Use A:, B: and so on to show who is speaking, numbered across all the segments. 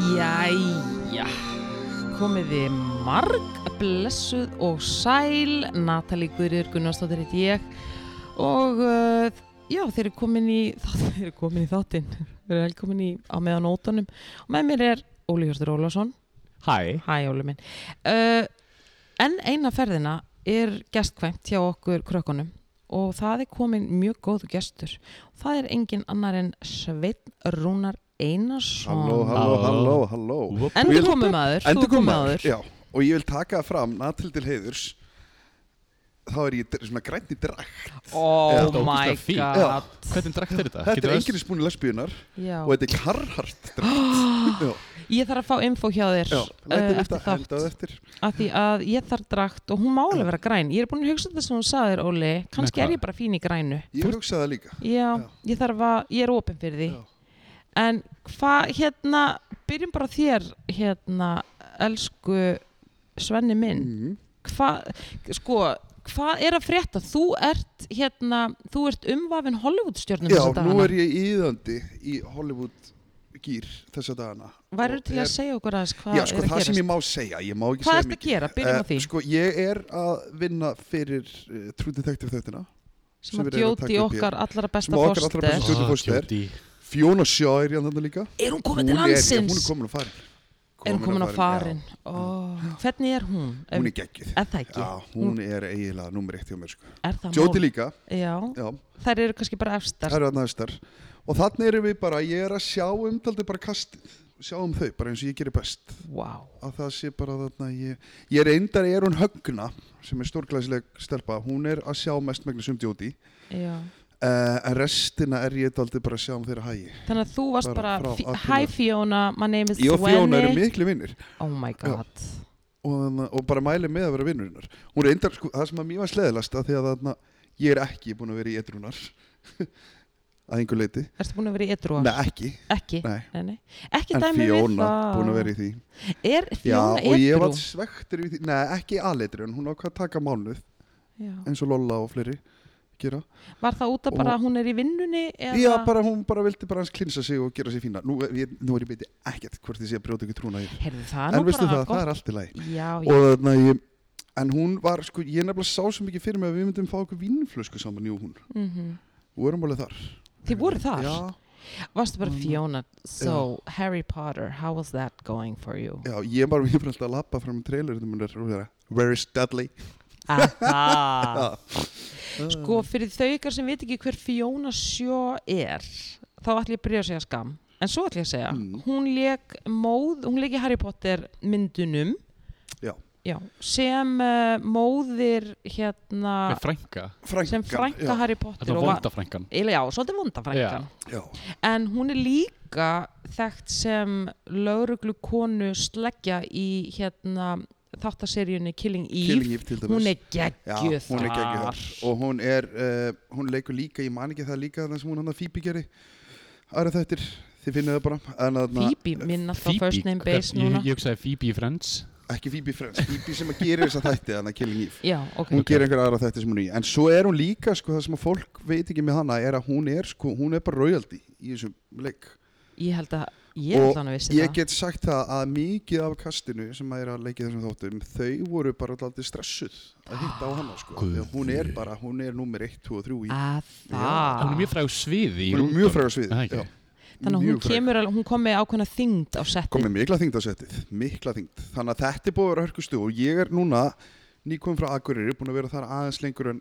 A: Jæja, komiði marg, blessuð og sæl, Natali Guðriður Gunnarsdóttir heit ég og uh, já, þeir eru komin í, þeir eru komin í þáttinn, þeir eru velkomin í á meðan ótanum og með mér er Óli Hjörstur Ólafsson,
B: Hæ,
A: hæ Óli minn. Uh, en eina ferðina er gestkvæmt hjá okkur krökkunum og það er komin mjög góð gestur. Það er engin annar en Sveinn Rúnar Einarsson.
C: Halló, halló,
B: Halló.
C: halló, halló
B: Úp.
A: Endur komið maður, þú
C: Endur
A: er komið
C: koma
A: maður
C: Já, og ég vil taka fram Natil til heiðurs Þá er ég dr- svona grænni drakt Já.
A: Oh
B: Þetta er
A: my
B: ógeðslega fínt.
A: god
B: hvernig drakt er þetta?
C: Þetta
B: Getur
C: er
B: þess-
C: enginn spúni lesbíunar
A: Já.
C: Og þetta er karhart drakt Já,
A: Ég þarf að fá info hjá þér
C: já
A: uh,
C: Lætum við
A: eftir
C: þetta
A: þátt
C: henda á eftir
A: af því að ég þarf drakt og hún má alveg vera græn Ég er búin að hugsa þetta sem hún sagði þér Óli kannski
B: Með
A: er
B: hvað?
A: ég bara fín í grænu
C: Ég hugsaði það líka
A: Já, ég þarf að, ég er opin fyrir því
C: Já.
A: En hvað, hérna byrjum bara á þér hérna, elsku Svenni minn
C: Mhm.
A: Hvað, sko Hvað er að frétta? Þú ert hérna, þú ert umvafin Hollywoodstjörnum
C: Já, nú er ég íðandi í Hollywood gýr þessa dagana
A: Værið til að
C: Og er-
A: segja okkur aðeins hvað
C: Já, sko,
A: er að
C: það sem
A: gerast?
C: ég má segja, ég má ekki
A: Hvað
C: segja
A: ertu að gera? Byrjum á
C: Eh,
A: því.
C: Sko, ég er að vinna fyrir uh, True Detective þættina
A: sem að
C: við erum að
A: djóti
C: taka upp hér.
A: okkar allra
C: Sem
A: besta
C: okkar allra
A: fórstu
C: besta- Stjórnir
B: Ah,
C: fórsetar.
B: Jódí.
C: Fiona Shaw er ég andan líka
A: er hún komin til
C: Hún er- já, Hún
A: landsins
C: er komin á farin
A: er hún komin á farin
C: já.
A: Ó, hvernig er hún?
C: Hún er geggið
A: er það ekki?
C: Já, hún er eiginlega nummer eitt hjá mér sko.
A: er það
C: Jóti
A: mál?
C: líka,
A: já,
C: já,
A: þær eru kannski bara
C: það
A: efstar
C: eru að næstar Og þannig erum við bara, ég er að sjá um taldi bara kastið, sjá um þau bara eins og ég gerir best
A: wow.
C: að það sé bara þarna ég, ég er eindar, ég er hún högna sem er stórglæsileg stelpa, hún er að sjá mestmægnis um Jóti
A: já.
C: uh, en restina er ég taldi bara að sjá um þeirra hægi
A: þannig að þú varst bara,
C: Bara frá
A: bara
C: A til
A: hi
C: Ö.
A: Fiona, my name is
C: Ég og Fiona eru
A: Svenny
C: miklu vinnir
A: oh my god
C: og, þarna- og bara mæli með að vera vinnur hennar hún er eindar, sko, það sem að mér var sleðilast að því að þarna, ég er ekki búin að vera í edrunar að einhver leiti
A: erstu búin að vera í edru
C: Nei, ekki,
A: ekki
C: nei
A: Nei, nei. ekki
C: En
A: dæmi við
C: Fiona
A: það
C: búin að vera í því
A: er
C: Já,
A: Fiona
C: og ég
A: edru
C: var svektur við því Nei, ekki aðleitur, en hún ákvað að taka mánuð
A: Já.
C: eins og Lolla og fleiri gera
A: var það út af bara að hún er í vinnunni eða
C: Já, bara hún bara vildi bara hans klinsa sig og gera sig fína Nú, ég, nú er ég beiti ekkert hvort ég sé að brjóta ykkur trúna hér
A: Heyrðu, það er
C: En
A: nú
C: veistu
A: bara
C: það, það
A: gott
C: er allt í lagi
A: já, já.
C: og þarna ég en hún var, sko, ég nefnilega sá svo mikið fyrir mig að við myndum fá okkur vínflösku saman ég og hún,
A: Mm
C: og erum alveg þar
A: Þið voru þar?
C: Já, Mm.
A: Varstu bara
C: Núna.
A: Fiona So, Harry Potter, how was that going for you?
C: já ég var mér fyrir alltaf að lappa fram í trailerinu minnar og vera Where is Dudley?
A: Aha Sko, fyrir þau ykkar sem veit ekki hver Fiona Sjó er þá ætlum ég að byrja að segja skam en svo ætlum ég að segja,
C: Mm.
A: hún leik móð, hún leik í Harry Potter myndunum
C: Já.
A: sem uh, móðir hérna,
B: Með frænka
C: Eh, Frænkan,
A: sem frænka
C: já,
A: Harry Potter
B: Þetta var
A: og var-
B: vonda frænkan
A: Eiginlega, Já, svolítið vonda frænkan
C: já,
A: en hún er líka þekkt sem lauruglu konu sleggja í hérna þáttaseríunni Killing Eve
C: Killing Eve til dæmis
A: hún er
C: Já,
A: geggjöð
C: hún er geggjuð þar og hún er, uh, hún leikur líka, ég man ekki það líka þannig sem hún hann að Phoebe geri aðra þættir, þið finnið það bara en þarna,
A: Phoebe minn alltaf
B: Phoebe,
A: first name base
B: hvern-
A: núna
B: Ég, ég hugsaði Phoebe í Friends
C: ekki Phoebe Friends, Phoebe sem að gera þess að þætti þannig að Killing Eve
A: já, ok,
C: hún
B: Ok.
C: gerir einhverja aðra þætti sem hún er í en svo er hún líka, sko, það sem að fólk veit ekki með hana er að hún er, sko, hún er bara royalty í þessum leik
A: ég held að ég
C: Og
A: held að hann vissi
C: ég
A: það
C: get sagt það að mikið af kastinu sem að er að leika í þessum þáttum þau voru bara alltaf stressuð að hitta á hana, sko,
B: Guð.
C: því að hún er bara hún er númer 1, 2 og 3 í
A: að
C: Já,
B: Hún er
A: það
B: mjög fræg á sviði í
C: hún er
B: London.
C: mjög frægur svið
B: Er það ekki?
A: þannig að hún kemur alveg, hún kom með ákveðna þyngd á setti
C: komið mikla þyngd á settið, mikla þyngd þannig að þetta er búið að vera hörkustu og ég er núna nýkom frá Akureyri, búin að vera þar aðeins lengur en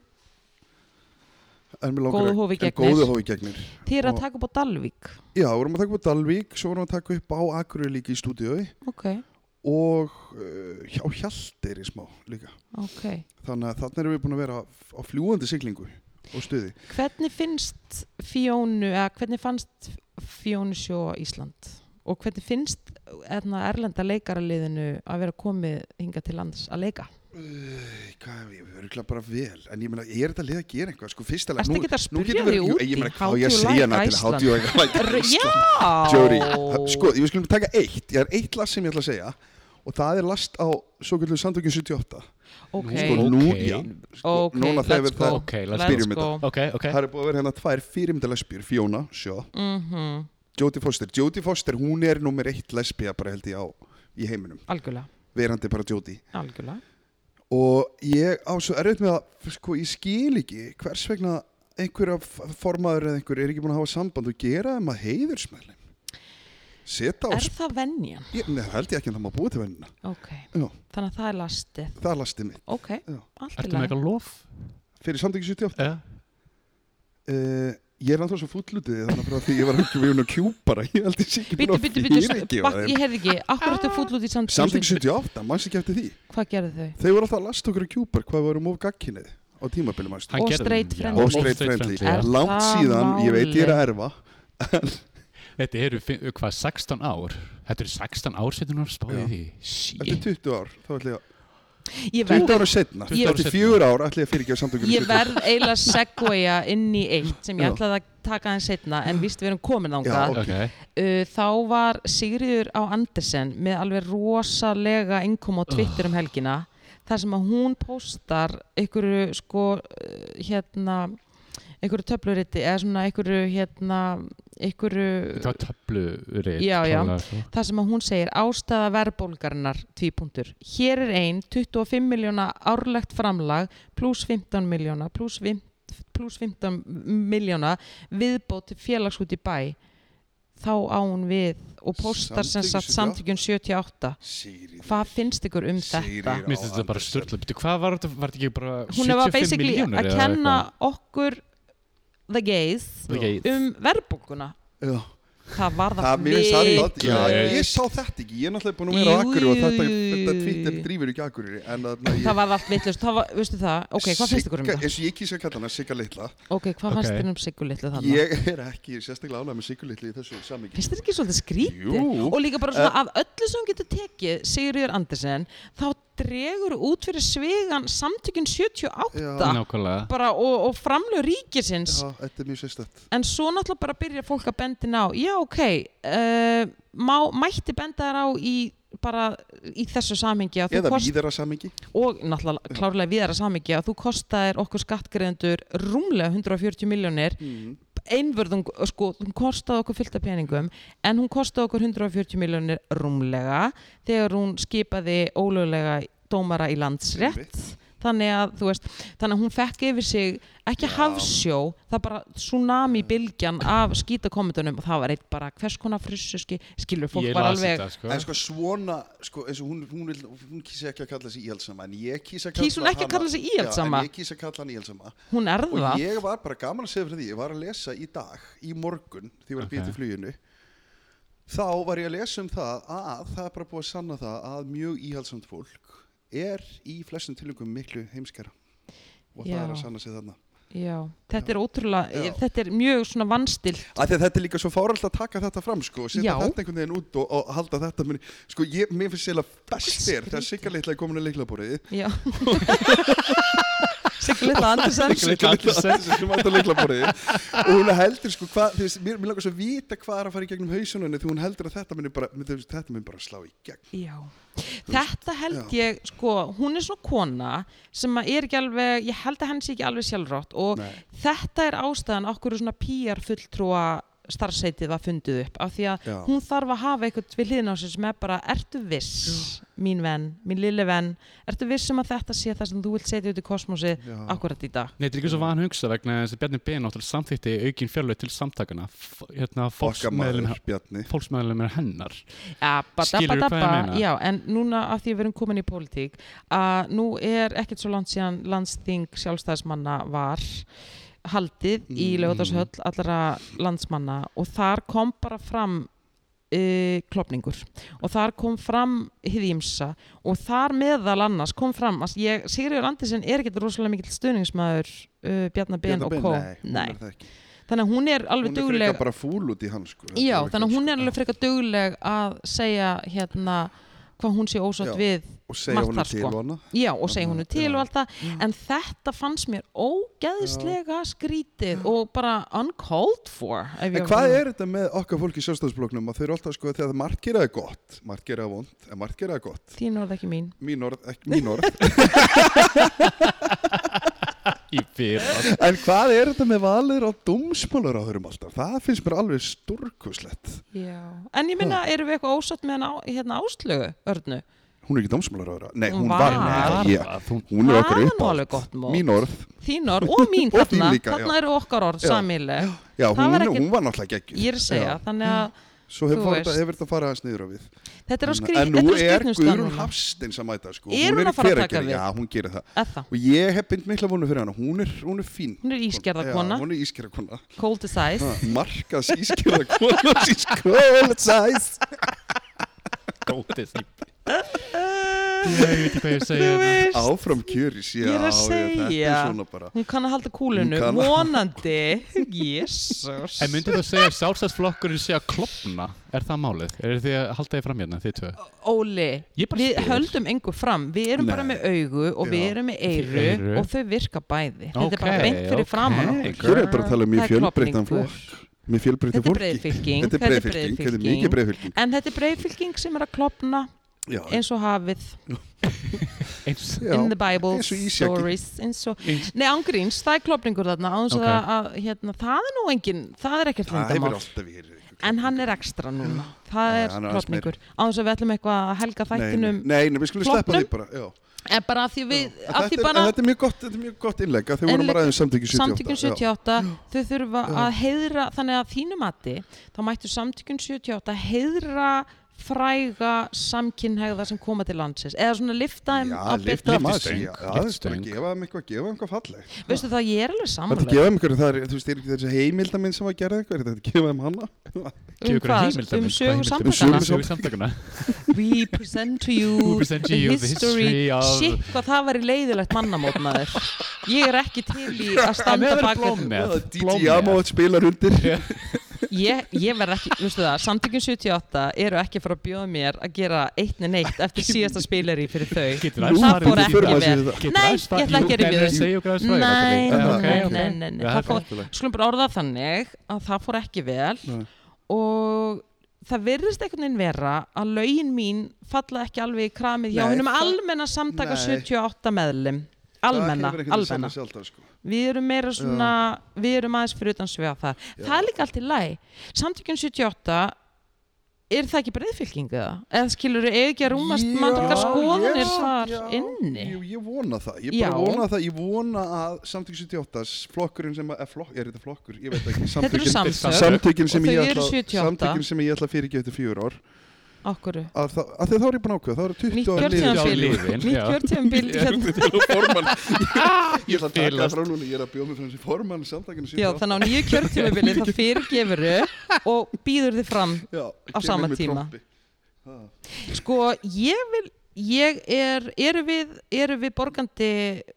C: en mig langar
A: Góðu
C: að-
A: hófi
C: en
A: gegnir.
C: góðu hófi gegnir
A: þér að
C: og-
A: taka upp á Dalvík
C: Já, við vorum að taka upp á Dalvík, svo vorum við að taka upp á Akureyri líka í stúdíói
A: ok,
C: og uh, hjá Hjaldir í smá líka.
A: ok
C: Þannig að þannig erum við búin að vera á- á fljúandi siglingu og stuði.
A: hvernig finnst Fjónu, eða hvernig fannst Fjónu sjó Ísland og hvernig finnst erna, erlenda leikaraliðinu að vera komið hinga til lands að leika
C: Æ, Eh, Hvað, ég verður ekki bara vel, en ég meina, ég er þetta lið að gera eitthvað, sko, fyrst alveg.
A: Ertu ekki að spyrja þig út í
C: Ég meina,
A: how
C: hvað á ég
A: do
C: að
A: you like
C: segja hana til Sko,
A: Iceland?
C: hátíu og
A: R-
C: ekki
A: Já
C: sko, Jóri, sko, ég við skulum taka eitt, ég er eitt lag sem ég ætla að segja og og það er last á svo kallur samtökjum 78
A: ok,
C: sko nú,
B: Ok.
C: já, sko,
A: Ok,
C: núna
A: let's
C: þegar
A: go.
C: það,
B: Ok, let's
A: let's
C: byrjum
A: go
B: Ok, ok
C: það er búið að vera hérna tvær fyrirmynda lesbjur, Fiona, sjó
A: Mhm,
C: Jodie Foster, Jodie Foster, hún er nummer eitt lesbja bara held ég á í heiminum
A: algjörlega,
C: verandi bara Jodie
A: algjörlega
C: og ég á svo erfitt með að sko, ég skil ekki hvers vegna einhverja f- formaður eða einhver er ekki búin að hafa samband og gera þeim að heiðursmeðlum seta á
A: Er
C: sp-
A: það venjan?
C: ég, nei, held ég ekki að það má búið til vennina
A: Ok,
C: Já.
A: þannig að það er lastið
C: það er lastið mitt
A: Ok,
C: Já.
A: allt í
B: Ertu með
A: lagi
B: eitthvað lof?
C: fyrir samtökjum 78
B: Eða?
C: Uh, ég er náttúrulega svo fúllutið þannig að um frá því ég var ekki við hún að kjúpara ég held ég sé ekki
A: Bítu,
C: búin
A: bítu,
C: að
A: bítu,
C: fyrirgefa þeim.
A: ég heyrði ekki Akkur ertu fúll út í
C: Samtökin
A: samtökum
C: 78, mannst ekki eftir því
A: Hvað gerðu þau?
C: Þeir voru alltaf að lasta okkur að kjúpar hvað við vorum of gagkinnið á tímabili mannst
B: Hann
A: Og
B: gerði-
A: straight
B: Já,
A: friendly.
C: og straight friendly,
A: Er
C: langt
A: það
C: síðan ég veit ég er að erfa
B: Þetta eru, fi- hvað, 16 ár? Þetta eru 16 ár sem þú náttúrulega spáði því Shit.
C: eftir 20 ár, þá ætla ég að
A: Ég
C: 20
A: verð,
C: ára setna,
B: 20 ára
C: eftir
B: seinna.
C: 4 ár ætla ég að fyrirgefa samtökin
A: ég verð eiginlega að segwaya inn í eitt sem ég
C: Já.
A: ætlaði að taka þeim setna en víst við erum komin
C: Já,
A: ángað
C: ok.
B: Ok,
A: uh, þá var Sigriður á Andersen með alveg rosalega innkom á Twitter um helgina þar sem að hún postar einhverju sko uh, hérna einhverju töfluriti eða svona einhverju hérna einhverju
B: hvað töflurit
A: Já, já.
B: klálega, sko.
A: þar sem að hún segir ástæða verðbólgarinnar tvípuntur. Hér er ein 25 miljóna árlegt framlag pluss 15 miljóna pluss 15 pluss 15 miljóna viðbót til félagsút í bæ þá á hún við og postar sem
C: Samtökin
A: sagt samtökjum 78
C: Sigríður
A: hvað finnst ykkur um
C: Sigríður
A: þetta?
B: Mér finnst þetta bara störtla Býttu, hvað var þetta? Var þetta ekki bara
A: Hún var
B: 75
A: basically
B: milljónir
A: að
B: eða
A: kenna okkur the gays
B: eitthvað? Ekki-
A: um verðbólguna
C: Já.
A: það var
C: Það
A: það
C: mér finnst það
A: vik-
C: gott, já,
B: Vitlaust.
C: ég sá þetta ekki, ég er náttúrulega búin að vera á
A: Jú,
C: Akureyri og
A: jú,
C: þetta,
A: jú, jú,
C: þetta
A: jú.
C: Twitter drýfur ekki Akureyri en þarna ég-
A: það var allt vittlust, það var, veistu það ok, hvað finnst ykkur um
C: Sigga-
A: það?
C: eins og ég kýsa að kalla hana Sigga Littla
A: Ok, hvað fannst
B: Ok.
A: þér um Siggu litlu þarna?
C: ég er ekki sérstaklega ánægð með Sigga Littla í þessu samingi
A: Finnst þér ekki svolítið skrítið?
C: Jú. Eh.
A: Og líka bara svona af öllu sem hún getur tekið, Sigurður Andersen, þá dregur út fyrir svigan samtökin 78
C: Já.
B: Nákvæmlega
A: bara, og, og framlög ríkisins.
C: Já, þetta er mjög sérstætt
A: En svo náttúrulega bara byrja fólk að bendina á, já ok, uh, má, mætti benda þér á í bara í þessu samhengi að þú
C: eða
A: kost
C: víðara samingi
A: og náttúrulega klárlega viðara samingi að þú kostaðir okkur skattgreðendur rúmlega 140 miljónir
C: mm.
A: einvörðung, sko, hún kostaði okkur fullt af peningum en hún kostaði okkur 140 miljónir rúmlega þegar hún skipaði ólöglega dómara í landsrétt þannig að, þú veist, þannig að hún fekk yfir sig ekki
C: Já.
A: hafsjó það bara tsunami-bylgjan af skítakommendunum og það var eitt bara hvers konar frissu ski, skilur fólk
B: Ég
A: var
B: las
A: alveg
B: þetta sko
C: en sko svona sko, eins og hún, hún, vil, hún kýsa ekki að kalla sig íhaldsama en ég kýsa að kalla
A: Kýs hún ekki að
C: hana-
A: kalla sig
C: Já,
A: íhaldsama?
C: en ég kýsa að kalla hann íhaldsama
A: hún er
C: og
A: það
C: ég var bara gaman að segja fyrir því ég var að lesa í dag, í morgun því ég var að býta
B: Ok.
C: í fluginu þá var ég að lesa um það að það er bara búið að sanna það að mjög íhaldsamt fólk er í flestum tilöngum miklu heimskara og það
A: Já.
C: er að sanna sig þarna
A: já, þetta er ótrúlega,
C: Já.
A: þetta er mjög svona vannstilt
C: að að þetta er líka svo fáralt að taka þetta fram sko, og setja
A: Já.
C: þetta einhvern veginn út og, og halda þetta muni, sko ég, mér finnst sérlega best er
A: Skrítið.
C: þegar Sigga litla er komin að leiklaborðið
A: já Sigur Lilla Andersen
C: Sigga litla sem var þetta leiklaborðið og hún heldur sko hvað, þú veist, mér, mér langar svo að vita hvað er að fara í gegnum hausununni því hún heldur að þetta muni bara, mér, þú veist, þetta muni bara slá í gegn
A: Já, þetta held ég, sko, hún er svona kona sem að er ekki alveg, ég held að henn sé ekki alveg sjálfrátt og
C: Nei.
A: þetta er ástæðan okkur svona PR fulltrúa starfseitið var fundið upp af því að
C: Já.
A: hún þarf að hafa eitthvað við hliðin á sér sem er bara, ertu viss, mín venn, mín lille venn, ertu viss um að þetta sé það sem þú vilt setja út í kosmosið
C: Já.
A: akkurat í dag?
B: Nei, þetta er ekki svo van hugsa vegna þess að Bjarni Ben náttúrulega samþýtti aukin fjárlög til samtakana f- hérna,
C: okkar maður
B: fólksmeðlum
C: Bjarni
B: er hennar
A: Ja, ba- da-
B: Skilurðu
A: ba- da-
B: hvað ég
A: ba-
B: meina?
A: Já, en núna af því að við erum komin í pólitík að nú er ekkert svo langt síðan landsþing sjálfstæðismanna var haldið í
C: Mm.
A: lögðarshöll allra landsmanna og þar kom bara fram uh, klopningur og þar kom fram hýðýmsa og þar meðal annars kom fram að ég, Sigurður Andersen er ekkert rosalega mikill stuðningsmaður uh, Bjarnar Ben og Kó
C: nei, hún er það ekki
A: þannig að hún er alveg
C: hún er frekar
A: dugleg
C: bara fúl út í hann sko
A: Já, þannig að hún er alveg frekar dugleg að segja hérna hvað hún sé ósátt
C: Já.
A: við
C: og segja
A: Margt
C: honum
A: þar,
C: til
A: sko.
C: og annað
A: já, og segja húnu til og allt það
C: Já. Mhm.
A: en þetta fannst mér ógeðslega skrítið og bara uncalled for ef ég á
C: En
A: að
C: hvað
A: vera-
C: er þetta með okkar fólk í sjálfstæðsbloknum að þau eru alltaf sko þegar það margt geraði gott, margt geraði vond, en margt geraði gott.
A: þín orð ekki mín
C: Mín orð, ekki mín orð.
B: í fyrra
C: en hvað er þetta með valur á dómsmálar á þeirum alltaf? Það finnst mér alveg stórkuslegt.
A: já. en ég minna, erum við eitthvað ósátt með hana, hérna áslögu, örnu
C: Hún er ekki dómsmálar á þeirra. Nei,
A: Hún
C: hún
A: var.
C: var. Nei, ég,
B: að hún
C: hún er
A: Það
C: okkar
A: er nú
C: upp
A: alveg gott mót.
C: Mín orð.
A: þín orð og mín
C: Og þín
A: þarna,
C: líka, já.
A: þarna eru okkar orð
C: Já.
A: samileg,
C: Já,
A: Það
C: hún,
A: var ekki-
C: hún var náttúrulega geggjur.
A: ég er að segja þannig að þú
C: Svo hefur þetta,
A: veist.
C: hefur þetta farað aðeins niður á við.
A: þetta er á skrýt
C: en nú
A: þetta
C: er
A: á skrýtnum stað
C: Guðrún
A: núna.
C: Hafstein sem mæta sko.
A: Er hún
C: í
A: að fara að taka
C: Hveragerði.
A: við?
C: Já, hún gerir það.
A: Er það?
C: Og ég hef bynd mikla vonu fyrir hana. Hún er, hún er fín.
A: Hún er ískerða
C: Já,
A: kona,
C: hún er ískera kona.
A: cold as ice
C: Markas ískera kona She's cold as ice
B: gótið í ég veit ekki hvað ég
A: Þú
B: segja hérna.
A: veist,
C: Áfram kjöris, já
A: Ég er að
C: Þetta
A: segja.
C: er svona bara
A: hún kann að halda kúlunu,
C: Hún kann að-
A: vonandi Jesus
B: en myndið þú að segja að sjálfstæðsflokkurinn sé að klopna er það málið? er þið að halda þið fram hérna þið tvö?
A: Óli,
B: Ég bara
A: við
B: spyr.
A: höldum engu fram við erum
C: Nei.
A: bara með augu og við
C: Já.
A: erum með eyru,
B: Eyru.
A: og þau virka bæði þetta er bara
B: Ókei,
A: beint fyrir
B: ókei.
A: framan okkur.
B: Girl.
C: Hér er bara að tala um
A: Það
C: mjög
A: er
C: fjölbreyttan
A: klofningur.
C: fólk Mjög fjölbreyttan
A: þetta er
C: fólki
A: breyðfylking
C: Þetta er breyðfylking, þetta er mikið breyðfylking
A: en þetta er breyðfylking sem er að klopna
C: Já,
A: eins og hafið
B: eins
C: já,
A: in the Bible
C: eins og ísjaki.
A: stories eins og,
B: Eins-
A: nei ángríns, það er klopningur þarna án þess
B: Ok.
A: að, að hérna, það er nú engin það er ekkert
C: Það hefur
A: lindamál
C: alltaf verið
A: en hann er ekstra núna það
C: Já,
A: er
C: hann er aðeins meiri.
A: klopningur án þess að við ætlum eitthvað að helga þættinum
C: Nei, nei, nei, við skulum sleppa
A: flokknum.
C: því bara já.
A: en bara að því
C: En
A: við að
C: Þetta
A: því
C: er- en
A: bara
C: þetta er mjög gott, þetta er mjög gott innlegg að um Þau
A: En
C: vorum
A: le-
C: bara aðeins samtökjum 78
A: Samtökjum 78, þau þurfa
C: Já.
A: að heiðra, þannig að þínu mati, þá mættu Samtökjum 78 heiðra fræga samkynhægða sem koma til landsins eða svona lifta þeim
C: Já,
A: að
C: lifta
B: lyfta-
A: byrta
C: maður
B: stöng,
C: Já, það er bara
B: lyftistöng.
C: að gefa þeim eitthvað, gefa þeim eitthvað falleg
A: veistu það, ég er alveg
C: Þetta
A: sammála
C: gefa þeim eitthvað, það er, þú veist, er ekki þessi heimildaminn sem að gera eitthvað, þetta gefa þeim hana
A: um
B: Gefur ykkur
A: hvað, um
B: heimildamynd, hvað
A: sögu
B: heimildamynd?
A: samtökjana
B: Um sögu samtökjana
A: we present to you,
B: We present to you the history of-
A: shit, hvað það væri leiðilegt mannamót maður ég er ekki til í að
B: en
A: standa
B: það er
A: bak við-
B: blómið
C: DJ Amóð spilar undir
A: ég, ég verð ekki, veistu það, samtökjum 78 eru ekki að fara að bjóða mér að gera eitt en eitt eftir síðasta spilari fyrir þau.
B: getur
A: Það fór ekki vel.
C: vel
A: Nei, ég ætla ekki að rifja upp.
B: upp
A: Nei, nei,
C: Já, ok,
A: nei,
C: ok.
A: nei, nei, nei.
B: Já,
A: það
B: það
A: fór, skulum bara orða það þannig að það fór ekki vel
C: Nei.
A: og það virðist einhvern veginn vera að lögin mín falla ekki alveg í kramið hjá
C: Nei,
A: hennum
C: það-
A: almenna samtaka
C: Nei.
A: 78 meðlum. Almenna, almenna.
C: sko.
A: Við erum meira svona, við erum aðeins fyrir utan svega það. Það er líka allt í læg. Samtökjum 78, er það ekki breyðfylking eða? Eða skilur þau ekki að rúmast mannlegar skoðanir þar inni?
C: Jú, ég vona það, ég
A: Já.
C: bara vona það ég vona að samtökin 78 flokkurinn sem að, eh, flokk, er þetta flokkur? Ég veit ekki,
A: Þetta eru
C: samtökin
A: samsök,
B: sam-
C: samtökin sem,
A: Og þau
C: ég
A: eru
C: ætla,
A: 78.
C: samtökin sem ég ætla að fyrirgefa eftir fjör ár
A: okkur.
C: að, það, að því þá er ég búin ákveð, þá eru 20
A: Nýtt
C: ár liðin.
B: tíma.
A: kjörtjöfambil,
B: liðin,
A: nýtt
B: já.
A: kjörtjöfambil hérna.
C: Formann- Ég ætla að taka það
B: Félast.
C: frá núna, ég er að bjóða mig frá þessi formann samtökinu
A: Já,
C: 78
A: þannig á nýju kjörtjöfambili það fyrirgefur þau og býður þið fram.
C: Já,
A: á
C: kemur
A: sama
C: með
A: tíma.
C: trompi.
A: Sko, ég vil, ég er, eru við, eru við borgandi,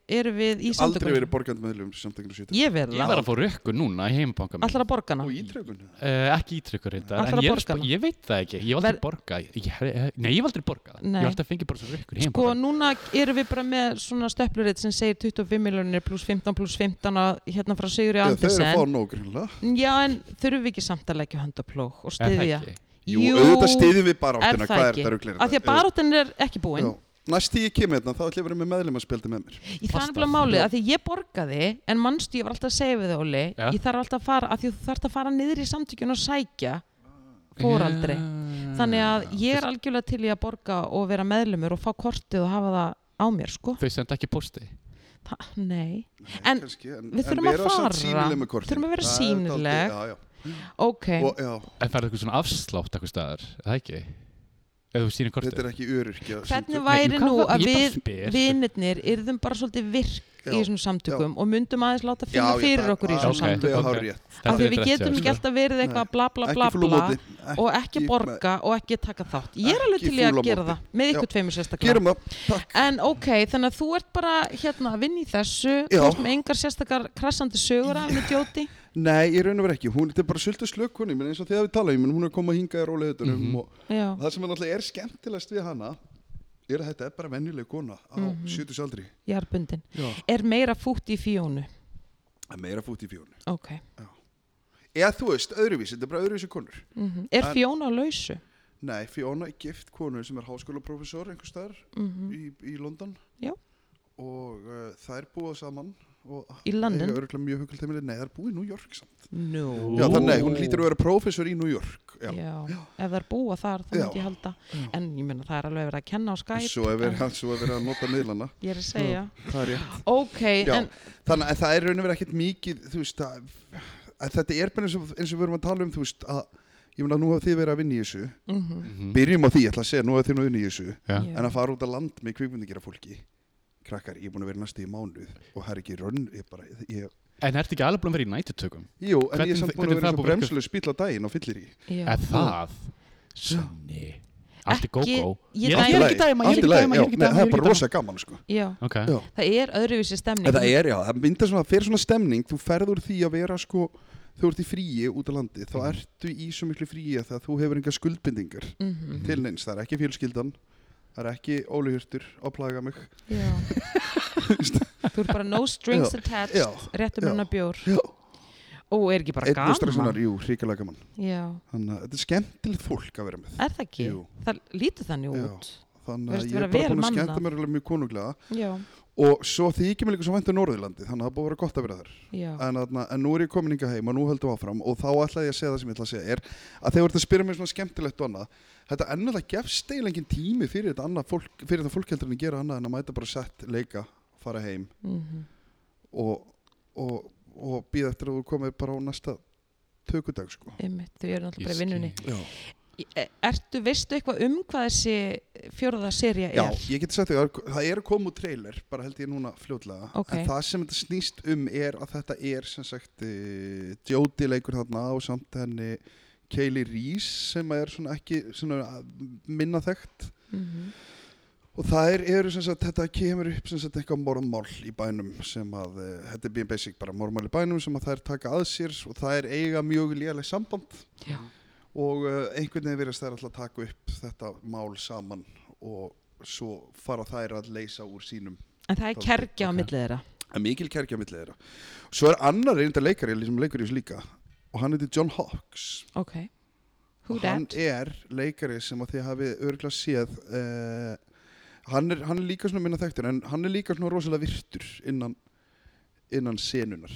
A: eru við í samtökum?
C: Aldrei verið borgand meðlum samtökinu 78
A: Ég vil
B: Ég
A: það.
B: var að fá rökkur núna í heimbanka minn.
A: Allar að borgana?
C: Og ítrekkun
B: Uh, ekki ítrykkur reyndar,
A: Ætlarðu að
B: en ég, er að
A: borga
B: spá-
A: hana?
B: ég veit það ekki, ég hef
A: Ver-
B: aldrei borgað, ég, ég- nei ég hef aldrei borgað,
A: Nei.
B: ég hef aldrei fengið bara svo rökkur
A: Sko,
B: í heimbanka.
A: núna erum við bara með svona stöpluritt sem segir 25 miljonir pluss 15 pluss 15 að- hérna frá Sigurði
C: Já, þau eru að
A: Andersen.
C: fá nóg grunlega
A: Já, en þurfum við ekki samt að leggja hönd á plók og
B: Er það
A: styðja?
B: ekki?
C: Jú, auðvitað stiðum við
A: er
C: baráttina,
A: það
C: hvað er
A: ekki?
C: þetta rugglir
A: Af því að baráttin er ekki búin.
C: Næst því ég kem hérna, þá ætlum ég að vera með meðlum að spilta með mér
A: Ég það er
B: Fasta.
A: nefnilega málið, af því ég borgaði, en mannstu ég var alltaf að segja við þið, Óli,
B: Já.
A: ég þarf alltaf að fara, af því þú þarf að fara niður í samtökjun og sækja fóraldri.
B: Já.
A: Þannig að
B: Mm.
A: ég er algjörlega til í að borga og vera meðlumur og fá kortið og hafa það á mér, sko.
B: Þau senda ekki posti.
A: Þa, nei. En
C: Kannski, en,
A: við þurfum að fara. Þurfum að vera sýnileg.
C: já,
A: ok,
C: já. Og, eh, já,
B: En það er eitthvað svona afslátt eitthvað staðar, er það ekki? Eða þú sýnir
C: Þetta
B: kortið.
C: er ekki öryrkja
A: hvernig
B: Nei,
A: væri
B: hvað
A: nú
B: var-
A: að
B: ég bara
A: við
B: spyr.
A: vinnirnir yrðum bara svolítið virk í
C: Já,
A: þessum samtökum og myndum aðeins láta finna fyrir okkur í
B: já,
A: þessum
B: ok.
A: samtökum
B: samtökum.
A: af því við getum
B: sko.
A: ekki alltaf verið eitthvað bla bla bla bla og ekki borga og ekki taka þátt ég er alveg
C: Ekki
A: til í að
C: fúl á
A: gera
C: móti.
A: það með ykkur
C: Já.
A: tveimur sérstaklega
C: Gerum það, takk
A: en ok, þannig að þú ert bara hérna að vinna í þessu
C: Já.
A: þú ert með engar sérstakar krassandi sögur af henni djóti
C: Nei, ég raun og vera ekki, hún þetta er bara sultu slökk um. hún, ég meina eins og þegar við tala, ég meina hún er að koma að hinga í róli mm
B: Mhm.
C: og
A: Já.
C: það sem er náttúrulega er skemmtilegst við hana er að þetta er bara venjuleg kona á mm
A: Mhm.
C: 70 aldri
A: Jarbundin.
C: Já.
A: Er meira fútt í fjónu?
C: að meira fót í fjónu
A: Ok.
C: eða þú veist, öðruvísi, þetta er bara öðruvísi konur
A: Mm Er
C: En-
A: fjóna á lausu?
C: nei, Fjóna er gift konu sem er háskólaprofessor einhver staðar
A: Mm
C: í, í London
A: Já.
C: og uh, þær búa saman og
A: Í London?
C: eiga örugglega mjög huggulega heimili. nei, þær búa í New York saman
A: Nú.
C: já,
B: Ú.
C: þannig að hún lítur að vera prófessor í New York já.
A: Já. Ef það er búa þar, það
C: Já.
A: myndi ég halda. En ég meina það er alveg verið að kenna á Skype.
C: svo er verið svo er verið að nota miðlana
A: Ég er að segja.
C: það er rétt
A: Ok,
C: Já,
A: en
C: þannig að það er raun og verið ekkert mikið þú veist að, að þetta er bara eins og, eins og við erum að tala um þú veist að ég meina nú hafið þið verið að vinna í þessu
A: mm
B: sko. Mhm.
C: byrjum á því, ég ætla að segja, nú hafið þið nú vinna í þessu
A: Já.
C: en að fara út að land með kvikmyndingjara fólki krakkar, ég er búin að vera næstu í mánuð og það er ekki raun, ég bara ég,
B: En ertu ekki alveg búin að vera í nætutökum?
C: jú, en ég er
B: Hvernig-
C: samt búin
B: hvernig
C: að vera
B: það
C: svo
B: búið ykkur?
C: bremsuleg spýtla daginn og fyllir í
A: já.
B: Er það? Sunni. Allt er
A: Ekki-
B: gógó.
A: ég-
B: Ég
A: nei,
B: er ekki dæma, ég er
C: Allt í
B: ekki
C: lagi,
B: dæma,
C: já,
B: ég er ekki dæma.
C: nei, það
B: ég
C: er
B: ekki
C: bara
B: dæma.
C: rosa gaman sko.
A: Já.
B: Ok.
C: Já.
A: Það er öðruvísi stemning.
C: En það er, já, það myndar svona, fer svona stemning þú ferður því að vera sko þú ert í fríi út á landi, þá
B: Mhm.
C: ertu í svo miklu fríi að það þú hefur enga skuldbindingar
A: Mhm.
C: til neins, það er ekki fjölskyldan það er ekki óluhjörtur að plaga mig
A: Já. Þú ert bara no strings
C: Já.
A: attached,
C: Já.
A: réttum
C: Já.
A: hennar bjór.
C: Já.
A: Ó, er ekki bara
C: Einn og strax
A: gaman?
C: annar, jú, hrikalega gaman
A: Já.
C: þannig að þetta er skemmtilegt fólk að vera með
A: Er það ekki?
C: Jú.
A: Það lítur þannig
C: Já.
A: út.
C: þannig að
A: Virðist
C: ég er
A: vera
C: bara
A: vel
C: búin að
A: mannað.
C: skemmta mér alveg mjög konunglega
A: Já.
C: og svo þykir mér líka svo væntu Norðurlandi þannig að það er búið að vera gott að vera þar
A: Já.
C: en, þarna- en nú er ég komin inga heim og nú höldum við áfram og þá ætlaði ég að segja það sem ég ætla að segja er að þegar þetta spyrir mér svona skemmtilegt og annað þetta ennúlega gefst eiginlega engin tími fyrir þetta annað fólk, fyrir þetta fólk heldur en að gera annað en að mæta bara sett, leika, fara heim
A: Mhm.
C: og, og, og býða eftir að þú komið bara á næsta tökudag sko.
A: Einmitt, þau eru náttúrulega bara í
B: Ég
A: vinnunni.
B: skil.
C: Já.
A: E- Ertu, veistu eitthvað um hvað þessi fjórða serja
C: Já,
A: er?
C: ég geti sagt því að það er að koma út trailer, bara held ég núna fljótlega,
A: Ok.
C: en það sem þetta snýst um er að þetta er sem sagt Jóti leikur þarna og samt henni Kaylee Reese sem er svona ekki svona minna þekkt
A: Mhm.
C: og það er, eru sem sagt, þetta kemur upp sem sagt eitthvað mormál í bænum sem að, eh, þetta er being basic bara mormál í bænum sem að þær taka að sér og það er eiga mjög léleg samband
A: Já.
C: og uh, einhvern veginn verðast þær alltaf að taka upp þetta mál saman og svo fara þær að leysa úr sínum
A: En það er
C: Dálítið,
A: kergja á
B: ok.
A: millið þeirra.
C: að mikil kerkja millir þeirra svo er annar reynda leikari sem leikur í þessu líka og hann heitir John Hawks
A: Ok. Who
C: og hann
A: that?
C: er leikari sem að þið hafið örgla séð uh, hann, er, hann er líka svona minna þekktur en hann er líka svona rosalega virtur innan, innan senunar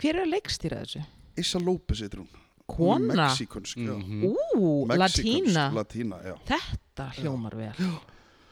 A: Hver er að leikstýra þessu?
C: Issa López heitir hún Hún er
A: Kona?
C: Mexikonsk, já.
B: Mhm.
A: Ú,
C: Mexikonsk,
A: latína.
C: Latína, já
A: Þetta hljómar vel.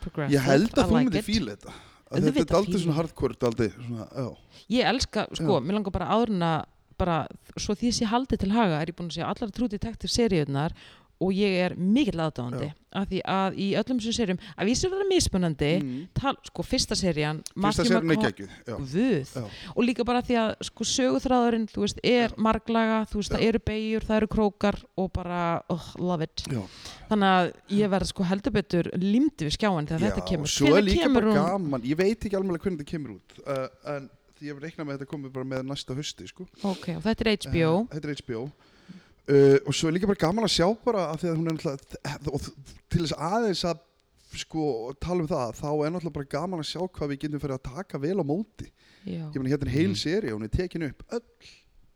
A: Progressive,
C: Ég held
A: I
C: að þú
A: like
C: myndir
A: it.
C: fíla þetta að
A: Auðvitað
C: Þetta er aldrei
A: fíla
C: svona hardcore daldið, svona, já.
A: Ég elska, sko, mér langar bara áðurna bara, svo því sé haldið til haga er ég búin að segja allar trúti taktir seriðunar og ég er mikill aðdáðandi af því að í öllum sem serjum að vísir verða mismunandi tal, sko, fyrsta serían
C: Mm. Fyrsta
A: Matthew
C: sérin er
A: McCona-
C: geggjuð já.
A: Guð.
C: Já.
A: og líka bara því að sko sögurþráðurinn, þú veist, er marglaga þú veist, það eru beigjur, það eru krókar og bara, oh, love it
C: Já.
A: þannig að ég verð sko heldur betur limdi við skjáin þegar þetta
C: Já,
A: kemur
C: Svo er
A: Hvenær
C: líka
A: kemur
C: bara
A: hún?
C: gaman Ég veit ekki alveg hvernig þetta kemur út uh, En því ég reikna með að þetta komið bara með næsta hösti sko.
A: ok, og þetta er HBO
C: Eh, Þetta er HBO uh, Og svo er líka bara gaman að sjá bara að Því að hún er náttúrulega og Til þess aðeins að sko, tala um það Þá er náttúrulega bara gaman að sjá hvað við getum fyrir að taka vel á móti
A: já.
C: Ég meni hérna er heil
B: Mhm.
C: seri Hún er tekin upp öll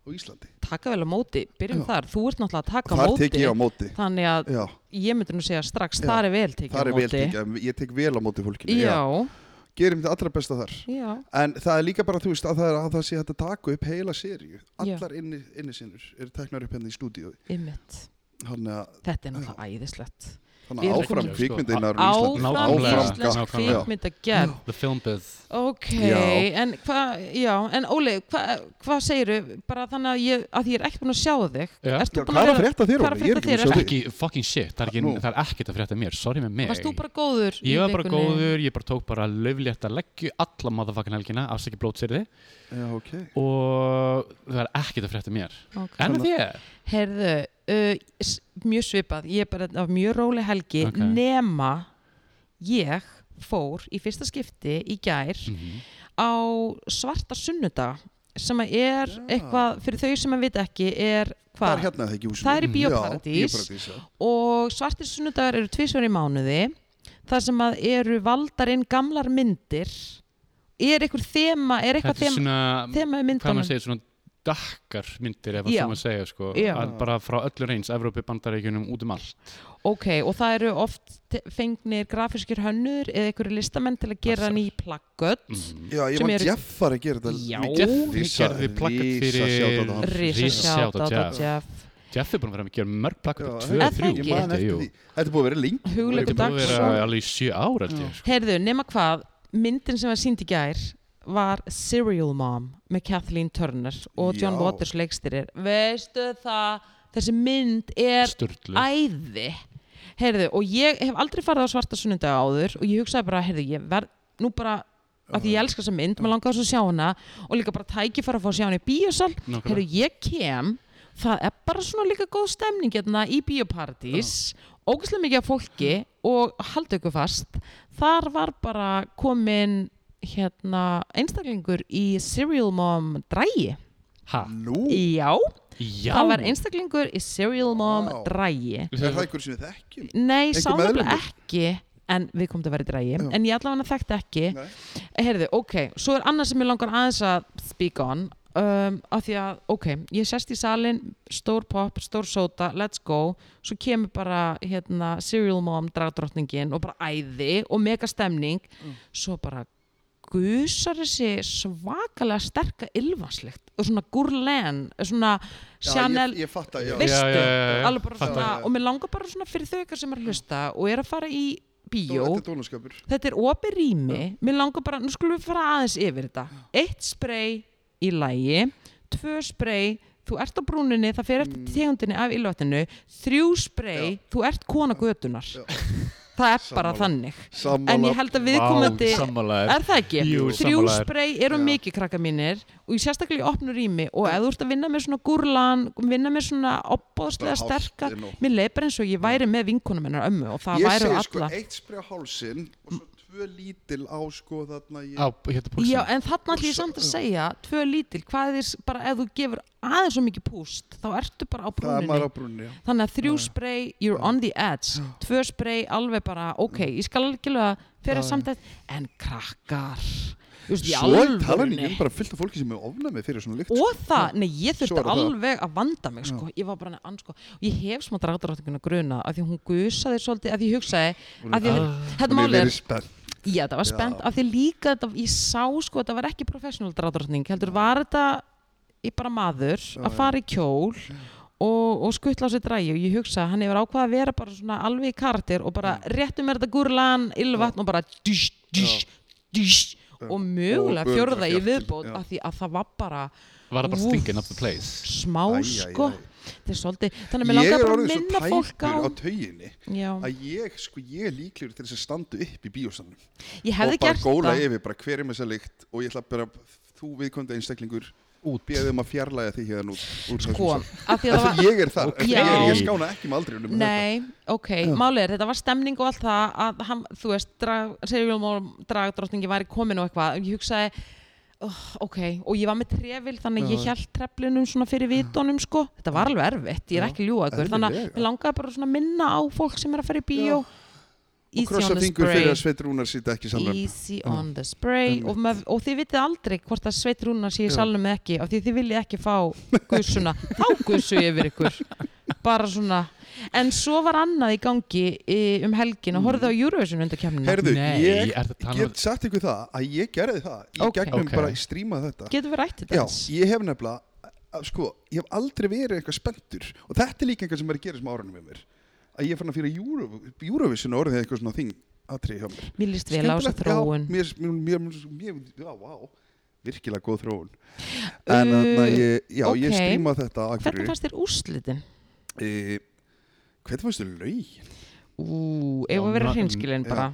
C: á Íslandi
A: taka vel á móti, byrjum
C: Já.
A: þar þú ert náttúrulega að taka á
C: Þar
A: móti
C: tek ég á móti
A: þannig að
C: Já,
A: ég myndi nú segja strax,
C: Já.
A: þar er vel tekið á
C: þar er vel
A: móti
C: tekið, ég tek vel á móti fólkinu
A: já,
C: gerum þetta allra besta þar
A: já,
C: en það er líka bara, þú veist, að það, er, að það sé hægt að taka upp heila seríu, allar inni, inni sinur eru teknar upp hérna í stúdíu
A: ymmit
C: þannig að,
A: þetta er náttúrulega æðislegt
C: þannig
A: Við
C: að
A: erum Sko,
C: áfram
B: komin-
C: kvikmyndinnar
A: áfram
B: Nákvæmlega.
A: íslensk
B: Nákvæmlega.
A: kvikmynda gerð
B: The film booth.
A: Ok,
C: Já.
A: en hvað, já, en Óli, hvað hva segiru, bara þannig að ég, að ég er ekki búin að sjá þig,
B: Já.
A: Ert þú
C: Já,
A: búin
C: hvað er
A: að
C: að
A: vera,
C: frétta þér?
A: hvað er að
C: Óli? Ég
A: frétta
C: ekki búin
A: þér?
C: að sjá
B: Ekki fucking shit, það er,
C: Nú.
B: ekki, það er ekkert að frétta mér, sorry með mig.
A: varst þú bara góður? í
B: Ég var bara
A: vikunni?
B: góður, ég bara tók bara löflétt að leggju alla motherfucking helgina, afsækja blótsýrði
C: þig. Já, ok.
B: og það er ekkert að frétta mér.
A: Ok.
B: En með þér?
A: Herðu, uh, s- mjög svipað, ég er bara af mjög róli helgi,
B: Ok.
A: nema ég fór í fyrsta skipti í gær
C: Mhm.
A: á svarta sunnudag sem að er
C: Já.
A: eitthvað, fyrir þau sem að vita ekki, er
C: það er
A: hvað?
C: hérna það ekki húsinu
A: Það er í Bíóparadís.
C: já, bíóparadís já.
A: og svartir sunnudagar eru tvísverð í mánuði þar sem að eru valdar inn gamlar myndir er einhver þema er eitthvað
B: Þetta er
A: þema, þema
B: svona,
A: í
B: hvað
A: myndunum
B: maður segir, svona dakkar myndir ef að
A: Já.
B: svona segja sko
A: Já.
B: Að bara frá öllu reyns, Evrópi, Bandaríkjunum, út um allt
A: ok, og það eru oft te- fengnir grafískir hönnur eða einhverju listamenn til að gera
B: Passar.
A: ný plakkött
B: mm.
C: Já, ég
A: Sem
C: man
A: eru-
C: Jeff var að gera þetta
A: Já.
C: mikið.
B: Jeff
C: Rísa-
B: gerði plakat
C: rísa
B: fyrir-
C: shoutout á hann.
A: Risa
B: Risa
A: sjátt á
B: shout out,
A: Jeff
B: Jeff er búin að vera að gera mörg
C: Já,
B: plakat
C: ég-
B: tvö,
A: Er það
B: þrjú,
A: ekki?
C: Ég
B: held
C: man
B: ég,
C: eftir
B: jú.
C: því Þetta er búið að vera lengi
A: Hugleikur
B: Þetta er búin að
A: Dagsson
B: vera alveg í sjö ár held ég sko.
A: Heyrðu, nema hvað, myndin sem var sínd í gær var Serial Mom með Kathleen Turner og John
C: Já.
A: Waters leikstyrir. Veistu það, þessi mynd er
B: Sturlu
A: æði. Heyrðu, og ég hef aldrei farið á svarta sunnundag áður og ég hugsaði bara, heyrðu, ég verð nú bara að því ég elska þessa mynd, maður langaði svo að sjá hana og líka bara tækifæra að fá að sjá hana í bíosal
B: Nákvæmlega.
A: heyrðu, ég kem það er bara svona líka góð stemning hérna í bíoparadís ógæslega mikið af fólki og haldu ykkur fast þar var bara komin hérna einstaklingur í Serial Mom drægi
B: Ha,
C: Nú,
A: já,
B: já
A: það var einstaklingur í Serial Mom
C: Vá.
A: drægi
C: er það einhver sem við þekkjum?
A: nei,
C: Einhver
A: sá nefnilega
C: meðlimur?
A: ekki en við komum til að vera í drægi
C: Já.
A: en ég allavega þekkti ekki
C: Nei.
A: Heyrðu, ok, svo er annað sem ég langar aðeins að speak on um, af því að, ok, ég sest í salin stór pop, stór sóta, let's go svo kemur bara, hérna Serial Mom, dragdrottningin og bara æði og mega stemning svo bara gusar þessi svakalega sterka ylvanslikt og svona gurlen svona
C: Já,
A: Chanel
C: ég, ég fatt að, já
A: Veist- veistu,
B: Já, já, já, já.
A: alveg bara
B: Fatta.
A: svona,
C: Já, já.
A: og mér langar bara svona fyrir þau ykkar sem er að hlusta og er að fara í
C: Dó-
A: bíó
C: Þetta er dónaskapur
A: þetta er opið rými mér langar bara, nú skulum við fara aðeins yfir þetta eitt spray í lægi tvö spray, þú ert á brúninni það fer eftir tegundinni af ylvatninu þrjú spray,
C: Hmm. Já.
A: þú ert kona götunar
C: Já.
A: það er bara
C: Sammála.
A: þannig
C: Sammála
A: en ég held að viðkomandi
B: sammálaður
A: Er það ekki?
B: Jú,
A: Þrjú
B: sammála þér.
A: spray eru
C: Já.
A: mikið krakka mínir og ég sérstaklega í opnu rými og ef þú ert að vinna með svona gúrlan vinna með svona opbóðslega
C: Bara hálft
A: sterka
C: er nóg.
A: mér leipur eins og ég væri með vinkunum hennar ömmu og það
C: Ég
A: væri
C: segi
A: alla
C: sko eitt spri á hálsin og
A: Mm.
C: svo tvö lítil á sko þarna ég,
B: Á, hérna púlsin
A: Já, en þarna ætlum ég
C: Púlsa,
A: samt að
C: já.
A: segja tvö lítil, hvað er þess bara ef þú gefur aðeins svo mikið púst þá ertu bara á
C: Það er maður
A: brúninni
C: á brunni já.
A: þannig að þrjú spray, you're on the edge tvö spray, alveg bara, ok ég skal algjörlega fyrir samt að en krakkar Þú veist, í
C: Svo talar ég
A: alvörunni.
C: um bara fullt af fólki sem er ofnæmi fyrir svona lykt
A: og það, nei ég
C: Svo
A: þurfti
C: er það það.
A: alveg að vanda mig sko. ég var bara neðan sko. og ég hef smá dráttaráttinguna gruna af því að hún gusaði svolítið, af því ég hugsaði af því að þetta
C: Hún er
A: mál er
C: verið spennt
A: Já, það var
C: Já.
A: spennt af því líka þetta, ég sá sko að þetta var ekki professional dráttrotning, heldur var þetta ég bara maður að fara í kjól og, og skuttla á sér drægi og ég hugsa að hann hefur ákvað að vera bara svona alveg í kartir og bara
C: Mm.
A: réttu mér þetta gúrlan, ylvatn og bara dýsh, dýsh, dýsh og mögulega
C: Og
A: fjörða í
C: böndra
A: viðbót
C: kjartinn, já.
A: af því að það var bara
B: Var það bara
A: Úff.
B: stinking up the place
A: smá
C: Æ, æ, æ.
A: sko þetta er svolítið, þannig að mér
C: Ég
A: langar
C: er
A: bara að
C: orðið
A: minna
C: svo
A: fólk á
C: tæpur á tauginni
A: Já,
C: að ég, sko, ég er líklegur til þess að standa upp í bíósanum
A: ég
C: og
A: hefði
C: bara
A: gert
C: góla
A: það
C: yfir, bara hver er með þessa lykt og ég ætla bara, þú viðkomandi einstaklingur
B: Út
C: beðum að fjarlæga því hérna út, úr þessum
A: sko,
C: sal.
A: af því að það
C: Af
A: var
C: því ég er þar,
B: Ok.
C: okay. ég, er- ég
A: Já.
C: skána ekki með aldrinum um
A: Nei, ok, málið er, þetta var stemning og allt það að hann, þú veist, drag, seriálmál dragdrottningi væri komin og eitthvað ég hugsaði, oh, ok og ég var með trefil, þannig að ég
C: Já.
A: held treflinum svona fyrir vitunum, sko þetta var alveg erfitt, ég er
C: Já,
A: ekki að ljúga ykkur þannig að
C: eðlilega.
A: mér langaði bara svona að minna á fólk sem er að fara í bíó
C: og krossa fingur fyrir að Sveit Rúnar sýta ekki samlum
A: Easy on the spray
C: Einmitt.
A: og, mað, og þið vitið aldrei hvort að sveit rúna sé í salnum eða ekki af því þið viljið ekki fá gussuna þá gussu yfir ykkur bara svona, en svo var annað í gangi í, um helgin
C: Mm.
A: og horfið á Eurovision undir kemnina
C: Herðu,
B: Nei,
C: ég
B: er það talað-
C: get sagt ykkur það að ég gerði það, ég
A: Ok.
B: um-
C: gegnum
B: Ok.
C: bara að stríma þetta
A: getum við rætt þetta
C: Já,
A: aðeins?
C: ég hef nefnilega að, sko, ég hef aldrei verið eitthvað spenntur og þetta er líka eitthvað sem er að gera sem árunum með mér að ég er fann að fyrir Euro, Eurovision og orðið eitthvað svona þing aðtrið hjá mér
A: mér líst vel á þessa
C: Skemmtilegt,
A: þróun
C: já, mér, mér, mér, mér, mér, já, vá, virkilega góð þróun en uh, ég, já,
A: ok.
C: ég stríma þetta að
A: hvernig
C: hverju
A: fannst þér úrslitin?
C: Eh, hvernig fannst þér laugin?
A: Ú, ef
B: Já,
A: að vera
B: ma-
A: hreinskilin bara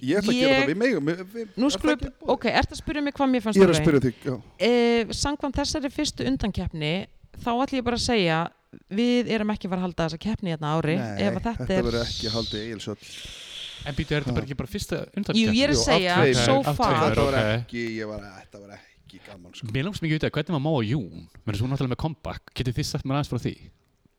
C: ég ætla að
A: Ég-
C: gera það við megum við- við-
A: nú
C: er það
A: skulum,
C: ekki í boði?
A: ok, ertu að spyrja mig hvað mér fannst
C: ég er að
A: þau?
C: spyrja þig já.
A: Eh, Sangvam þessari fyrstu undankeppni þá ætlum ég bara að segja við erum ekki að fara að halda þessa keppni hérna ári ef að þetta,
C: þetta
A: er
C: verður ekki haldið eigilsöld
B: um- En býtu, er þetta bara ekki bara fyrsta undankeppni?
A: Jú, ég er að
C: Jú,
A: segja,
C: af tveimur,
A: so
B: af
A: far
B: tveimur.
C: þetta var
B: ok.
C: ekki, ég var, þetta var ekki gaman sko.
B: Mér langs mikið að vita hvernig var Móa Jún Mér er svo náttúrulega með comeback Getið þið sagt mér aðeins frá því?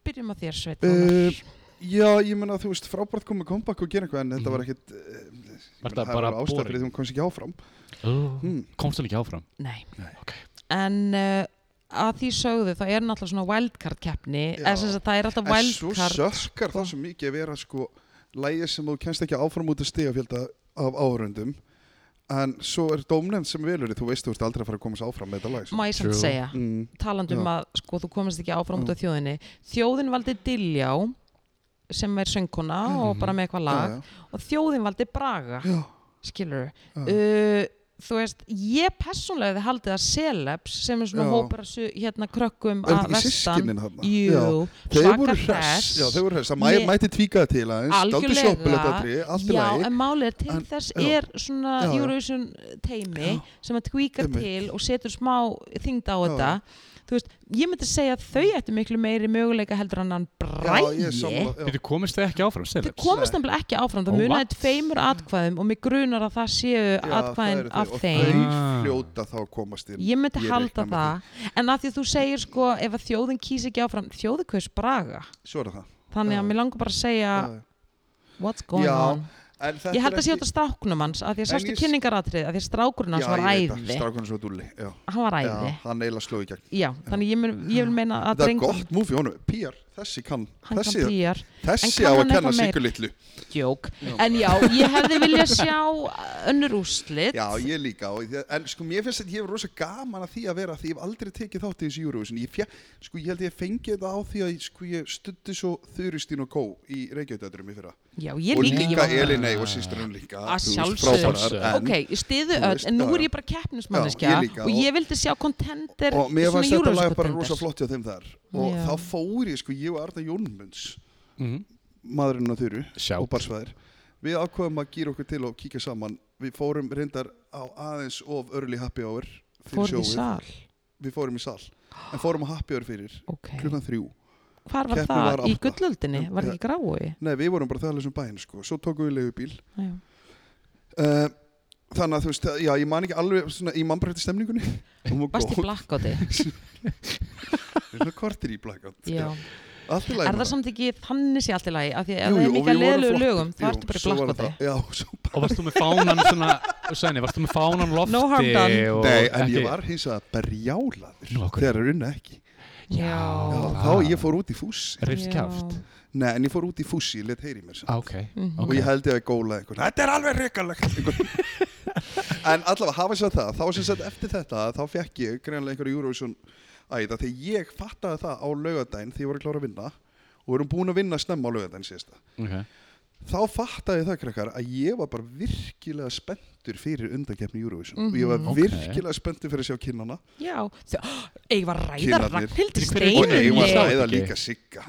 A: byrjum á þér Sveit
C: Eh,
A: Rúnar.
C: Já, ég meina þú veist, frábært komið kompakk og gera eitthvað en þetta var ekkit eh, ég meina,
B: það
C: það
B: Mhm. bara
C: var ástæður
B: boring? Mhm.
C: því hún komst ekki áfram Hmm.
B: komst hann ekki áfram
A: Nei.
C: Nei.
B: Ok.
A: En uh, að því sögðu þá er náttúrulega svona wildcard keppni
C: Já.
A: eða sem sagt það er alltaf
C: En svo
A: wildcard
C: sökkar það svo mikið að vera sko lægið sem þú kennst ekki áfram út af stigafjölda af áhörundum en svo er dómnefnd sem velur þig, þú veist þú ert aldrei að fara að komast áfram með þetta lag sko.
A: má ég samt
B: True.
A: segja
C: mm.
A: talandum
C: Já. Mm.
A: að sko þú komast ekki áfram út
C: Já.
A: af þjóðinni þjóðin valdi Diljá sem er söngkona og bara með eitthvað lag
C: Mhm. Já,
A: og þjóðin valdi Braga
C: já, já,
A: skilur
C: já.
A: uh, þú veist, ég persónlega hefði haldið að Celebs sem er svona
C: Já.
A: hópar af su- hérna krökkum
C: Er þetta
A: að
C: ekki
A: vestan
C: sískinin þarna?
A: Jú,
C: Þeir
A: svaka
C: voru hress,
A: hress.
C: já þeir voru hress, það mæ,
A: Ég-
C: mæti tvíkaða til aðeins, daldi
A: Algjörlega.
C: sjoppulegt aðri, allt í
A: Já,
C: lagi.
A: en málið er til
C: En-
A: þess
C: já.
A: er svona
C: Já, já.
A: Eurovision teimi
C: Já.
A: sem að tvíkar
C: Einmitt.
A: til og setur smá þyngd á
C: Já,
A: þetta þú veist, ég myndi segja að þau ættu miklu meiri möguleika heldur en hann
C: Já, ég er
A: bræði
C: sammála, já.
B: Þetta komist þið ekki áfram,
A: þau
B: Celebs?
A: komast nefnilega ekki áfram það
B: Ó,
A: munaði
B: what?
A: tveimur atkvæðum og mig grunar að það séu
C: Já, það
A: atkvæðin
C: eru þau.
A: af
C: Og
A: þeim
C: Þau
B: Ah.
C: fljóta þá að komast inn.
A: ég myndi halda
C: reikna með
A: það en að því að þú segir sko ef að þjóðin kýs ekki áfram þjóði hvers braga
C: því. Svo er það.
A: þannig
C: Já.
A: að mér langur bara að segja
C: Já, já.
A: what's going
C: Já,
A: on
C: En þetta
A: ég held
C: er
A: að sé
C: ekki-
A: út af stráknum hans að því að
C: En
A: sástu
C: ég-
A: kynningaratrið að því að strákurinn hans
C: Já,
A: var
C: ég veit
A: æði
C: það, strákurinn svo dúlli. Já,
A: hann var
C: já
A: æði,
C: hann eiginlega sló í gegn.
A: já, þannig ég, mun, ég vil meina að
C: Það er
A: drengum
C: gott múfi honum. Píar, þessi kann,
A: hann
C: þessi,
A: kann týjar,
C: þessi
A: En kann
C: á að
A: hann
C: kenna
A: eitthvað meir?
C: sigur litlu.
A: djók
C: Já.
A: en já, ég hefði viljað sjá uh, önnur úslit
C: Já, ég líka. og ég- En sko, mér finnst að ég hef rosa gaman að því að vera, því ég hef aldrei tekið þátt í þessu Eurovision. Ég fja, sko, ég held ég fengið þetta á því að sko, ég stutti svo Þuristín og Kó í Reykjavíðdöðurum í fyrra.
A: já, ég
C: og
A: líka, ég
C: líka
A: var
C: Elinei og sýsturinn líka.
A: Að
C: þú veist,
A: sjálfsögðu.
C: frábærar, en-
A: ok, ég stiðu
C: Þú
A: öll
C: veist,
A: en nú
C: já.
A: er ég bara keppnismanneskja
C: Já, ég líka,
A: og
C: og-
A: ég vildi sjá kontender
C: og mér fannst þetta lag bara rosa
A: flott
C: flott hjá þeim þar og
A: Já.
C: þá fór ég sko, ég og Arna Jónmunds
B: Mhm.
C: maðurinn að þurru
B: Sjá.
C: og barsfæðir við ákveðum að gýra okkur til og kíkja saman við fórum reyndar á aðeins of early happy hour fyrir
A: fór því
C: sjóið,
A: sal,
C: við fórum í sal en fórum á happy hour fyrir
A: ok
C: klukkan þrjú
A: hvar var
C: Keppnin
A: það,
C: var
A: í
C: átta.
A: gullöldinni var það
C: Já.
A: ekki grái
C: nei, við vorum bara þærlega sem bæinn sko, svo tókum við leigubíl
A: Já.
C: uh, þannig að þú veist, já, ég man ekki alveg svona, ég man bara eftir stemningunni hún var
A: varst í
C: góð,
A: blackouti
C: Svona korter í blackout
A: já
C: allt í lagi
A: Er
C: með
A: það samt ekki þannig sé allt í lagi af því
C: Jú,
A: að það er
C: jú, og
A: mikið
C: við vorum
A: leðilegu
C: flott.
A: lögum þá
C: Jú,
A: ertu bara í
C: svo var
A: blakkoti
C: það- já, svo
B: Og varst þú með fánan svona, Svenni, varst þú með fánan lofti?
A: No harm done.
B: og
C: Nei, en
B: ekki-
C: ég var hins að berjálaður
B: Nú, af hverju?
C: þegar að runna ekki.
A: Já,
C: Já,
B: Já.
C: þá ég fór út í fússi.
B: Rifst kjáft?
C: Nei, en ég fór út í fússi, ég let heyri mér samt.
B: Ah, Ok,
A: Mhm.
C: Og ég held ég að góla einhvern. Þetta er alveg reykalegt. en allavega, hafa sér það. Þá sem sagt eftir þetta, þá fekk ég greinlega einhverju Eurovision æða. Þegar ég fattaði það á laugardaginn þegar ég voru klára að vinna og við erum búin að vinna snemma á laugardaginn síðasta.
B: ok.
C: Þá fattaði ég það, krakkar, að ég var bara virkilega spenntur fyrir undankefni Eurovision. Og ég var
A: Mhm.
B: Ok.
C: virkilega spenntur fyrir að sjá kinnana.
A: já Þau- Ég var að ræða
C: Kinnarnir.
A: Ragnhildur
B: Hver er
C: Og eigum að
B: Nei.
A: Steinunni
C: ræða
B: Ekki.
C: líka sigga.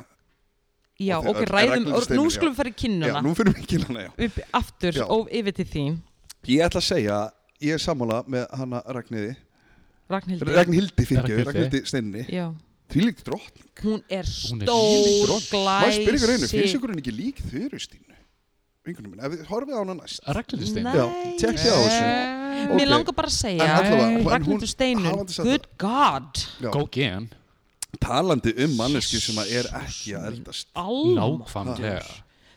A: Já,
C: Og þeir-
A: ok,
C: er
A: ræðum
C: Ragnhildur
A: og Nú
C: Steinunn, já.
A: skulum fara í
C: Já,
A: kinnuna
C: nú finnum við kinnana, já.
A: upp aftur
C: Já.
A: og yfir til þín
C: Ég ætla að segja, ég er sammála með hana Ragnhildi,
A: Ragnhildur
C: Ragnhildi fyrir ekki,
B: Ragnhildi.
C: Ragnhildi Steinni,
A: Já,
C: því líkt drott.
A: hún er
B: Hún er
A: stór
C: Maður spyrir ykkur einu, finnst
A: glæsi
C: ykkur henni ekki lík þurustínu? Vingunum minn, ef við horfið á hana næst.
B: Ragnhildustein?
C: Nei. Já, tjekkið á þessu.
A: Nei.
C: Ok.
A: Eh, Mér langar bara að segja eh,
C: En allavega, en hún-
A: Ragnhildur Steinun,
C: hafandi sagt
A: good god
C: Já,
B: Go again.
C: talandi um mannesku sem að er ekki að eldast.
A: Almáttur
B: Nákvæmlega.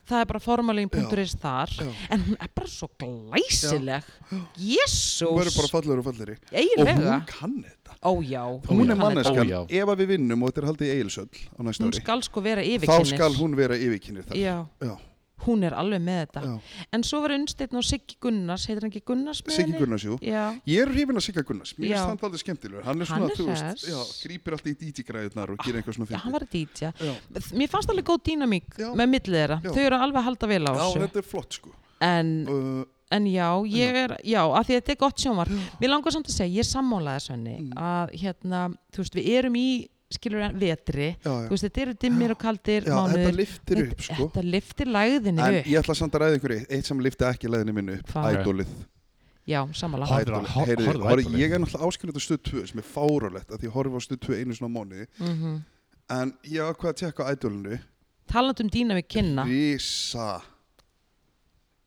A: Það er bara formalin.is þar
C: Já.
A: En hún er bara svo glæsileg
C: Hún verður bara
A: Jésús
C: fallegur og fallegri. Og
A: Eiginlega
C: hún kann þetta.
A: Ójá
C: Hún er
B: já.
C: manneskan,
B: Ó, já.
C: ef að við vinnum og þetta er haldið í Egilsöll á næsta
A: Hún
C: ári,
A: skal sko vera
C: þá
A: yfirkinnir
C: skal hún vera yfirkinnir þar.
A: Já,
C: Já,
A: hún er alveg með þetta
C: já.
A: En svo var unnsteinn og Siggi Gunnars Heitir hann ekki Gunnars með
C: Siggi
A: henni?
C: Gunnars, jú.
A: Já,
C: Ég er hrifin að Sigga Gunnars,
A: Já.
C: mér finnst hann aldrei skemmtilegur. Hann er
A: Hann
C: svona,
A: er
C: þú veist,
A: hress.
C: já, grýpir alltaf í DJ-græðunar og gerir eitthvað svona
A: já,
C: fyndið.
A: hann var DJ
C: Já.
A: Mér fannst alveg góð dýnamík
C: Já.
A: með millið þeirra
C: Já.
A: Þau eru alveg að halda vel á
C: Já,
A: þessu
C: þetta er flott sko
A: En,
C: uh,
A: en já, ég er Já, af því þetta er gott sjónvarp Mér langar samt að segja, ég er sammálaði svenni
C: Mm.
A: Að hérna, þú veist, við erum í Skilur en vetri
C: já, já.
A: þú veist, þetta eru dimmir og kaldir
C: já, þetta
A: mánuðir
C: liftir upp sko
A: þetta liftir lægðinu
C: En
A: upp
C: ég ætla samt að ræða ykkur eitt, eitt sem lifti ekki leðinu minni upp,
A: Hvað?
C: ædólið
A: já, sammála
B: Horfðu á-
C: Ædólið.
B: hor-
C: Heyrðu,
B: horfðu á
C: horfðu-
B: Ædólið.
C: Ég er náttúrulega áskiljönd á stöð 2 sem er fárálegt að því ég horfi á stöð 2 einu svona á mánuði
A: mm -hmm.
C: en ég
A: um
C: ákvað að tekka á ædólinu
A: talandum dýna við kynna
C: Rísa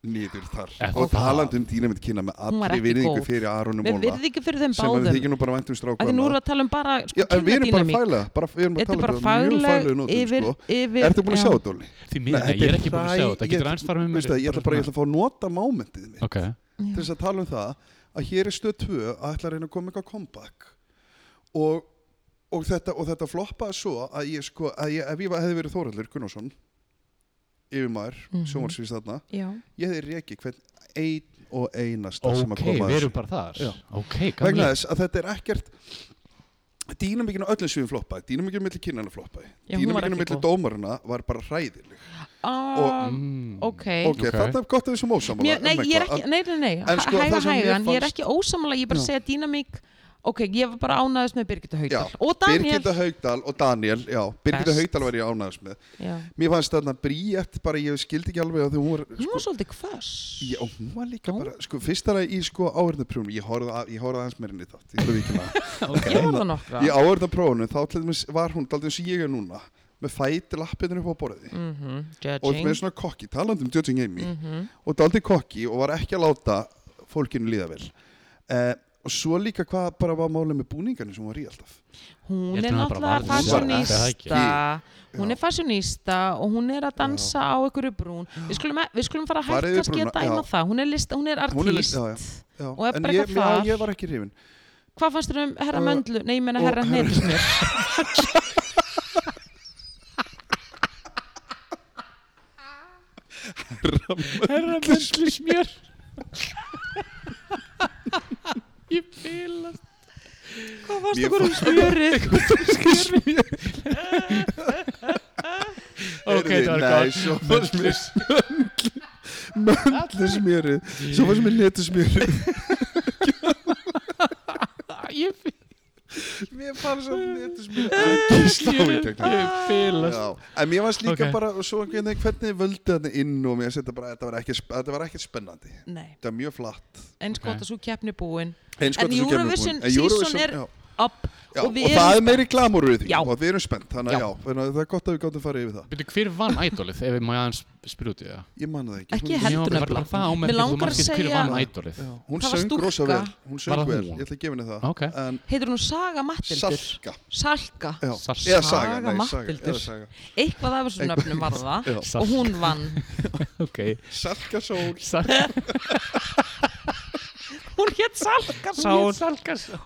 C: niður þar
B: Eh,
C: og
B: það-
C: talandi um dýnamitt kynna með
A: Hún var
C: allri
A: ekki
C: virðingu
A: góð.
C: fyrir Aronum
A: Við
C: Móla
A: virði ekki fyrir þeim
C: sem við
A: báðum
C: þykir nú bara væntum strákum
A: Því nú erum við að tala um bara sko,
C: Já, en við erum bara að
A: kynjadýnamík.
C: fæla það, bara, við erum að
A: Þetta er bara
C: tala um þetta á mjög
A: fagleg
C: faglegu nótum,
A: yfir,
C: sko.
A: yfir
C: Ertu búin að
A: já.
C: sjá þetta, Óli?
B: Því miður,
C: Nei,
B: nei, ég er ekki búin að sjá
C: hræ-
B: þetta. Það getur
C: ég-
B: aðeins fara með mér.
C: Veistu það, Ég ætla bara ég ætla
B: svona-
C: að fá að nota mómentið mitt
B: Ok,
C: til þess að tala um það að hér er stöð 2 að ætla að reyna að koma eitthvað comeback og, og, þetta, og þetta floppaði svo að ég sko að ég, ef ég var- hefði verið Þóraldur Gunnarsson yfir maður, mm
A: Mhm.
C: þarna
A: Já.
C: ég hefði rekið hvern einn og einasta sem að
B: ok,
C: koma að
B: við
C: þessu.
B: erum bara þar.
C: Já.
B: Ok,
C: vegna
B: gamlega.
C: þess að þetta er ekkert dýnamikinu öllum sviðum floppaði dýnamikinu milli kynana floppaði
A: Já, hún var
C: dýnamikinu
A: ekki
C: milli
A: góð.
C: dómarina var bara hræðileg
A: Ah,
B: Mm.
A: Ok
C: ok,
B: Ok.
C: þetta er gott að við Um sem ósamála
A: Mér, nei, ég er ekki, nei, nei, nei,
C: En sko,
A: hæga
C: það sem mér
A: hægan, ég er
C: fannst-
A: ekki ósamlega, ég er bara að
C: Já.
A: segja dýnamík, ok, ég var bara ánæðist með Birgitta Haugdal
C: Já,
A: og Daniel,
C: Birgitta Haugdal og Daniel já, Birgitta
A: Best.
C: Haugdal var ég ánæðast með
A: já,
C: mér fannst þarna Bríett bara ég skildi ekki alveg að því hún var
A: hún
C: sko,
A: var svolítið hvöss,
C: já, hún var líka
A: Já.
C: bara sko, fyrst að í sko áhörðaprjónu ég horfði að- ég horfði aðeins meirinni þátt ég, ætla að viðurkenna það.
B: Ok.
A: ég var það nokkra,
C: í áhörðaprófunu þá til dæmis var hún daldið eins og ég er núna með fæti lappinu upp á borði
A: mhm,
C: og með
A: judging,
C: svona kokki, talandi um judging Amy
A: mhm,
C: og daldið kokki og var ekki að láta fólkinu líða vel eh, og svo líka hvað bara var málið með búningarnir sem hún var í alltaf
A: hún
B: Ég
A: er
B: held að það bara
A: náttúrulega
B: var-
C: Hún var ekki-
A: fashionista, hún
C: Já.
A: er fashionista og hún er að dansa á ykkur brún, við skulum, e- við skulum fara að
C: Farið
A: hægt
C: yfir
A: kannski að
C: brúna,
A: dæma
C: já.
A: það, hún er list, hún er
C: Hún er list-
A: artist,
C: já, já,
A: Og er
C: en
A: bara
C: ég,
A: eitthvað
C: já,
A: þar.
C: ég var ekki hrifin
A: hvað fannst þér um herra
C: Og-
A: Möndlu, nei, ég menna
C: og
A: herra
C: herra-
A: Hnetusmjör,
B: Herra möndlu smjör.
A: ég fylast, hvað fannst
C: Mér
A: ykkur um smjörið,
B: Ok, það var
C: Nei,
B: gott.
C: svo fannst mér Möndlu smjörið Svo fannst mér letu smjörið
B: Ah, Ég fylast.
C: Mér fannst svo letu smjörið Ekki slá í tegna
B: Ég fylast.
C: En mér fannst líka
B: Ok.
C: bara Svo einhvern veginn hvernig þið völdu þarna inn Og mér setja bara Þetta var ekki, sp- þetta var ekki spennandi
A: nei,
C: Þetta var mjög flatt
A: eins gott
B: Ok.
A: að svo keppni búin,
C: Eins gott
A: En
C: að svo kemur
A: Eurovision
C: búin. En Eurovision-
A: season er-
C: já,
A: upp,
C: já,
A: og
C: Og
A: við
C: það
A: erum
C: er meiri glamur við því
A: Já.
C: Og við erum spennt Þannig
A: Já.
C: að já þannig að Það er gott að við gáttum að fara yfir það
B: Byrju, hver vann ædolið, ef ég má aðeins spyrja út í það?
C: Ég man það ekki
A: Ekki
C: Hún-
A: heldur
B: Mér var bara
A: nefnilega.
B: það ámerkt
A: Mig
B: að þú
A: langar að
B: mannst ekki hver
A: segja-
B: vann ædolið.
C: Já, Hún
A: Það var
C: söng rosa
A: stúlka.
C: vel Hún söng
B: Var það
C: vel
B: hún?
C: Ég ætla að gefa henni það
B: Ok.
C: En
A: heitir hún Saga Mattildur,
C: Salka
A: Salka,
C: Já.
B: Sars-
C: Eða
A: Saga
C: saga, nei, saga,
A: Matthildur.
C: eða saga.
A: eitthvað af þessum
C: Eitthvað-
A: nöfnum var það
C: Já.
A: og hún vann
B: Ok.
C: Salka sól
B: Sars-
A: hún hétt Salka Sál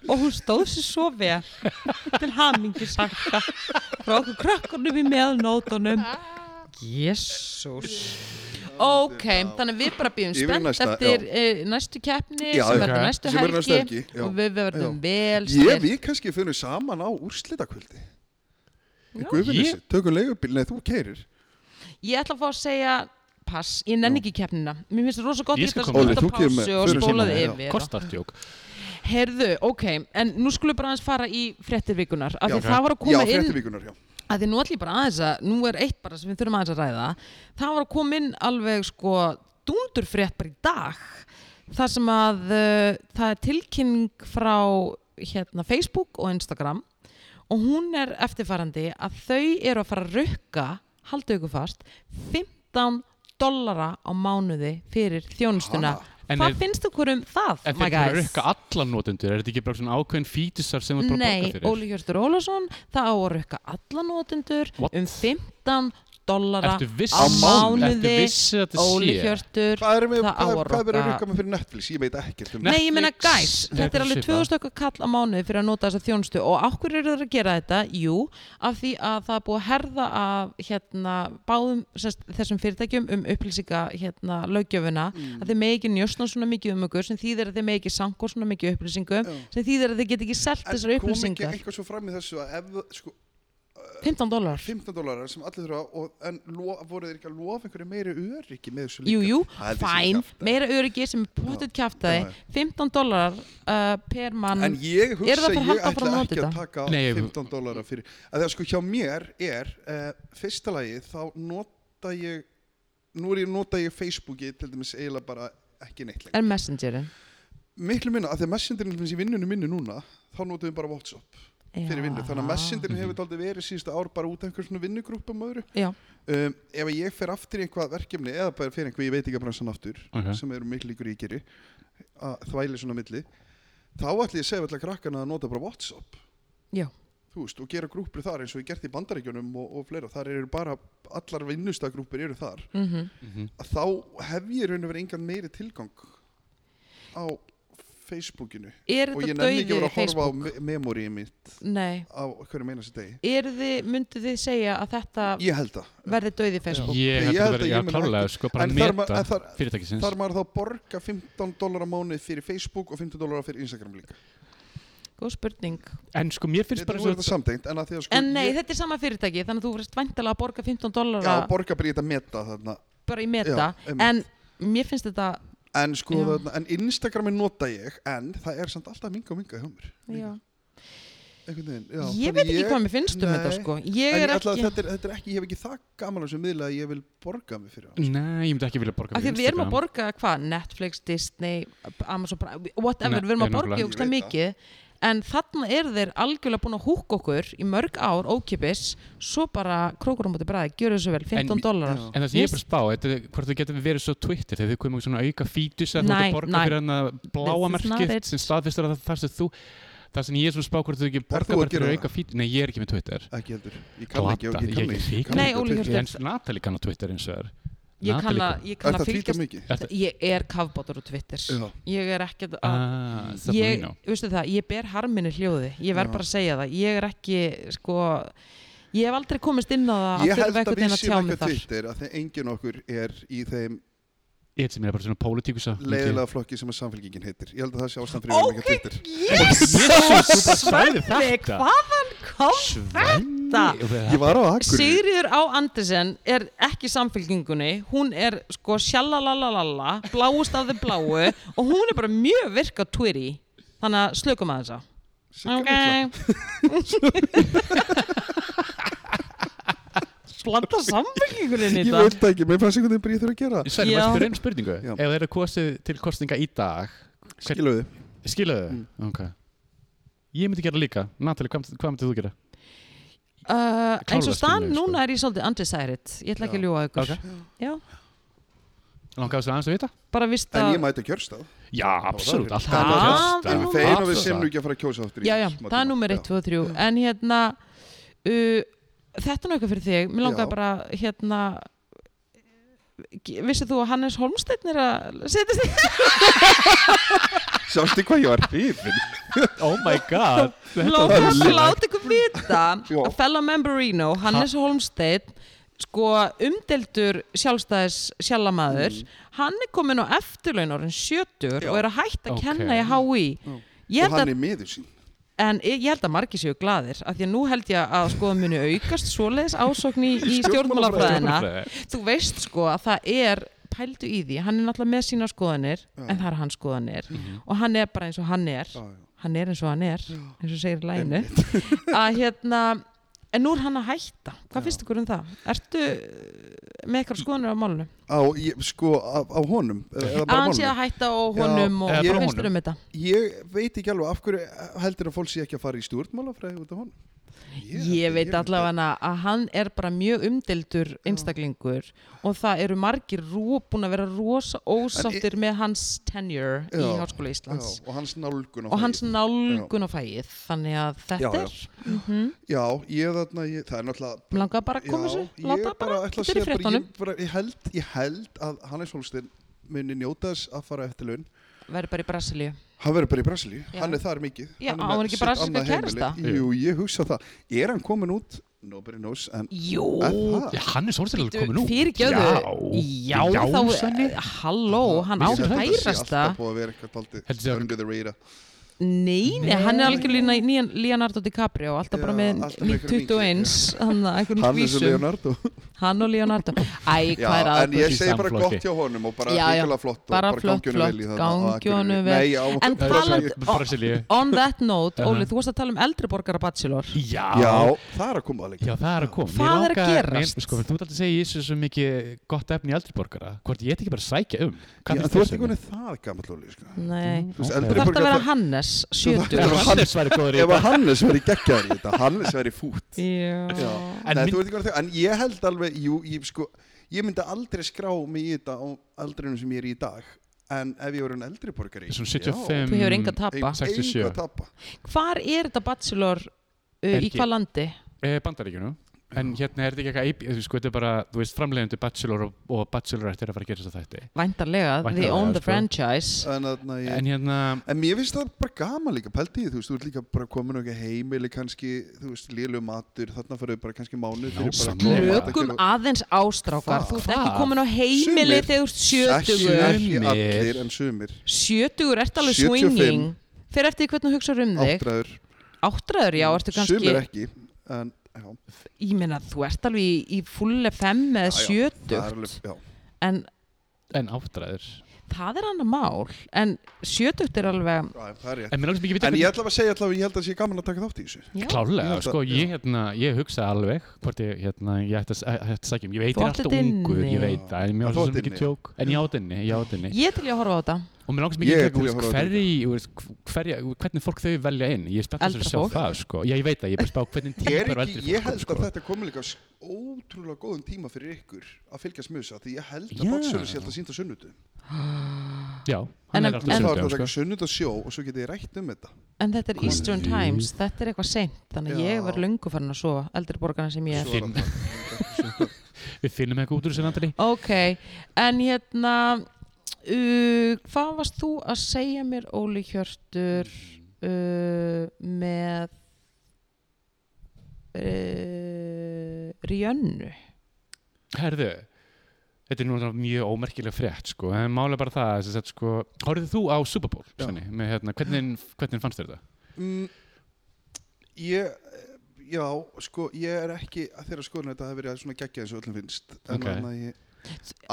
A: og hún stóð sér svo vel til hamingi Salka frá okkur krakkarnum í meðnótonum Jésús Ok, þannig að við bara býðum
C: Yfir í
A: spennt
C: næsta,
A: eftir já. næstu keppni
C: Já,
A: sem
C: já.
A: verður næstu
C: Sem verður næstu
A: helgi
C: helgi, já.
A: og við verðum
C: Já.
A: vel
C: Ég,
A: styrkt.
C: við kannski finnum saman á úrslitakvöldi
A: Já.
C: Guðfinnesi, tökum leigubíl, nei þú keirir
A: Ég ætla að fá að segja pass, ég nenni ekki keppnina Mér finnst það rosa gott
B: Ég
A: að
B: skal
A: geta
B: koma.
A: stunda
C: Óli, þú kemur með-
A: pásu og
C: förum saman,
A: spólaði
C: já.
A: yfir og-
B: Kostartjók.
A: Heyrðu, ok, en nú skulum við bara aðeins fara í fréttir vikunar af því
C: Já.
A: það var að
C: Já,
A: koma inn
C: fréttavíkunar, já
A: að því nú ætlum ég bara aðeins að, nú er eitt bara sem við þurfum aðeins að ræða það var að koma inn alveg sko dúndur frétt bara í dag þar sem að uh, það er tilkynning frá hérna Facebook og Instagram og hún er eftirfarandi að þau eru að fara að rukka haldið ykkur fast 15 dollara á mánuði fyrir þjónustuna
C: Ha.
B: En
A: hvað
B: er-
A: finnst ykkur um það?
B: En
A: my
B: þeir eru
A: guys?
B: rukka alla notendur, er þetta ekki bara svona ákveðin fítisar sem þú ert bara að
A: Nei,
B: borga fyrir?
A: Óli Hjörtur Ólafsson það á að rukka alla notendur
B: What?
A: um 15 dollara
B: Ertu viss-
A: á
B: Á mánuði?
A: mánuði
B: Ertu viss að þetta
A: Óli
B: sé?
A: Hjörtur
C: Hvað er með,
A: það á
C: hvað,
A: að
C: hvað verður
A: rokka-
C: rukka með fyrir Netflix? Ég veit ekkert um
A: Nei, ég meina
B: Netflix
A: guys,
B: er
A: þetta er alveg
B: svipað.
A: 2000 okkar kall á mánuði fyrir að nota þessa þjónustu og af hverju eru þeir að gera þetta? Jú, af því að það er búið að herða af hérna, báðum sest, þessum fyrirtækjum um upplýsinga hérna, löggjöfuna
B: Mm.
A: að þeir megi ekki njósna svona mikið um okkur sem þýðir að þeir megi ekki sangur svona mikið upplýsingum
C: Já.
A: sem þýðir að þeir get ekki selt þessar
C: En kom ekki
A: upplýsingar
C: eitthvað svo fram í þessu að ef, sko,
A: 15 dólar
C: 15 dólarar sem allir þurfa og, en lo, voru þeir ekki að lofa einhverju meiri öryggi með þessu líka?
A: Jú, jú,
C: Það er þessi
A: fæn,
C: kjaftaði.
A: meira öryggi sem er pottet kjaftaði,
C: Já, já.
A: 15 dólarar uh, per mann,
C: En ég
A: Eru það að fara að
C: hugsa, ég
A: halda áfram
C: ætla
A: að nota
C: ekki að
A: þetta?
C: taka
B: Nei, ég-
C: 15 dólarar fyrir að það sko hjá mér er uh, fyrsta lagi þá nota ég nú er ég nota ég Facebooki til dæmis eiginlega bara ekki neitt lengur
A: er messengerin.
C: miklu minna, af því að messengerinn til dæmis í vinnunum minni núna þá notum við bara Whatsapp fyrir vinnu þannig að messendirinn hefur daldið verið síðustu ár bara út af einhver svona vinnugrúpum og öðru
A: Já.
C: um, ef að ég fer aftur í einhvað verkefni eða bara fer einhver í veitingabransan aftur
B: Ok.
C: sem eru miklu ykkur í geri að þvæli svona á milli þá ætli ég að segja alltaf krakkana að nota bara Whatsapp
A: Já.
C: þú veist og gera grúpur þar eins og ég gert í bandaríkjunum og, og fleira þar eru bara allar vinnustagrúpur eru þar
A: Mm
B: Mhm.
C: að þá hef ég raun og verið engan meiri tilgang á Facebookinu
A: Er
C: og ég
A: þetta
C: nenni ekki að
A: dauði
C: vera að horfa á
A: Facebook?
C: me- memoríið mitt
A: Nei.
C: á hverju meina sér degi
A: Er þið, myndu þið segja að þetta
C: ég held það
A: verði dauði Facebook?
B: Ég
C: Ég
B: held
C: held
B: að
C: að
B: vera, já
C: ég mun
B: klálega,
C: ekki-
B: sko, bara
C: En þar ma-
B: meta
C: en þar-
B: fyrirtækisins
C: þar maður þá að borga 15 dólar á mánu fyrir Facebook og 15 dólar fyrir Instagram líka
A: Góð spurning.
B: En sko, mér finnst
C: þetta
B: bara
C: nú er
B: svo
C: þetta samtengt en að því að sko
A: En nei,
C: ég,
A: þetta er sama fyrirtæki, þannig að þú verðist væntalega að borga 15
C: já,
A: dollara
C: borga bara í þetta meta þarna
A: bara í meta.
C: Já, einmitt.
A: en mér finnst þetta,
C: en sko
A: Já.
C: þarna, en Instagramin nota ég en það er samt alltaf minga og minga hjá mér
A: já.
C: einhvern veginn já,
A: ég
C: þannig
A: veit ekki hvað mér finnst um
C: nei.
A: þetta sko.
C: En
A: Ég
C: ég
A: er
C: ætla,
A: ekki,
C: að þetta, er, þetta er ekki, ég hef ekki það gaman á þessu miðla að ég vil borga mig fyrir hann
B: Nei, ég myndi ekki vilja borga
A: af því að við erum að borga hvað, Netflix, Disney, Amazon, Prime, whatever,
B: Nei,
A: við erum að
B: nei,
A: borga
B: nákvæmlega.
A: jókslega
C: Ég veit
A: mikið. En þarna eru þeir algjörlega búin að húkka okkur í mörg ár ókipis, svo bara krókur á móti bræði, gjöru þessu vel, 15
B: En-
A: dólarar.
C: Já.
B: En það sem ég er bara að spá, þetta, er hvort þú getur verið svo Twitter þegar þið komum með svona auka fítus að þú ert
A: Nei,
B: að borga
A: nei.
B: fyrir hann að
A: This
B: bláa
A: is not
B: merkið
A: it.
B: sem staðfistur að það þar sem þú það sem ég er svo að spá hvort þú ekki
C: þú
B: borga
C: að
B: bara fyrir
C: gera
B: auka fítus Nei, ég er ekki með Twitter
C: ekki heldur, ég kann ekki
B: Glata,
C: ég
B: ég er
C: kann ekki,
B: ekki
C: ég kann
A: Nei,
C: ekki á
A: Óli
C: Twitter.
A: Hjörtur.
B: En Natalie kann á Twitter eins og er
A: Ég kann
B: Natalie
A: að,
B: kann-
A: ég
C: Er
A: kann að
C: það Twitter
A: fylgjast,
C: mikið?
B: Er það-
A: ég er kafbátur á Twitter.
C: Já.
A: Ég er ekkert að
B: Ah, það er
A: ég,
B: mínu
A: veistu það, ég ber harminu hljóði ég verð
C: Já.
A: bara að segja það, ég er ekki sko, ég hef aldrei komist inn á það
C: Ég
A: að þurfa
C: held að
A: einhvern
C: við
A: veginn að tjá
C: séum ekki
A: mig
C: á
A: þar
C: Twitter að þegar enginn okkur er í þeim
B: Ég sem er bara svona pólitíkusa
C: leiðilega flokki sem að samfélgingin heitir Ég held að það sé ástæðan fyrir að við erum ekki á Twitter
A: yes,
B: sagði
A: Svenni,
B: þetta.
A: hvaðan kom
B: Þetta
C: Ég var á Akureyri
A: Sigriður á Andersen er ekki í samfélkingunni hún er sko sjallalalalala bláust af þeim bláu og hún er bara mjög virk á Twitter þannig að slökum að þessa
C: Sigga litla.
A: Slanda samfélkingunni í
C: Ég
A: þetta
C: veit það ekki, mér fannst einhvern veginn bara ég þurfa að gera það.
B: Svenni,
A: Já.
B: maður spyrir einu spurningu
C: Já.
B: Ef það eru kosið til kostninga í dag hvern-
C: Skiluðu
B: Skiluðu þið?
C: Mm.
B: Ok Ég myndi gera líka Natalie, hvað, myndi- hvað myndið þú gera?
A: Uh, eins og stann
B: Klárlega skiljanlegt, sko.
A: núna er ég svolítið undecided ég ætla ekki að
C: Já.
A: ljúa ykkur
B: Ok.
A: Já.
B: Langaðu þessu aðeins að vita?
A: bara vist
C: En
A: að
C: ég mæti að kjörstað
B: Já, absolutt,
C: það er
B: alltaf
A: rétt.
B: að
A: Það er
B: kjósa.
C: En
A: nú-
C: þeir og
B: Alltaf
C: við
B: það.
C: séum nú ekki að fara að kjósa áttur í
A: já, já,
C: smá
A: það er
C: tíma.
A: númer 1,
C: Já.
A: 2 og 3 en hérna uh, þetta er nú eitthvað fyrir þig mér langaði
C: Já.
A: bara hérna ge- vissið þú að Hannes Holmsteinn er að setjast í
C: Sástu hvað ég var hrifin
B: Oh my god Þetta
A: lóta
B: var
A: að
B: rosalegt.
A: láta ykkur vita
C: Já.
A: að fellow memberino, Hannes Holmsteinn sko umdeldur sjálfstæðis sjálfamaður hann er komin á eftirlaun orðin 70
C: Mm. Já.
A: og er að hætta að
B: Ok.
A: kenna í HÍ ég
C: Og
A: held að
C: hann er miður sín
A: En ég ég held að margir séu glaðir af því að nú held ég að skoða muni aukast svoleiðis ásókn í, í stjórnmálafræðina Þú veist sko að það er pældu í því, hann er náttúrulega með sína skoðanir en það er hans skoðanir
B: Mhm.
A: og hann er bara eins og hann er
C: Já, já.
A: hann er eins og hann er, eins og segir í læginu að hérna en nú er hann að hætta, hvað finnst ykkur um það? Ertu eh, með eitthvað skoðanir á málunum?
C: Á, ég, sko, á, á honum eða- eða
A: Að
C: bara
A: hann sé
C: málunum.
A: að hætta á honum
C: Já,
A: og
B: eða
A: hvað
B: bara
A: finnst
B: honum.
A: ykkur um þetta?
C: Ég veit ekki alveg af hverju heldur að fólk sé ekki að fara í stjórnmálafræði út af honum
A: Ég veit allavega að hann er bara mjög umdildur einstaklingur og það eru margir rú, búin að vera rosa ósáttir með hans tenure í
C: Já,
A: Háskóla Íslands
C: Já, og hans nálgun á
A: og hans
C: fagið.
A: nálgun á fæið þannig að þetta
C: Já, já.
A: er,
C: Já, ég þarna, ég, það er náttúrulega
A: mér langar bara að koma
C: Já,
A: þessu láta
C: ég
A: bara,
C: ætla að
A: þetta er í
C: segja bara,
A: fréttunum
C: ég, bara, ég, held, ég held að Hannes Holstein muni njóta þess að fara eftir laun
A: verður bara í Brasilíu
C: Hann verður bara í Brasilíu,
A: Já.
C: hann er þar mikið
A: Já,
C: með
A: á hann ekki
C: sitt
A: brasilíska
C: annað heimili.
A: kærasta?
C: Jú, ég hugsa það, er hann komin út Nobody knows, en
A: Jú,
C: er það?
B: Já, hann er svolítið alveg komin út
A: fyrir gjöðu já,
B: já Svenni.
A: þá, halló hann á
C: Ég held að það sé
A: hærasta
C: Alltaf búið að vera eitthvað
B: Heldur þú
C: daldið
B: að-
C: under the radar
A: Nei, nei, hann er algjörlega í nýjan Leonardo DiCaprio alltaf
C: Já,
A: bara með
C: alltaf með einhverjum
A: 21 hann að einhverjum
C: Hann er svo
A: kvísum
C: Leonardo
A: hann og Leonardo Æ,
C: Já,
A: hvað er
C: en ég
B: í
A: aðbúr
C: segi bara
B: samflokki?
C: gott hjá honum og bara
A: Já, já,
C: ríkulega flott og
A: bara
C: bara
A: flott,
C: gangjonu vel í
A: flott,
C: það
A: gangjunum vel.
C: Nei, á,
A: En
C: á-
A: taland-
C: Brasilíu.
B: Brasilíu
A: On that note,
B: Uh-huh.
A: Óli, þú varst að tala um eldri borgara bachelor
B: Já
C: Já, það er að koma að leika
B: Já, það er að koma Mér
A: Hvað er að
B: langar-
A: gerast?
B: mér- Sko, þú ert alltaf að segja í þessu svo mikið gott efni í eldri borgara Hvort ég eitthvað bara að sækja um
C: Já,
B: Hvað
C: en
B: finnst
C: Þú
B: þér,
C: ert ekki
B: Svenni?
C: konið það sko. gammal lóli
A: Nei,
C: Þú veist,
B: Ok.
A: þú
C: Mm. eldri
A: þarf að
C: borgarar
A: vera
C: það-
A: Hannes Hannes Sjötur
B: Ef
C: Ef hann-
B: Hannes væri góður í
C: Ef að
B: þetta
C: Hannes veri geggjaður í þetta Hannes veri fút Já.
A: Já
B: En
C: Nei,
B: mynd-
C: þú veit ekki hvað það- en ég held alveg jú, ég, sko, ég myndi aldrei skrá mig í þetta á aldrinum sem ég er í í dag en ef ég voru en eldri borgari
B: Svona
C: já,
B: 75
A: Þú hefur enga tapa
C: ein-
B: 67.
C: engu að tapa
A: Hvar er þetta bachelor uh, í
B: Helgi.
A: hvað landi?
B: Eh, Bandaríkjunum En hérna er þetta ekki eitthvað AB, sko, þetta er bara, þú veist, framleiðandi Bachelor og, og Bachelorette er að fara að gera þess að þætti.
A: Væntarlega, they
B: Væntanlega,
A: own the
B: sko.
A: franchise
C: en, þarna ég-
B: En hérna,
C: En mér finnst það bara gaman líka, pælti ég, þú veist, þú ert líka bara komin á eitthvað heimili kannski, þú veist, lélu matur, þarna farið bara kannski mánuð fyrir bara
B: Nákvæmlega.
C: að koma
A: Rökum
C: að matar
A: aðeins ástrákar
C: Hvað?
A: Þú ert ekki
B: Hvað?
A: komin á heimili þegar þú
C: Sumir.
A: ert
C: til og-
A: sjötugur
C: Ekki
B: Sumir.
C: allir en sumir,
A: Sjötugur, ert alveg
C: 75.
A: swinging Fyrir eftir því hvernig þú hugsaður um þig
C: áttræður,
A: Áttræður, já, ertu kannski
C: sumir ekki, en já,
A: Ég meina, þú ert alveg í, í fulle fem eða
C: Já, já, það er alveg,
A: sjötugt
C: já,
A: En
B: en áttræður.
A: það er annar mál En sjötugt er alveg
C: já, það er rétt.
B: En mér er alveg ekki vita
C: En ég ætla að segja allavega, ég held að það sé gaman að taka þátt í þessu.
A: já,
B: Klálega,
C: Ég held að-
B: sko,
C: já.
B: ég, hérna, ég hugsa alveg hvort ég, hérna, ég ætti að- að ætti að sækja um, ég veit
A: Þú
B: ég er
A: átt
B: alltaf
A: þetta inni.
B: ungur, ég veit það, en mér
C: Já,
B: var
C: þú
B: svo
C: átt
B: sem ekki
C: inni.
B: tjók, en ég átinni, ég átinni,
A: Ég er til ég að horfa á þetta
B: og mér langast
C: Ég
B: mikið
C: er
B: ekki
C: til í að horfa á þetta
B: hverji, þú veist, hverja, hvernig fólk þau velja inn, ég er spennt að
A: Eldra
B: sjá
A: fólk.
B: það, sko, já, ég veit það, ég er bara að spá hvernig
C: Ég, er
B: típar og
C: ekki,
B: eldri
C: ég
B: fólk,
C: held að
B: sko,
C: þetta komi líka s- ótrúlega góðum tíma fyrir ykkur að fylgjast með þessu, af því ég held að
B: Já.
C: baksölu sé alltaf sínt á sunnudu.
B: já,
A: En-
B: hann er
A: en-
B: alltaf
C: Þá er það að
B: sjöndum,
C: taka
B: sko,
C: sunnudu sjó og svo getið þið rætt um þetta.
A: En þetta er
C: Konur.
A: Eastern Times, þetta er eitthvað seint Þannig að
C: Já.
A: ég var löngu farin að sofa, eldri borgarna sem ég er
C: Svo er
B: Finn.
C: það-
B: við finnum eitthvað út úr þessu nandri,
A: Ok, en hérna uh, Hvað varst þú að segja mér, Óli Hjörtur uh, með uh, Rjönnu
B: herðu, þetta er nú náttúrulega mjög ómerkileg frétt, sko, en málega bara það, þess að, sko, horfðu þú á Super Bowl,
C: Já.
B: Svenni, með, hérna, hvernig, hvernig fannst þér þetta?
C: Mm, ég, já, sko, ég er ekki að þeirra skoðun að þetta hefur verið svona geggja eins og öllum finnst. En
B: Ok.
C: annað ég,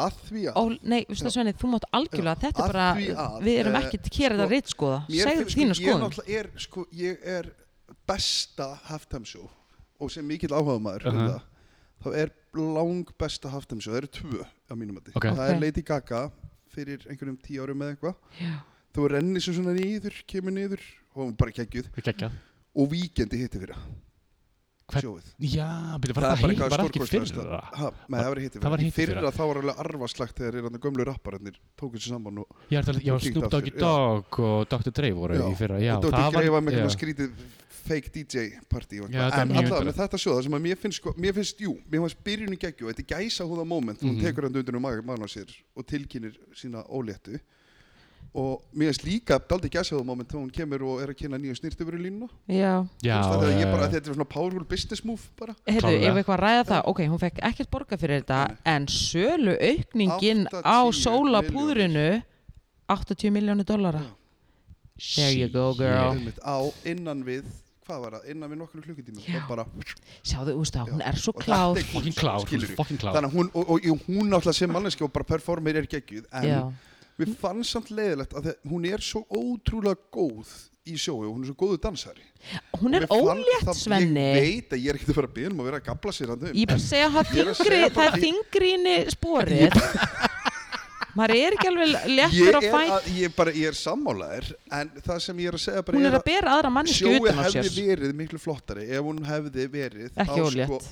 C: að því að,
A: Ó, nei, veistu
C: Já.
A: Svenni, þú mátt algjörlega
C: Já,
A: Þetta
C: að
A: er bara,
C: því að,
A: við erum
C: eh,
A: ekki að kera
C: sko,
A: þetta reitt skoða
C: mér
A: Segðu
C: finnst,
A: þína
C: sko, ég
A: skoðun
C: náttúrulega er, sko, ég er besta halftime show og sem mikill áhugaðmaður uh
B: Uh-huh.
C: það, þá er lang besta halftime show, það eru tvö á mínum mati.
B: Ok.
C: Það er
A: Ok.
C: Lady Gaga fyrir einhverjum tíu árum eða eitthvað.
A: Já.
C: Þú rennir sem svona niður, kemur niður og hún bara geggjuð
B: Geggjað.
C: og víkendi hitti fyrir það.
B: Hvern-
C: Sjóið.
B: Já, byrja, var það, það, var ekki fyrra
C: stórkostlegasta. sko. Ha, Nei, það var hitti fyrra.
B: Það var hitt í
C: fyrra.
B: fyrra.
C: þá var alveg arfaslagt þegar hérna gömlu rappararnir tókuð sér saman og,
B: Ég ætla að ég var
C: Kíkt
B: Snoop Doggy
C: aftur, já.
B: Dogg og Dr. Dre voru
C: Já,
B: í fyrra Já,
C: og Dóti greifa með
B: já.
C: eitthvað skrítið fake DJ partí og
B: Já,
C: eitthvað.
B: það er
C: en
B: mjög
C: alltaf
B: undarlegt.
C: með þetta sjóða sem að mér finnst, sko, mér finnst, jú, mér finnst byrjun í geggju og þetta er gæsa húða moment, hún
B: Mhm.
C: tekur hann undir um maður á sér og tilkynir sína óléttu og mér finnst líka daldi gæsa húða moment þegar hún kemur og er að kynna nýja snirtifur í línuna
A: Já,
B: Já,
C: það er
B: já,
C: bara,
B: já.
C: þetta er svona powerful business move bara
A: Heyrðu,
B: Klárlega.
A: ef eitthvað að ræða það, ok, hún fekk ekkert borga fyrir þetta, en sölu aukningin á
C: 80
A: sólapúðrinu 80 miljónu dollara. There you go, girl.
B: Shit.
C: Einmitt, á innan við, hvað var það, innan við nokkru klukkutíma
A: Já.
C: og bara
A: Sjáðu, úst það, hún
C: Já.
A: er svo
C: Og
A: kláð.
C: þetta er-
B: Fucking klár, hún
C: Skilurðu.
B: er fucking klár
C: Þannig að hún, og, og, og hún náttúrulega sem manneski og bara performir er geggjuð en
A: Já,
C: mér fannst samt leiðilegt að þe- hún er svo ótrúlega góð í sjói og hún er svo góðu dansari
A: hún er
C: Mér fann
A: ólétt,
C: það- Ég
A: Svenni.
C: veit að ég er ekkert að fara að byrja um að vera að gabla sér hann um
A: Ég er bara að segja að
C: Ég
A: það
C: er að
A: þingri,
C: segja
A: það
C: bara
A: er
C: því-
A: þingrinni sporið. Maður er ekki alveg léttur
C: ég
A: að
C: er,
A: fæta.
C: að, ég, er bara, ég er sammálaðir en það sem ég er að segja bara
A: Hún er að bera aðra mannesku
C: sjói
A: utan á
C: hefði
A: sér.
C: verið miklu flottari ef hún hefði verið þá
A: Ekki
C: sko,
A: ólétt.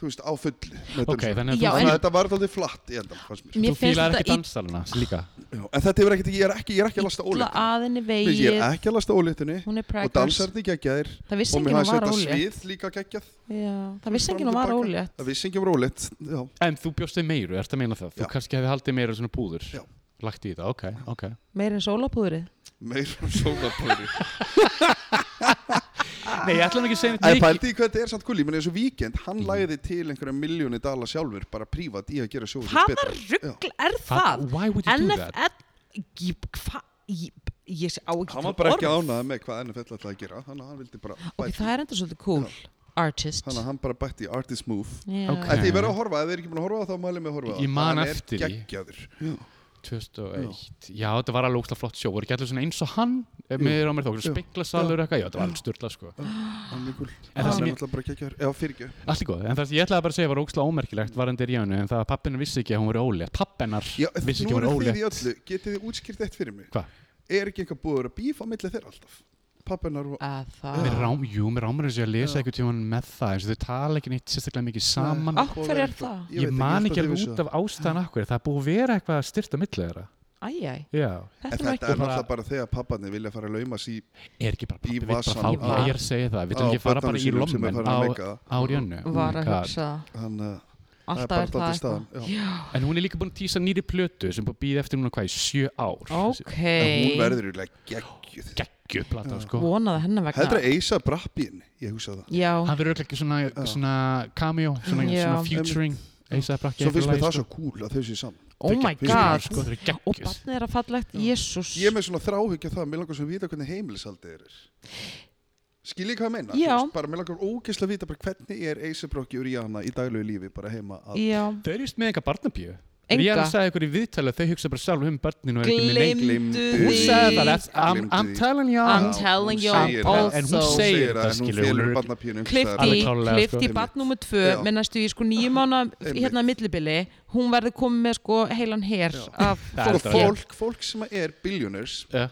C: þú veist, á fullu með
B: Ok,
C: dönsku.
B: þannig
A: Já,
B: að
C: Þannig
B: þú-
C: að þetta var alltaf flatt í endan, fannst mér.
A: Mér
B: þú
A: finnst
B: fílar
A: þetta
B: ekki dansalina líka
C: Já, En þetta hefur ekkert, ég er ekki, ég er ekki að lasta
A: illa
C: óléttunni.
A: að henni
C: Ég
A: vegið.
C: er ekki að lasta óléttunni
A: Hún er
C: og
A: preggers.
C: dansarni geggjaðir
A: Það vissi
C: og
A: enginn
C: mér
A: að
C: hafði
A: var
C: þetta
A: ólétt.
C: svið líka geggjað.
A: Já, það vissi
C: Fram og
A: enginn að var
C: tilbaka.
A: ólétt.
C: Það vissi enginn var ólétt, já.
B: En þú bjóst þig meiru, ert að meina það? Þú
C: Já.
B: kannski hefði haldið meira svona búður
C: Já.
B: Lagt í það, ok, ok
A: Meir en sólapúðrið.
C: Meir um sólapóri. Ah.
B: Nei, ég ætla nú ekki að segja
C: En
B: neitt mikið
C: pældi í hvað þetta er samt gulli, menn eins og víkend, hann lagði til einhverja miljóni dala sjálfur, bara prívat í að gera sjóðu
A: Hvaða rugl er það?
B: Why would you do that?
A: NFL Ég, hva, ég, ég á ekki
C: Hann var
A: til
C: bara ekki
A: orð.
C: ánað með hvað NFL ætlaði að gera, þannig að hann vildi bara
A: Ok,
C: bæti,
A: það er enda svolítið cool Artist
C: þannig að hann bara bætti í artist move.
A: Já.
B: Ok.
C: Þetta ég verið að horfa, ef þið er ekki búin að horfa á það, þá mælum ég að horfa á það.
B: Ég man
C: Hann er
B: eftir því.
C: geggjaður.
B: 2001 Já, þetta var alveg ósla flott sjó Voru ekki allir svona eins og hann eh, Með á mér þó,
C: Já.
B: spiklasalur eitthvað Já, þetta var alveg styrla, sko
C: Hann er mjög kúl.
B: En það
C: Hann
B: sem
C: er
B: ég-
C: náttúrulega bara geggjaður. Já, fyrirgjöf.
B: Allt í góð, en það sem ég ætlaði bara að segja var ógslag ómerkilegt varandi er í jönu, en það að pappinu vissi ekki að hún veri ólétt. Pappinar
C: Já,
B: vissi ekki að
C: nú
B: hún
C: eru
B: veri
C: þið í
B: ólétt.
C: öllu, getið þið útskýrt eitt fyrir mig
B: Hvað?
C: Er ekki eitthvað búið að vera bíf á milli þeirra alltaf? pappinar og
A: að það
B: Mér rám, jú, mér rámar þess að lesa
C: Já.
B: eitthvað tíman með það eins og þau tala ekki neitt sérstaklega mikið saman
A: Á hverju er það?
B: Ah, Ég, man ekki alveg út af ástæðan akkur það er búið að vera eitthvað styrt á milli þeirra
A: Æjæj,
B: Já,
A: þetta er
C: Þetta
A: nú
C: er
A: ekki
C: náttúrulega bara þegar papparnir vilja fara að lauma sí
B: er ekki bara
C: Í
B: pappi, við bara
C: vasann.
B: fá
A: Ég var-
B: ég er að segja það, við þurfum ekki að fara bara í lommen á, á Oh rjönnu
A: var að hugsa það.
C: Hann, uh,
A: alltaf
C: bara
A: er það
C: dálítið
A: eitthvað
C: staðan, já.
B: En hún er líka búin að tísa nýri plötu sem búin að býða eftir núna hvað í sjö ár
A: ok,
C: en hún verður yfirlega geggjuð
B: Gekkjuð plata,
C: Já.
B: sko
A: vonaði hennar
C: Heldur
A: vegna
C: að Eisa Brappin, ég hugsa það
A: já,
B: Hann verður örugglega ekki svona,
C: Já.
B: svona cameo, svona,
A: Já.
B: svona featuring Eisa Brakki
C: Svo finnst mér það svo cool að þau séu saman
A: oh my
C: Þau-
A: god
B: Sko, það er
A: og
B: gekkjuð
A: barnið er að fallegt,
C: Já.
A: jésús
C: Ég er með svona þráhyggja það, mér langar sem vita hvernig heimilishaldið er Skiljið hvað ég meina?
A: Já.
C: Þú veist, Bara mér langar ógeðslega að vita bara hvernig er Eisa Brokki og Ríana í daglegu lífi bara heima að
A: já,
B: Þau eru just með enga barnabíu Enga. Ég er
A: enga,
B: að segja ykkur í viðtali að þau hugsa bara sjálf um börnin og er ekki með neinn
A: glimdu
C: Gleymdu
B: Hún
C: því.
B: sagði það,
A: því
B: that's- I'm, I'm
C: Gleymdu því.
B: telling you
A: I'm
B: all.
A: telling- you
B: En hún
C: Hún
B: segir
C: segir
B: það,
C: að hún
B: skilur, hún
C: félur
B: er-
C: barnapínu
A: Klifti,
B: Alveg klárlega,
A: klifti
C: sko.
A: barn nummer tvö
C: Já.
A: með næstu í sko nýjum ána
C: Einmitt.
A: hérna millibili, hún verður komið með sko heilan hér
C: Já.
A: af
B: Það er
C: Sko,
B: þetta.
C: fólk, fólk sem er billjóners
B: Já.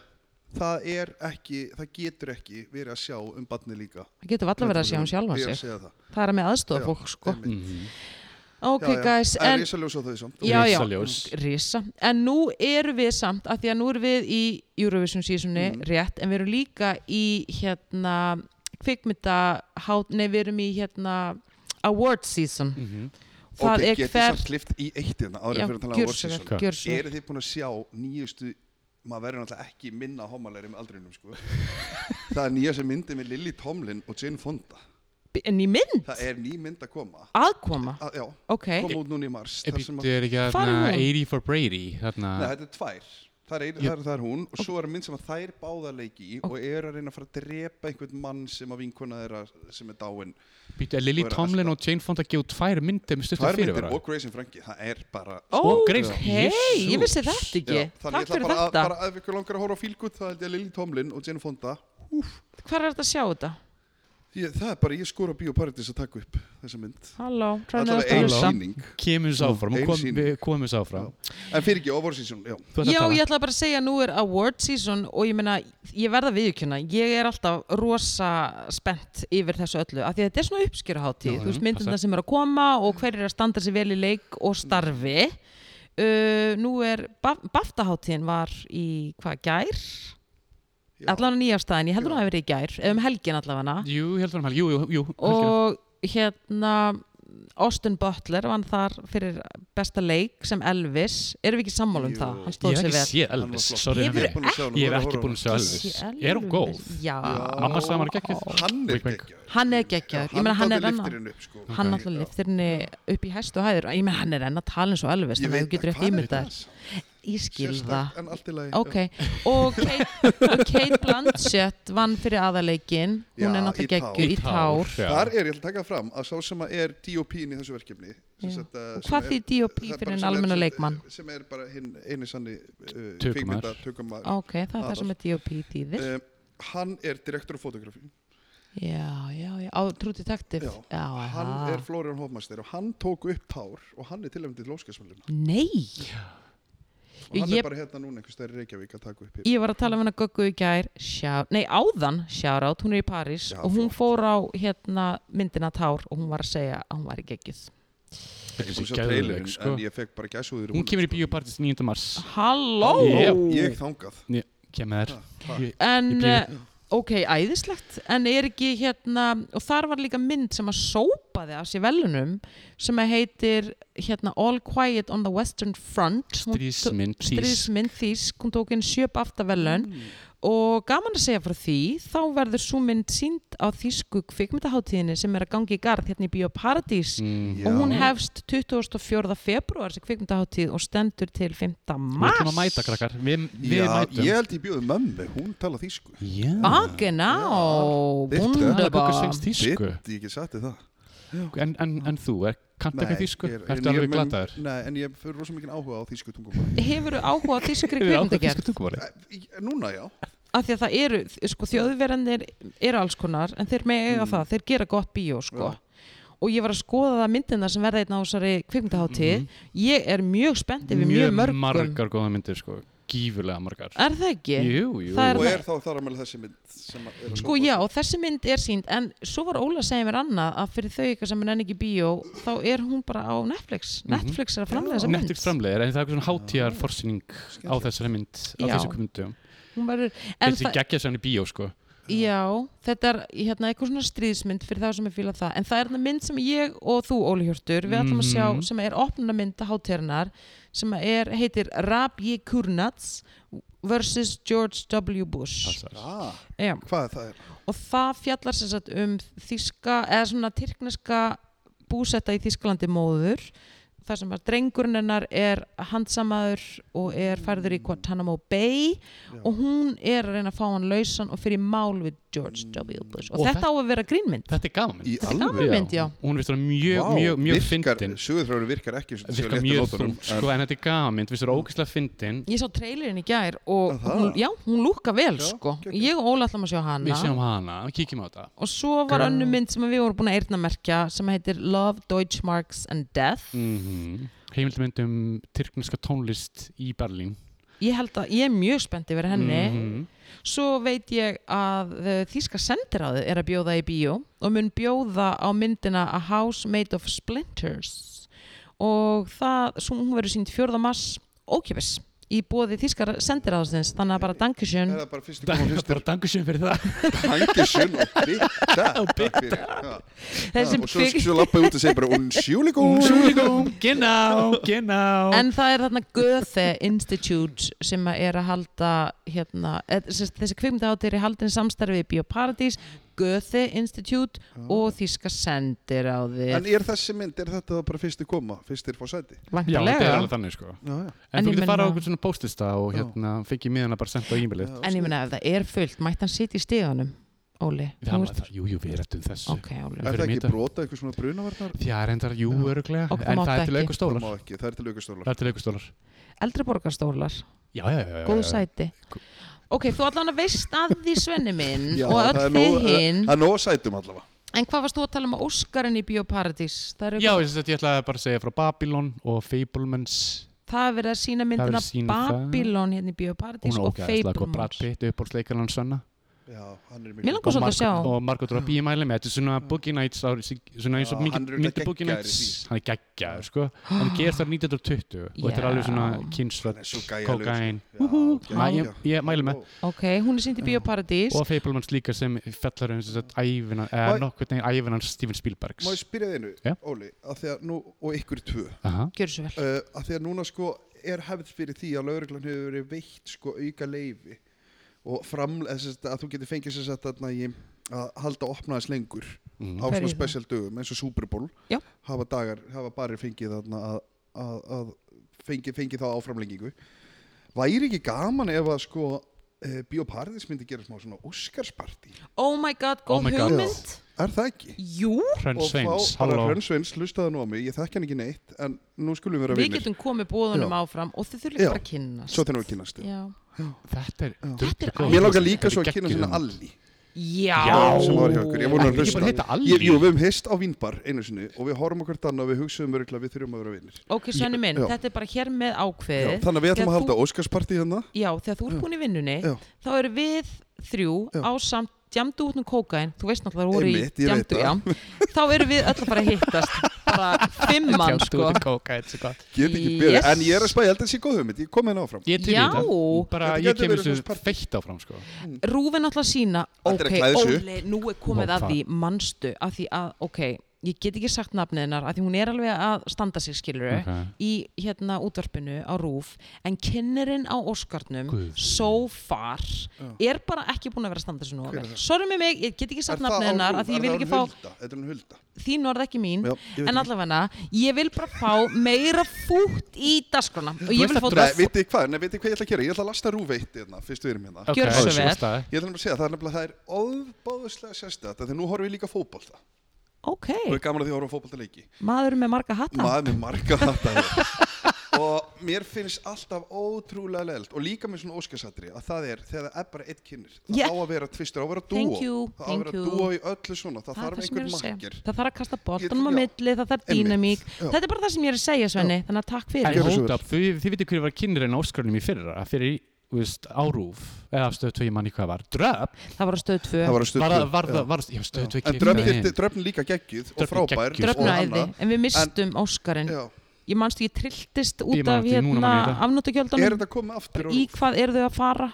C: það er ekki, það getur ekki verið að sjá um barni líka
A: það getur alltaf verið að sjá hún sjálfan
C: Ég er að
A: sig
C: segja það.
A: það er að með aðstofa
C: Já,
A: fólk sko
C: einmitt.
B: Mhm.
A: ok
C: Já, já.
A: guys,
C: Það er
A: en
C: risaljós á þau samt
A: Já, já.
B: Risaljós.
A: risa, en nú erum við samt að því að nú erum við í Eurovision seasoni
C: Mhm.
A: rétt, en við erum líka í hérna kvikmynda hát, nei við erum í hérna award season
B: Mhm.
A: það
C: Mm. Ok,
A: er
C: getið
A: hver
C: samt klift í eitt hérna
A: Já,
C: árið fyrir að tala um
A: gjörðu svo vel,
C: orðsinsson
A: gjörðu svo vel.
C: Eru þið búin að sjá nýjustu maður verður náttúrulega ekki minna homalegri með aldrinum sko. það er nýjasta myndi með Lily Tomlin og Jane Fonda
A: en í mynd
C: það er ný mynd að koma
A: aðkoma,
C: að, já,
A: Ah. ok
C: koma út núna í mars
B: Ég
C: þar sem
B: býttu, er ekki
A: Hvar er
B: þarna
A: hún?
B: 80 for Brady þarna,
C: Nei, þetta er tvær. Það er, ein,
B: Jú.
C: það, er, það er hún og svo er mynd sem að þær báða leiki í og eru að reyna að fara að drepa einhvern mann sem að vinkona þeirra sem er dáinn.
B: býttu, er Lily
C: Svo er
B: Tomlin og Jane Fonda gefa út tvær myndir með stuttum
C: Tvær myndir
B: fyrirvara
C: og Grayson Frankie, það er bara...
A: Ó,
B: Grace,
A: hei, ég
B: Jesus.
A: vissi þetta ekki
C: þannig
A: Takk
C: ég ætla
A: fyrir
C: bara að,
A: þetta
C: bara að ef ykkur langar að horfa á fílgútt þá held ég að Lily Tomlin og Jenna Fonda
A: Hvar er þetta að sjá þetta?
C: ég, það er bara ég skora Bio Paradise að taka upp þessa mynd
A: Halló, træðið að
C: allavega ein
A: stjórnsa
C: síning
B: kemur þessu áfram og
C: Ein
B: kom,
C: sýning.
B: við komum þessu áfram
C: en fyrir ekki, óvarsísjón, já
B: Þú ert að
A: Já,
B: tala.
A: ég ætla bara að segja nú er award season og ég meina, ég verða viðjökjuna ég er alltaf rosa spennt yfir þessu öllu, af því að þetta er svona uppskjöruháttíð
B: Já,
A: þú veist
B: já,
A: myndirna
B: passa.
A: sem eru að koma og hver er að standa sér vel í leik og starfi uh, Nú er baftaháttíðin var í hvað, gær?
C: Já.
A: Allavega nýjafstæðin, ég heldur hún
C: Já.
A: að hafa verið í gær eða um helgin allavega
B: Jú, ég held varum helgi, jú, jú, jú helgina.
A: og hérna Austin Butler vann þar fyrir besta leik sem Elvis erum við ekki sammála um
C: Jú.
A: það, hann
B: Ég
A: stóð
B: hef
A: sér
B: ekki
A: vel
B: séð Elvis, sorry
A: Hefurðu
B: Henrik. Ég hef ekki búin að sjá
A: Ég
B: Elvis
A: sé
B: Er hún góð?
A: Já,
C: Já.
B: Amma sagði hann gekkjöð
C: hann er
B: Wink, wink.
C: geggjaður.
A: Hann er geggjaður. Ég meina, hann er
C: dáði
A: enn að-
C: lyftirinn upp, sko.
A: hann
C: Já.
A: alltaf liftir henni upp í hæstu hæður ég menn hann er enn að tala eins og Elvis
C: Ég
A: þannig að þú
C: veit
A: getur
C: að
A: ekki
C: hvað er
A: ímyndað
C: það?
A: þér ég skil
C: Sérstakt,
A: það
C: en allt í lagi
A: ok, og Kate, og Kate Blanchett vann fyrir aðaleikin hún
C: Já,
A: er
C: í
A: náttúrulega
C: tár.
A: geggjur í tár
B: já.
C: Þar er, ég ætla að taka það fram, að sá sem að er DOP-in í þessu verkefni sem
A: Já.
C: sagt, uh,
A: Og
C: sem
A: hvað
C: er-
A: þýr DOP
C: það er
A: fyrir
C: bara
A: en
C: sem er-
A: almenna
C: sem-
A: leikmann?
C: Sem er bara hinn eini sanni uh,
B: Tökumaður.
C: kvikmynda, tökumar
A: ok, það er það
C: Aðal.
A: sem er D.O.P. þýðir
C: uh, Hann er direktor á fotografi
A: já, já, já, á True Detective
C: Já.
A: já,
C: Hann
A: aha.
C: er Florian Hofmeister og hann tók upp tár og hann er tilhæmd til Lóskasmæluna
A: nei
C: og hann
A: Ég-
C: er bara hérna núna einhvers stærri Reykjavík að taka upp hér
A: ég var að tala um hennar Guggu í gær shout, nei áðan, shoutout, hún er í París
C: Já,
A: og hún fór á hérna myndina Tár og hún var að segja að hún var í geggið
C: Ég búið að sjá
B: Geðveik,
C: trailerinn
B: sko.
C: en ég fekk bara gæsúður
B: Hún kemur í bíópartis 9. mars
A: Halló
B: Já.
C: sko. Ég þangað
B: Kemur
C: Ha, ha.
B: þér
A: En
B: Í bíó.
A: eh, ok, æðislegt en er ekki hérna og þar var líka mynd sem að sópaði af sér velunum sem að heitir hérna All Quiet on the Western Front Hún tó-
B: Strísmynd
A: stríðsmynd
B: Strísmynd
A: þýsk, hún tók inn sjö baftavelun og gaman að segja frá því þá verður svo mynd sínd á þýsku kvikmyndaháttíðinni sem er að gangi í garð hérna í Bíóparadís
C: Já.
B: Mm.
A: og hún hefst 24. februar sem kvikmyndaháttíð og stendur til 5.
B: Við ætlum
A: mars
B: að mæta krakkar Við, við
C: Já,
B: mætum
C: Ég held ég bjóði mömmu, hún tala þýsku
B: Já
A: Ah, genau,
C: Já.
B: Gugga
A: wunderbar
B: svengst þýsku
C: Vitt, ég get sagt þér það
B: en, en, en þú, er, kanntu
C: Nei,
B: ekki þýsku?
C: ég er- en
B: Ertu
C: ég
B: alveg
C: mun-
B: glataður?
C: Nei, en ég fyrir rosa mikið áhuga á þýsku tungum
A: Hefurðu áhuga á þýskri
B: Hefur ákveð
A: kvikmyndagerð?
B: þýsku tungumáli?
C: Núna, já
A: Af því að það eru, sko, þjóðverðanir eru alls konar, en þeir með eiga
C: Mm.
A: það, þeir gera gott bíó, sko. Og ég var að skoða það myndina sem
B: Mhm.
A: verða einn á þessari kvikmyndaháttíð. Ég er mjög um- spenntið við mjög mörgum.
B: margar góða myndir sko gífurlega margar
A: Er það ekki?
B: Jú, jú
A: Það
C: og
A: það-
C: er þá þar að meðal þessi mynd sem að er að
A: Sko
C: koma.
A: já, þessi mynd er sínd en svo var Óla að segja mér annað að fyrir þau ykkar sem er enn ekki í bíó þá er hún bara á Netflix
B: Mhm.
A: Netflix er að framlega þessa mynd
B: Netflix framlegir, en það er eitthvað svona hátíjar forsýning á
C: Skemmtilegt.
B: þessari mynd á
A: Já.
B: þessu komundum
A: Hún verður- en
B: Þetta er
A: það,
B: geggjað sérni bíó, sko
A: Já, þetta er hérna, eitthvað svona stríðsmynd fyrir þá sem er fílað það en það er þarna mynd sem ég og þú Óli Hjörtur við ætlum að
B: Mhm.
A: sjá sem er opnunarmynd hátíðarnar sem er, heitir Rabji Kurnats versus George W. Bush
B: Passar.
C: ah,
A: Já
C: hvað það er
A: og það fjallar sem sagt um þíska, eða svona tyrkneska búsetta í Þískalandi móður þar sem að drengurinn hennar er handsamaður og er færður í Guantanamo Bay
C: Já.
A: og hún er að reyna að fá hann lausan og fyrir mál við George
C: Mm.
A: W. Bush og,
B: Og
A: þetta á að vera grínmynd
B: Þetta er gaman
C: í
A: þetta er gaman mynd, já
B: Hún er vist vera mjög, mjög, mjög fyndin
C: sögurþráður virkar ekki svona
B: Virka
C: séu létt á
B: mjög
C: nótunum,
B: þungt, sko, en þetta er gaman mynd Vist vera ógeðslega fyndin
A: Ég sá trailerinn í gær og
C: Er það?
A: hún, já, hún lúka vel
C: Já,
A: sko
C: geggjað.
A: Ég og Óla ætlum að sjá hana
B: Við séum hana, kíkjum á þetta
A: og svo var
B: Gran-
A: önnu mynd sem við vorum búin að eyrnamerkja sem heitir Love, Deutschmarks and Death
B: mm Heimildmynd um tyrkneska tónlist í Berlín
A: Ég held að ég er mjög spennt yfir henni
B: Mhm.
A: Svo veit ég að uh, Þíska sendiráði er að bjóða í bíó og mun bjóða á myndina A House Made of Splinters og það, svo hún verður sínt 4. mars ókjöfis í bóði Þíska sendiráðsins þannig að bara
C: er
A: dankisjön
C: það bara fyrst í
B: Það
C: koma
B: er bara
C: fyrstur
B: dankasjön fyrir það
C: hangisjun og bytta og
A: Þessum
C: og svo,
A: kvik-
C: svo lappa út og segja bara unsjúligum
B: Súlíkum, genau, genau
A: En það er þarna Goethe Institute sem að er að halda hérna, eð- sem sagt, þessi kvikmyndaháttir er haldin í samstarfi í Bíóparadís Goethe Institute og Þíska sendiráði
C: Mm. en er þessi mynd, er þetta bara fyrst í koma fyrstir fá sæti
B: Já, þetta er
A: Væntanlega
B: alveg þannig sko
C: já, já.
B: En,
A: En
B: þú
A: ég
B: getur
A: meina-
B: fara á okkur svona postista og
C: Já.
B: hérna fikk ég miðana bara senda á e-mailið
C: Já, sko.
A: En ég meina ef það er fullt, mætti hann sitja í stíðanum, Óli?
B: Það
A: Þú
B: var
A: ert-
B: það, jú, jú, við rættum þessu
A: Ok, Óli.
C: er það
B: Fyrir
C: ekki
B: mitt-
C: brota eitthvað svona brunavarnar
B: Já, reyndar, jú,
C: Já.
B: öruglega
A: Og það
B: En
A: mátti
B: það er til
A: ekki.
B: aukur
C: það
B: stólar
C: má ekki, það er til aukastólar
B: Það er til aukur stólar
A: Eldri borgarstólar,
B: Já, já, já, já
A: góð
B: já.
A: sæti.
B: Gó-
A: Ok, þú allan að veist að því Svenni minn
C: Já,
A: Mm. og
C: það
A: öll
C: er
A: þið
C: nóg-
A: hinn.
C: það er nóg sætum allavega
A: En hvað varst þú að tala um Óskarinn í Bíóparadís? Það er,
B: Já, ég, sem sagt, ég ætlaði bara að segja frá Babylon og Fablemans
A: það er verið að sína myndina
B: verið að sýna það.
A: Babylon hérna í
B: Hún
A: Bíóparadís
B: er
A: og
B: ógæðislega góð Brad
A: Fablemans.
B: Pitt, uppbórsleikarinn hans Svenna
C: já, hann er
A: Mér
C: mikið
A: langar svolítið að sjá.
B: og Margot Robbie í mæli með Þetta er svona Boogie Nights á- Svona eins og
C: Já,
B: mikið
C: hann er auðvitað
B: myndi Boogie
C: geggjaður í
B: Nights
C: því.
B: Hann er geggjaður, sko Hann gerst þar 1920 og þetta er
A: Já.
B: alveg svona
C: Hann
B: kynsvöld
C: er svo gæjalegur.
B: Kokain
C: Já,
B: Mæ-
C: geggjað.
B: ég- Ég mæli með
A: Ok, hún er sínd í Bíóparadís.
B: og Fablemans líka sem fjallar um þess að ævina, eða
C: Má-
B: nokkurn veginn ævinan Steven Spielbergs
C: Má ég spyrja þig einu,
B: Já.
C: Óli, að því að nú, og ykkur tvö, uh,
B: Aha.
A: Gjör svo vel.
C: að því að núna sko er hefð fyrir því að lauruglan hefur verið veitt sko auka leifi og fram, eða sem sagt að þú getur fengið sér sett að, að halda opnaðis lengur á
B: Mhm.
A: Hverju
C: svona
A: þá?
C: spesial dögum eins og Super Bowl,
A: Já.
C: hafa dagar, hafa barir fengið þarna að, að, að fengi, fengi þá áframlengingu. Væri ekki gaman ef að sko e, Bíóparðis myndi gera smá svona Óskarsparti?
A: Oh my god,
B: Oh
A: góð
B: my God.
A: hugmynd.
C: Er það ekki?
A: Jú,
B: Hrönn
C: og
B: Sveins,
C: fá bara
B: halló
C: Hrönn Sveins, lustaði nú á mig, ég þekk hann ekki neitt en nú skulum við vera
A: við
C: vinnir
A: getum komið bóðunum
C: Já.
A: áfram og þið þurfum
C: Já.
A: líka bara að kynna.
C: svo þegar við kynnast
A: Já.
B: þetta er
C: Já.
B: drullu
A: Þetta er
B: góð.
C: mér langar líka
B: Þetta
C: svo
B: er
C: að kynna
B: geggjuð
C: sinna
B: mynd.
C: Alli
A: Já.
C: sem var hjá ykkur, ég vona
B: Ekki
C: að
B: bara
C: hlusta
B: heita Alli?
C: Ég- jú, við höfum heist á vínbar einu sinni og við horfum okkur þannig og við hugsaðum örgulega við þurfum að vera vinnir
A: Ok, Svenni minn,
C: Já.
A: þetta er bara hér með ákveðið.
C: þannig að við ætlum
A: Þegar
C: að halda Óskarsparti hérna
A: Þú, já, þegar þú ert búin í vinnunni,
C: Já.
A: þá eru við þrjú
C: Já.
A: á samt djamdu út um kókain, þú veist náttúrulega voru í
C: Einmitt, ég
A: djamdu,
C: veit
A: já, þá eru við öll að fara að hittast, bara fimm mann,
C: um-
A: sko.
C: get ekki beðið,
A: Yes.
C: en ég er að spæ, ég held að sé góð hugmynd ég kom hérna áfram
B: ég er til í
A: Já.
B: þetta bara ég
C: Þetta gæti
B: kemur
C: verið
B: þessu
C: svona partí.
B: feitt áfram sko.
A: Rúfin alltaf sína,
C: Þetta er
A: ok,
C: að klæða sig upp.
A: Óli, nú er komið
B: Ó,
A: að
B: hvað?
A: því, manstu, að því að, ok, ég get ekki sagt nafnið hennar, að því hún er alveg að standa sig, skilur
B: Ok.
A: í hérna útvarpinu á Rúf, en kynnerinn á Óskarnum,
B: Guð.
A: so far, er bara ekki búin að vera að standa sig nú.
C: Hver er það?
A: Sorry með mig, ég get ekki
C: Er
A: sagt
C: það
A: nafnið
C: á
A: hennar,
C: Rúf?
A: að því
C: Er
A: ég vil
C: það
A: ekki
C: hún
A: fá
C: Hulda? Þetta er hún hulda
A: þín orð ekki mín
C: Já, ég veit
A: en
C: ekki.
A: allavega, ég vil bara fá meira fútt í dasgrana og ég vil
B: veist að
A: fá
C: Nei, vitið þið hvað, nei, vitið þið hvað ég ætla að gera? Ég ætla að lasta rúveitt hérna, fyrst við erum hérna.
B: Ok,
A: Gjörðu svo
B: á
A: vel.
B: stað.
C: Ég ætla nefnilega að segja, það er nefnilega, það er óbáðuslega sérstætt, þegar nú horfum við líka fótbolta.
A: ok, Mm.
C: Og er gaman að því að horfa fótbolta leiki.
A: Ah. maður með marga hatta
C: maður með marga hatta og mér finnst alltaf ótrúlega leðilt og líka með svona óskarsatri að það er þegar það er bara eitt kynir það
A: Yeah.
C: á að vera tvistur, á að vera
A: Thank
C: dúo
A: you,
C: það á að
A: thank
C: vera
A: you.
C: dúo í öllu svona
A: Það
C: það,
A: er
C: þarf
A: það sem ég er
C: einhver
A: að segja.
C: makkir
A: Það þarf að kasta boltanum á
C: Ég- já.
A: milli, það þarf
C: Einmitt,
A: dýnamík
C: já.
A: Þetta er bara það sem ég er að segja, Svenni Þannig að takk
B: En
A: fyrir
C: Gjörðu svo
B: hold
C: vel.
B: up, þið, þið vitið hverju var kynirinn á Óskarnum í fyrra fyrir, þú veist, árúf eða stöð 2, ég manni hvað var, dröp
A: Það var á stöð 2
C: það var að
B: var,
C: stuttu
B: það- var, var, var, já, stöð 2
C: en dröfn, dröfn líka geggjuð og
B: Dröfn
C: frábær
B: geggjuð,
C: og
A: Dröfnaæði,
C: annað.
A: en við mistum Óskarinn
C: Já.
A: Ég manstu ég trilltist
B: Ég
A: út
B: man
A: af
B: eftir því, núna
A: hérna
B: man ég þetta.
C: er
A: afnótagjöldunum
C: þetta komið aftur
A: Í hvað eru þau að fara?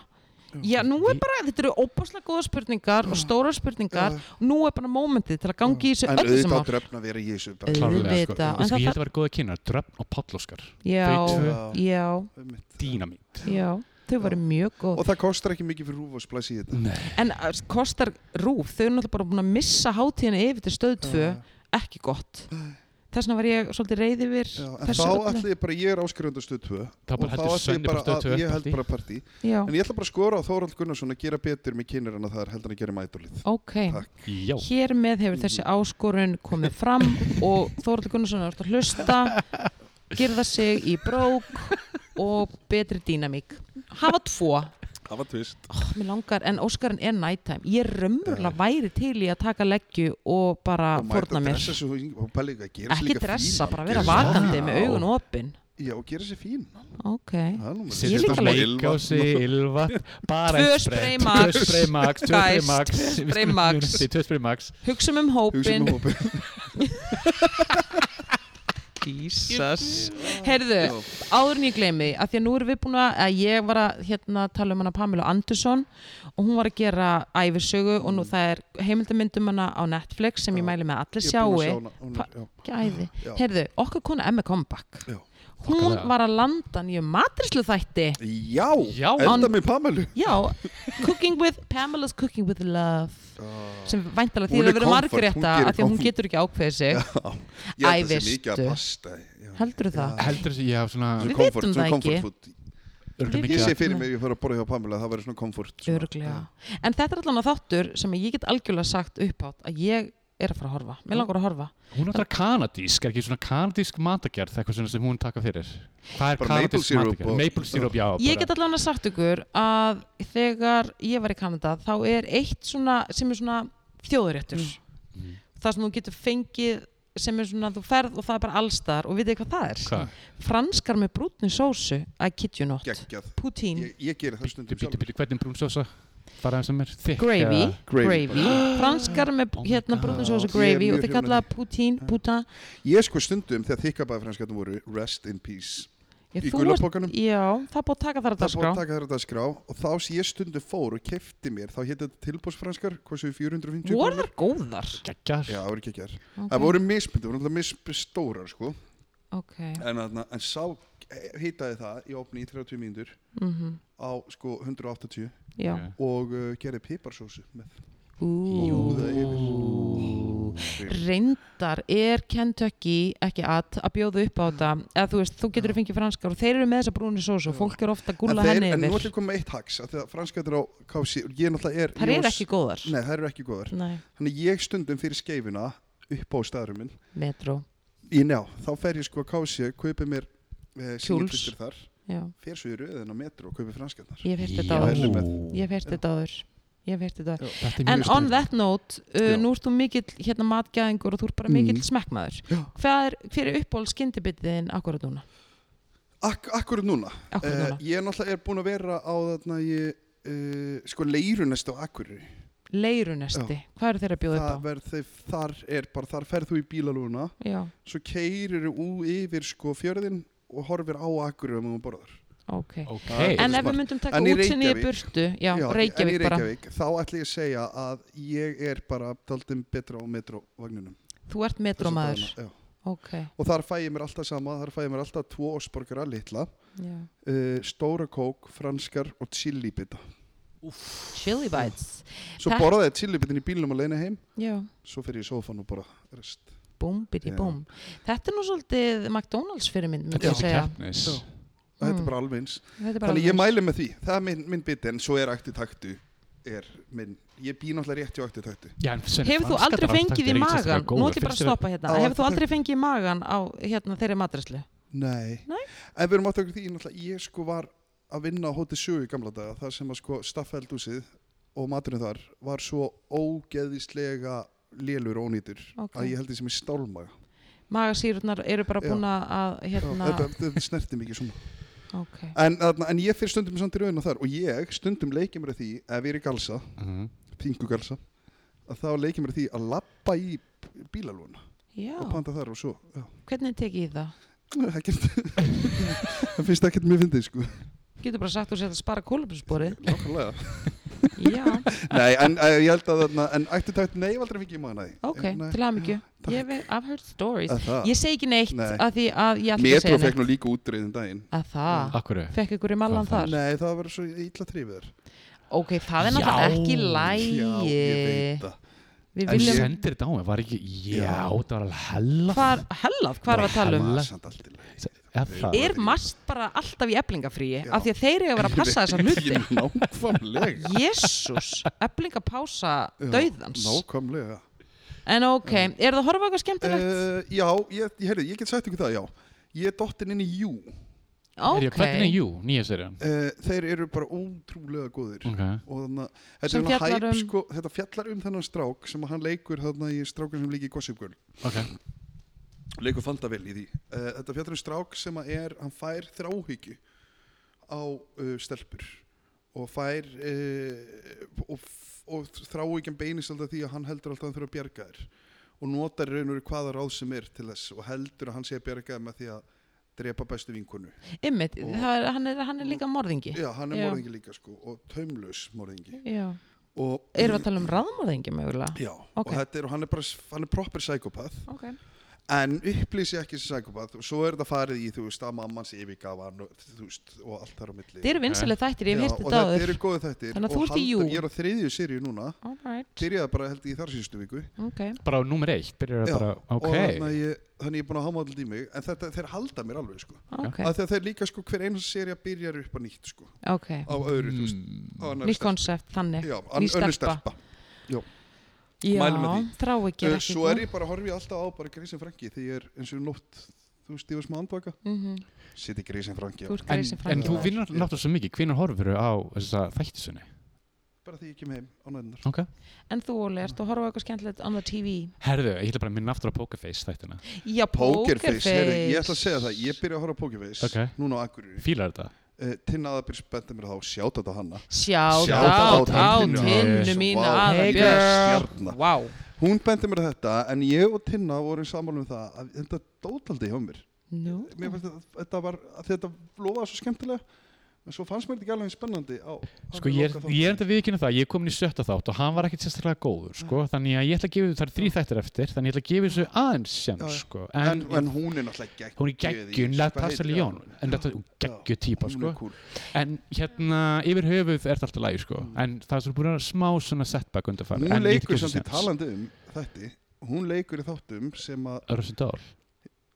A: Já, nú er
B: Í-
A: bara, þetta eru óbáslega góða spurningar og stóra spurningar
C: Já.
A: og nú er bara mómentið til að gangi í þessu
C: en
A: öllu
C: auðvitað
A: sem
C: á
A: að
C: dröfn að vera í þessu bara
A: Auðvitað.
B: Klárlega, sko.
A: Auðvitað, en
B: Þú sko,
A: það
B: ég held að vera góða kynnar, dröfn og Pállóskar
A: Já,
C: Já.
A: já,
C: Einmitt.
B: dýnamít
A: já, þau
C: Já.
A: varu mjög góð
C: og það kostar ekki mikið fyrir húfasplæs í þetta
B: Nei,
A: En uh, kostar rúf, þau eru náttúrulega bara búin að missa hátíðina yfir til stöð 2, ekki gott. Þess vegna var ég svolítið reyð yfir
C: Já, en
A: þessu
C: þá
A: öllu.
C: ætla ég bara, ég er áskrifundastöð 2
B: þá bara heldur Svenni bara stöð 2
C: ég held bara partí
A: Já,
C: en ég ætla bara að skora á Þórald Gunnarsson að gera betur með kynir en að það er heldur en að gera mætulið
A: ok.
C: Takk.
B: Já,
A: Hér með hefur þessi áskorun komið fram og Þóraldur Gunnarsson er að hlusta, gerða sig í brók og betri dýnamík. Hafa tvo,
C: það var tvist
A: mér langar, en Óskarinn er nighttime. Ég raunverulega væri til í að taka leggju og bara
C: og mæta
A: forna
C: að
A: mér.
C: dressa sig og- og pæli ekki að gera sig
A: Ekki
C: líka fín.
A: dressa, bara vera
C: Gera sig-
A: vakandi
B: Já.
A: með augun opin.
C: já, og gera sér fín
A: Ok.
C: Það er nú bara-
A: Ég
B: setja
A: líka
B: þetta
A: alveg-
B: leik á sig, ylva bara
A: Tvö
B: eitt
A: spray
B: spray,
A: max.
B: tvö spray max tvö
A: Guys,
B: spray max
A: tvö
B: Við
A: spray
B: skulum
A: max.
B: muna þetta í tvö spray max
A: Hugsum um
C: Hugsa
A: hópin
C: um hópinn.
A: Jesus Herðu,
C: Já.
A: áður en ég gleymi því, að því að nú erum við búin að, að ég var að hérna, tala um hana Pamela Anderson og hún var að gera æfisögu og nú það er heimildamyndum hana á Netflix sem ég
C: Mm. Já.
A: mæli með að allir
C: Ég er
A: sjáu
C: búin að sjá hana, hún er- já.
A: Gæði.
C: Já.
A: Herðu, okkar kona Emma Comeback
C: Já.
A: Hún
B: Þokkalega.
A: var að landa nýjum matrislu þætti
C: já,
B: Já.
C: enda með Pamelu
A: Já, Cooking with Pamela's Cooking with Love sem væntalega
C: Hún
A: þýðir að
C: er
A: vera
C: comfort, hún
A: margrétta
C: gerir
A: af því að hún
C: comfort.
A: getur ekki ákveðið sig
C: ég held að það sé
A: Ævistu.
C: mikið að pasta já.
A: Heldur það?
B: heldur þessi, já, svona
C: Svona
A: Við
C: comfort-
A: vitum
C: svona
A: það
C: comfort
A: ekki.
C: food.
A: Við-
B: örugglega
C: ég
B: mikið
C: sé
B: að-
C: fyrir mig, ég fara að borða hjá Pamela það verður svona komfort
A: Örglega. En þetta er allan að þáttur sem ég get algjörlega sagt upphátt að ég er að fara að horfa. Mér langar að horfa.
B: hún er alltaf kanadísk, er ekki svona kanadísk matagerð eitthvað svona sem hún taka fyrir hvað er
C: Bara maple
B: kanadísk
C: syrup
B: matagerð?
C: og-
B: maple syrup, já
A: Ég
B: bara.
A: get allan að sagt ykkur að þegar ég var í Kanada þá er eitt svona sem er svona þjóðuréttur.
B: Mm.
A: Það sem þú getur fengið sem er svona þú ferð og það er bara allstar og vitið hvað það er?
B: Hvað?
A: Franskar með brúnni sósu, I kid you not.
C: geggjað
A: Poutine,
C: ég, ég gerir það stundum
B: Bítu, bítu, bítu,
C: sjálfur
B: hvernig brún sósa fara það sem er þykk
A: gravy,
B: eða-
C: Gravy.
A: gravy, franskar með
B: Oh my
A: hérna
B: God.
A: brúnni sósu
C: Ég er
A: gravy
C: mjög
A: og þeir
C: hrifinn af
A: kallaða poutine, puta.
C: ég sko stundum þegar þykkabæðfrænskatnum voru rest in peace
A: Ég,
C: Í
A: þú
C: gula
A: ert-
C: pokanum?
A: Já, það er búið að taka þar að
C: Það er búið
A: dagskrá.
C: að taka þér þetta skrá og þá sem ég stundu fór og kefti mér þá hétt þetta tilbúsfranskar, hvað sem við 450
A: voru
C: krónur?
A: þar góðar
B: geggjar
C: Já, það voru ekki ekki
A: okay.
C: Það voru mismyndi, voru alltaf mismstórar sko
A: okay.
C: en, en, en sá hýtaði það í opni í 30 mínútur
A: mm
C: á sko 180
A: já.
B: Ok.
C: og uh, gerði piparsósu með
A: Ú.
C: það
A: reyndar er Kentucky ekki að að bjóða upp á þetta eða þú veist, þú getur að fengið franskar og þeir eru með þessa brúni sós og fólk er ofta að
C: En,
A: gúla
C: þeir,
A: henni
C: en nú ætlum
A: yfir
C: við komið með eitt hags af því að franskættir á kási og ég náttúrulega er
A: það
C: ég
A: eru
C: var-
A: ekki góðar
C: Nei, það eru ekki góðar
A: Nei.
C: Þannig ég stundum fyrir skeifina upp á staðurum minn
A: metro
C: Ég njá, þá fer ég sko að kási kaupi mér eh,
A: Kjúls.
C: singilfistur þar
A: já.
C: fer svo í röðin á metro og kaupi franskættar
A: ég hef hert þetta
B: Já.
A: áður
C: Verður með.
A: ég hef hert þetta áður ég hef hert þetta áður
B: Þetta er mjög
A: En on
B: spennandi.
A: that note, uh,
C: Já.
A: nú ert þú mikill hérna matgæðingur og þú ert bara
C: Mm.
A: mikill smekkmaður.
C: Já.
A: Hvað er, hver er uppból skyndibitiðin akkurat núna?
C: Ak Akkurat núna,
A: Akkurat
C: Eh,
A: núna.
C: ég er náttúrulega er búin að vera á þarna ég, uh, sko leirunest á Akurri
A: Leirunesti, hvað eru þeir að bjóða
C: það
A: upp á?
C: verð þeir, þar er bara, þar ferð þú í bílalúna
A: Já,
C: svo keirir þú yfir sko fjörðin og horfir á Akurri um þú borðar
A: ok.
B: Ok,
C: Hey,
A: en
C: það er
A: ef við
C: smart.
A: myndum taka
C: En í
A: útsinni í
C: Reykjavík-
A: burtu já,
C: en í
A: Reykjavík bara,
C: Reykjavík, þá ætla ég að segja að ég er bara daldum betra á metrovagninum
A: þú ert
C: þessa
A: metrómaður
C: dagana, já.
A: ok,
C: og þar fæ ég mér alltaf sama, þar fæ ég mér alltaf tvo osborgara litla,
A: já.
C: uh, stóra kók, franskar og chilibita
A: chili bites
C: svo
A: Þetta-
C: borðaði ég chilibitin í bílnum að leina heim
A: já,
C: svo fer ég í sófan og bara rest
A: búm, byrji
C: Já.
A: búm þetta er nú svolítið McDonalds fyrir minn myndi
B: Þetta
A: ég
B: er
A: segja
B: keppnis
C: Já. Þetta
A: Mm.
C: er bara alveg eins.
A: Þetta er bara
C: Þannig ég
A: alveg-
C: mæli með því. Það er minn, minn biti en svo er ætti taktu. Er minn. Ég býð náttúrulega rétt hjá ætti taktu.
B: Já, en Svenni,
A: hefur þú
B: franskar
A: aldrei
B: drafstaktir
A: fengið í
B: eru ekki
A: magan nú
B: sérstaklega
A: ætlum ég bara
B: góðar.
A: að
B: Finnst þér-
A: stoppa hérna
C: Á,
A: hefur þú
C: þetta-
A: aldrei fengið í magan á hérna þeirri matreslu
C: Nei.
A: Nei.
C: En við erum átt okkur því, náttúrulega, ég sko var að vinna á Hóti Sjö í gamla daga, þar sem að sko staffeldúsið og maturinn þar var svo ógeðislega lélur og ónýtur
A: Ok.
C: að ég held því sem er stálmaga.
A: Magasýrurnar eru bara
C: Já.
A: búin að hérna,
C: Þetta, þetta snerti mikið svona.
A: ok,
C: En, þarna- en ég fyrir stundum samt í raun og þar og ég stundum leikið mér að því ef ég er í galsa,
B: Mhm.
C: pingugalsa, að þá leikið mér að því að lappa í bílalóna
A: já,
C: og panta þar og svo. Já.
A: hvernig tekið þið það?
C: Ekkert, það finnst ekkert mér fyndið sko.
A: Getur bara sagt úr sér að spara kólubrinsborið,
C: Nákvæmlega.
A: já,
C: Nei, en eh, ég held að þarna, en ættu tætt nei, aldrei fikk ég maður nei.
A: ok,
C: Nei,
A: til aðmyggju,
C: Hérna, takk.
A: ég hef, I've heard stories,
C: að það.
A: ég segi ekki neitt
C: Nei.
A: að því að ég ætla ekki að
C: Metro
A: segja
C: fekk
A: neitt,
C: nú líka útreiðin daginn.
A: að það,
B: Af hverju?
A: fekk ykkur í mallan
B: Hvað
A: þar,
C: Nei, það var svo illa trífið þér.
A: ok, það er
B: Já.
A: náttúrulega ekki
C: Já, ég
A: lægi,
C: veit það.
A: við
B: En
A: viljum,
B: sendir þetta á mig, var ekki, já,
C: Já.
B: það var alveg hella
A: hvar, hellað, hvar var að tala um?
C: Það
B: Alla-
C: er samt allt í lagi.
B: það
A: Er mast bara alltaf í eblingarfríi,
C: Já.
A: af því að þeir eru að vera að passa þessa hluti,
C: Ég- Nákvæmlega.
A: jésús, eblingapása
C: Já,
A: dauðans,
C: Nákvæmlega.
A: en ok, er það að horfa á eitthvað skemmtilegt?
C: Uh, já, ég, ég, heyrðu, ég get sagt ykkur það, já. Ég er dottin inn í Jú.
B: Er ég,
A: Ok,
B: hvernig er jú, nýja serið?
C: Uh, þeir eru bara ótrúlega góðir.
B: Ok,
C: Og þannig að þetta,
A: Mm. Sem
C: er svona
A: fjallar
C: hæp,
A: um-
C: sko, þetta fjallar um þennan strák sem að hann leikur þarna í strákar sem líki í Gossip Girl.
B: ok,
C: leikur fanda vel í því uh, þetta fjallar um strák sem að er hann fær þráhyggju á uh, stelpur og fær uh, og, og þráhyggjan beinist alltaf því að hann heldur alltaf að hann þurfa að bjarga þér og notar í raun og veru hvaða ráð sem er til þess og heldur að hann sé að bjarga þér með því að drepa bestu vinkonu
A: ymmit,
C: Og-
A: er, hann, er, hann er líka morðingi
C: já, hann er
A: Já.
C: morðingi líka sko og taumlaus morðingi
A: Já,
C: og,
A: erum við að tala um ráðmorðingi mögulega?
C: já,
A: Ok.
C: og þetta er, og hann er bara hann er proper psychopath
A: Ok,
C: en upplýsi ekki sem sækupat og svo er þetta farið í þú veist að mamman sé yfirgafan og, þú veist, og allt þar á milli
A: þið eru vinsalið þættir, ég
C: Já,
A: hef hýrt
C: og
A: þetta
C: þetta
A: áður
C: eru góðu þættir
A: Þannig að þú
C: og
A: ert í
C: halda-
A: jú.
C: ég er á þriðju sirju núna
A: Alright,
C: byrjaði bara held ég í þar síðustu viku
A: ok,
B: bara á númer eitt, byrjar
C: Já,
B: það bara,
C: og
B: ok
C: þannig að ég, þannig ég er búin að hafa allir í mig en þetta, þeir halda mér alveg sko
A: ok,
C: okay. að þegar þeir líka sko hver eins serja byrjar upp á nýtt sko
A: ok
C: á öðru þú veist
B: Mm.
C: á annarri
A: Nýtt
C: stelpu.
A: konsept, þannig
C: Já,
A: ný
C: ann- önnur
A: stelpa.
C: stelpa.
A: Já,
C: mælum með því.
A: þrá ekki
C: Eh, Svo er ég bara að horfi alltaf á bara Grísin Franki því ég er eins og nótt, þú veist, ég var smá andvaka Sitt í Grísin Franki
A: Mhm, Þú ert
B: En,
A: greiðsinn
B: en þú
A: frændi
B: vinnur náttúrulega svo mikið, hvenar horfur á þessa þættisunni?
C: bara því ég kem heim á næðunar
B: Ok.
A: En þú, Óli, ertu að horfa á eitthvað skemmtilegt on the TV?
B: Herðu, ég ætla bara að minna aftur á Pokerface þættina.
A: Já,
C: Pókerface, heyrðu, ég ætla að
A: Pókerface
C: segja það, ég byrja að horfa á Pókerface
B: Ok.
C: núna á Akureyri.
B: Fílar þetta?
C: Uh, Tinn aðabýr spennti mér þá, sjáta þetta hanna.
A: Sjátt
C: Shout out
A: á
C: Tinnu.
A: tinnu
B: Yes,
A: mína
C: wow.
A: að
C: Hey,
A: Björn
C: girl.
A: Wow,
C: Hún benti mér á þetta en ég og Tinna vorum saman um það að þetta dótaldi hjá mér.
A: nú
C: Mér fannst að þetta var, að þetta lofaði svo skemmtilega en svo fannst mér þetta ekki alveg eins spennandi á.
B: Sko ég er, ég er enda viðkynna það, ég er komin í sjötta þátt og hann var ekkert sérstaklega góður, sko,
C: Mm.
B: þannig að ég ætla að gefa, það er þrý þættir eftir, þannig ég ætla að gefa þessu aðeins sem,
C: Já, já.
B: sko,
C: En,
B: en,
C: en hún er náttúrulega geggjum.
B: hún er geggjun, Lað Passaljón, en þetta er geggju típa,
C: Hún
B: sko,
C: er cool.
B: en hérna, yfir höfuð er það alltaf lægi, sko, en það er svo búin að vera smá svona setback undanfæri,
C: Mm. Hún leikur samt í talandi um þetta, hún leikur í þáttum sem að,
B: Örsin Dál,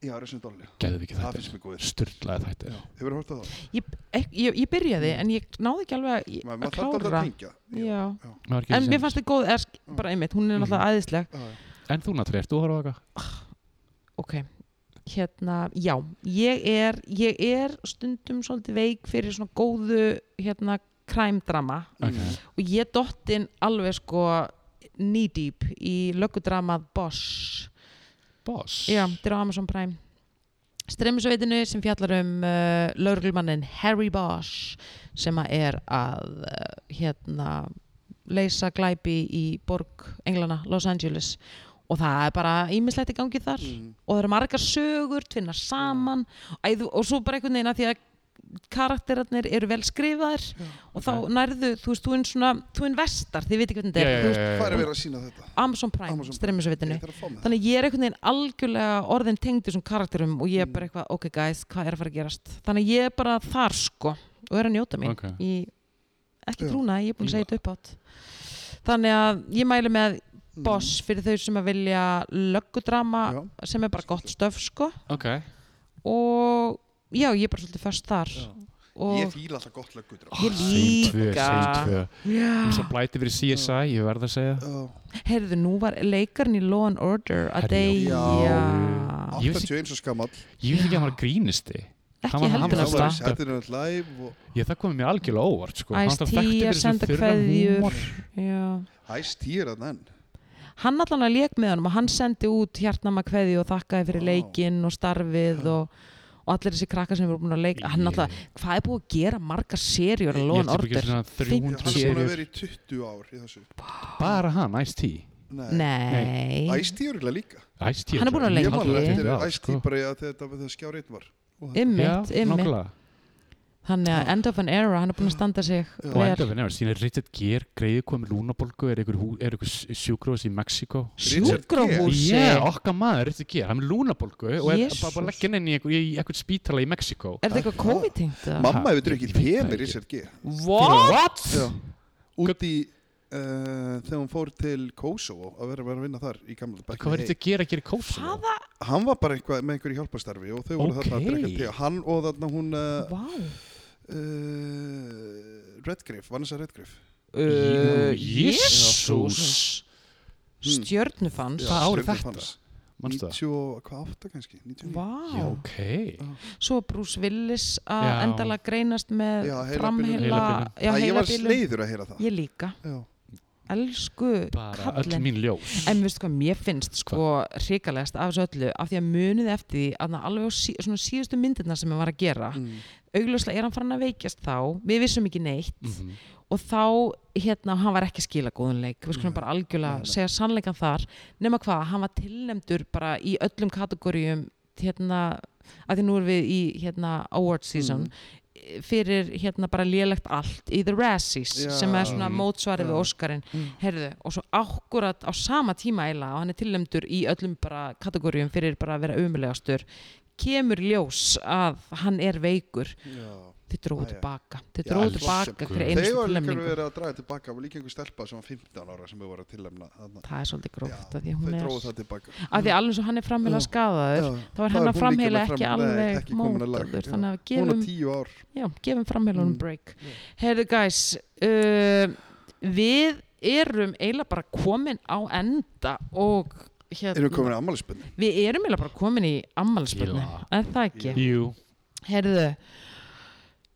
C: já, Ressum Dolly,
B: gæðu ekki
C: það
B: þættir,
C: finnst mér góðir.
B: styrlaði þættir,
C: Já, Þið verður að horta það.
A: Ég, ek- ég, ég byrjaði en ég náði ekki alveg að-
C: Mm. Maður
A: að
C: maður þarf alltaf
A: klára
C: að tengja. Mm.
A: Já.
B: Maður getur
A: en
B: séð
A: mér fannst þið góð, er, bara einmitt hún er náttúrulega æðisleg
C: Já, já.
B: En þú náttúrulega, ert þú að horfa á eitthvað?
A: ok, hérna, já ég er, ég er stundum svolítið veik fyrir svona góðu hérna, kræmdrama
B: Ok.
A: og ég dottin alveg sko knee deep í löggudramað Bosch
B: Boss?
A: já, þetta er á Amazon Prime streymisveitinu sem fjallar um uh, lauruglumannin Harry Bosch sem að er að uh, hérna leysa glæpi í borg Englana, Los Angeles og það er bara ímislegt í gangi þar
C: Mm.
A: og það eru margar sögur, tvinna saman æðu, og svo bara einhvern veginn að því að karakterarnir eru vel skrifaðir og þá
B: ok.
A: nærðu, þú veist, þú er svona þú er vestar, þið veit ekki hvernig þetta er þú veist,
B: Eh,
C: Hvað er að vera að sína þetta?
A: Amazon Prime,
C: Amazon Prime.
A: streymisveitinu
C: Ég þarf að fá með það.
A: þannig að ég er einhvern veginn algjörlega orðin tengd þessum karakterum og
C: Mm.
A: ég er bara eitthvað ok guys, hvað er að fara að gerast þannig að ég er bara þar sko og er að njóta mín
B: Ok.
A: í, ekki
C: Já.
A: trúna, ég er búin að segja þetta upp átt þannig að ég mælu með
C: Mm. Hmm.
A: boss fyrir þau sem að vilja löggudrama
C: Já.
A: sem er bara gott stöf sko
B: Ok,
A: og já, ég er bara svolítið föst þar
C: Já.
A: og
C: Ég fíla alltaf gott löggudra.
B: Ah,
A: Ég
B: segjum tvö,
A: Líka.
B: segjum tvö Mér svo
A: já,
B: blæti fyrir CSI, ég verð að segja
C: Já,
A: heyrðu, nú var leikarinn í Law and Order að
B: Herjó.
A: deyja
C: Já.
A: Já.
B: Ég vissi-
C: 81 og skamall
B: Ég veit ekki
A: Já.
B: að hann var grínisti Hann
A: Ekki
B: var- hann
A: heldur
C: Það
B: var-
A: að
C: var
A: það
C: Saturday Night Live og
B: Ég það komið mér algjörlega óvart sko. Hann var
A: Ice-T
B: alltaf þekktur
A: að
B: fyrir svona
A: senda
B: þurran
A: kveðjur.
B: húmor.
A: Já.
C: Ice-T er þarna enn
A: hann allan að leik með honum og hann sendi út hjartnama kveði og þakkaði fyrir
C: Vá.
A: leikinn og starfið og, og allir þessi krakkar sem eru búin að leika hann
B: Ég-
A: alltaf, hvað er búið að gera marga seriur
B: Ég
A: að
B: held
A: lóðan
B: að byggja
A: orður
B: svona
C: Hann er
A: Sér
B: 300
C: búin að
B: serjur.
C: vera í 20 ár í þessu
B: Bara hann, Ice-T
C: Nei,
A: nei,
C: Ice-T er eiginlega líka
B: Ice-T
A: Hann er búinn að lengi.
C: Ég man
A: Lengi.
C: eftir
B: sko.
C: Ice-T bara í að þetta var þegar skjárið var Og þetta-
A: ymmit, ymmit þannig að end of an era, hann er búin að standa sig
C: Já.
B: Og enda
A: vel,
B: við nefnum, síðan er Richard Gere greið komið lúnabolgu, er ykkur, hú- er ykkur sjúkrós í Mexiko
C: Richard
A: sjúkrahúsi
B: Já, okkar maður, Richard Gere, hann er með lúnabolgu og er
A: Jesús.
B: bara bara leggja henni í einhver- í eitthvað spítala í Mexiko
A: er þetta eitthvað COVID-tengt? eða?
C: Mamma hefur drukkið
B: Ég veit
C: te
B: það
C: með
B: ekki.
C: Richard G
A: What?
C: Já. Út í uh, þegar hún fór til Kosovo að vera, vera að vinna þar í gamla bekk
B: Hvað var Richard Gere að gera í Kosovo?
A: hvaða,
C: Hann var bara eitthvað, með einhverju hjálpastarfi og þau voru
B: Ókei.
C: þarna að drekka te Hann og þarna hún uh,
A: vá
C: uh, Redgriff, Vanessa Redgriff
A: Uh,
B: Jésús Hmm.
A: stjörnufans
B: Hvað ár er
C: Stjörnur
B: þetta?
C: fannst.
B: Manstu það?
C: 98 kannski
B: Já,
C: 99.
A: vá
B: ok
A: svo Bruce Willis að
B: Já.
A: endalega greinast með
C: Já, heilabilun.
A: framheila
B: Heilabilun.
A: já,
C: Æ, Ég var
A: heilabilun.
C: sleiður að heyra það
A: ég líka,
C: Já.
A: elsku
B: Bara öll
A: kallin
B: mín ljós
A: en veistu hvað mér finnst sko hrikalegast af þessu öllu af því að munið eftir því að það alveg á sí, svona síðustu myndirna sem ég var að gera
C: Mm.
A: augljóslega er hann farin að veikjast þá við vissum ekki neitt
B: Mhm.
A: og þá hérna hann var ekki að skila góðun leik við skulum bara algjörlega segja sannleikan þar nema hvað, hann var tilnefndur bara í öllum kategórium hérna, að því nú erum við í hérna award season
C: Mm.
A: fyrir hérna bara lélegt allt í The Razzies
C: Já.
A: sem er svona
B: Mhm.
A: mótsvarið við
C: Já.
A: Óskarinn
C: Mm.
A: herðu, og svo akkurat á sama tíma eila og hann er tilnefndur í öllum bara kategórium fyrir bara að vera umulegastur kemur ljós að hann er veikur
C: Já.
A: þið dróðu
C: Æ, já.
A: tilbaka þið
C: Já,
A: dróðu
C: elsku
A: tilbaka
B: guð.
A: hverja
C: Þeir
A: einustu
C: var líka
A: tilnefningu
C: verið að draga tilbaka og líka einhver stelpa sem var 15 ára sem við vorum að tillemna þarna.
A: það er svolítið gróft
C: Já,
A: að því að
C: Þau
A: hún er
C: dróðu það tilbaka
A: að því alveg svo hann er framheila
C: Já.
A: skadaður þá
C: Já.
A: er
C: Þá
A: hann
C: er
A: að
C: hún
A: framheila ekki
C: líka með fram- nei,
A: alveg
C: ekki komin að lag.
A: mótaður
C: Já.
A: þannig að við
C: Hún
A: gefum,
C: er 10 ár
A: já, gefum framheilunum
C: Mm.
A: break
C: Já.
A: heyrðu guys uh, við erum eiginlega bara komin á enda og
C: Erum
A: hérna
C: við komin að ammælisbyrni?
A: við erum eiginlega bara komin í ammálspönni
B: Já.
A: en það ekki
B: Jú
A: Herðu,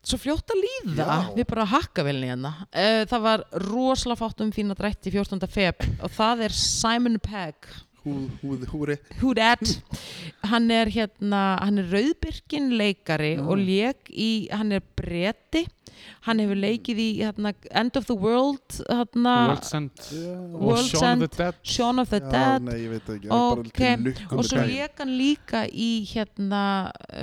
A: svo fljótt að líða,
C: Já.
A: við bara hakka velni hérna. Uh, það var rosalega fátt um fína drætti 14. feb og það er Simon Pegg,
C: Hú, húð, húri
A: who that? Hann er hérna, hann er rauðbyrkin leikari og leik í, hann er breti, hann hefur leikið í hérna, End of the World, hérna,
B: World's End og
A: World's
B: Shaun of
A: End.
B: the Dead
A: Shaun of the
C: Já,
A: Dead
C: nei, ég veit það ekki
A: Ok. og svo leik hann líka í hérna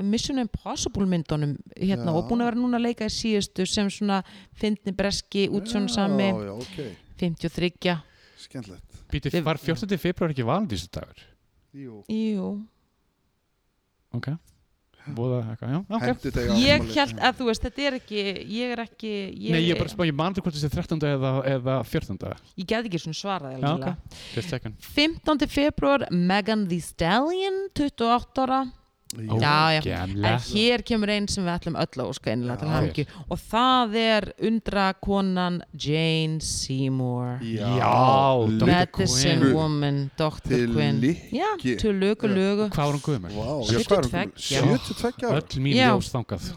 A: Mission Impossible myndunum hérna
C: Já.
A: og búin að vera núna að leika í síðustu sem svona fyndni breski útsjónsami
C: Já, já, ok
A: 53
C: Skemmtilegt
B: Býti,
A: Við-
B: var 14. februar ekki valendísu dagur?
C: Jú
A: Jú.
B: Ok Búða eitthvað, já, ok
C: Hentu þegar
A: ég
C: afmæli.
A: held að þú veist þetta er ekki ég er ekki ég,
B: Nei, ég er bara spá, ég man ekki hvort þessi 13. eða, eða 14.
A: ég get ekki svona svarað
B: Já,
A: eiginlega.
B: ok, just second
A: 15. februar Megan Thee Stallion 28 ára
C: Jú.
A: Já, já.
B: Gemla
A: En hér kemur einn sem við ætlum öll að óska einlega til
C: Já.
A: hamingju og það er undra konan Jane Seymour
B: Já,
C: Lu-
B: Dr.
A: Medicine
B: Quinn.
A: Woman, Dr.
C: Til
A: Quinn
C: lyki.
A: Já, til lögu lögu
B: Hvað var hún gömur?
C: Vá,
A: Já,
C: já, hvað er hún
A: 72?
C: gömul? 72 ára
B: Öll mín
A: Já.
B: ljós þangað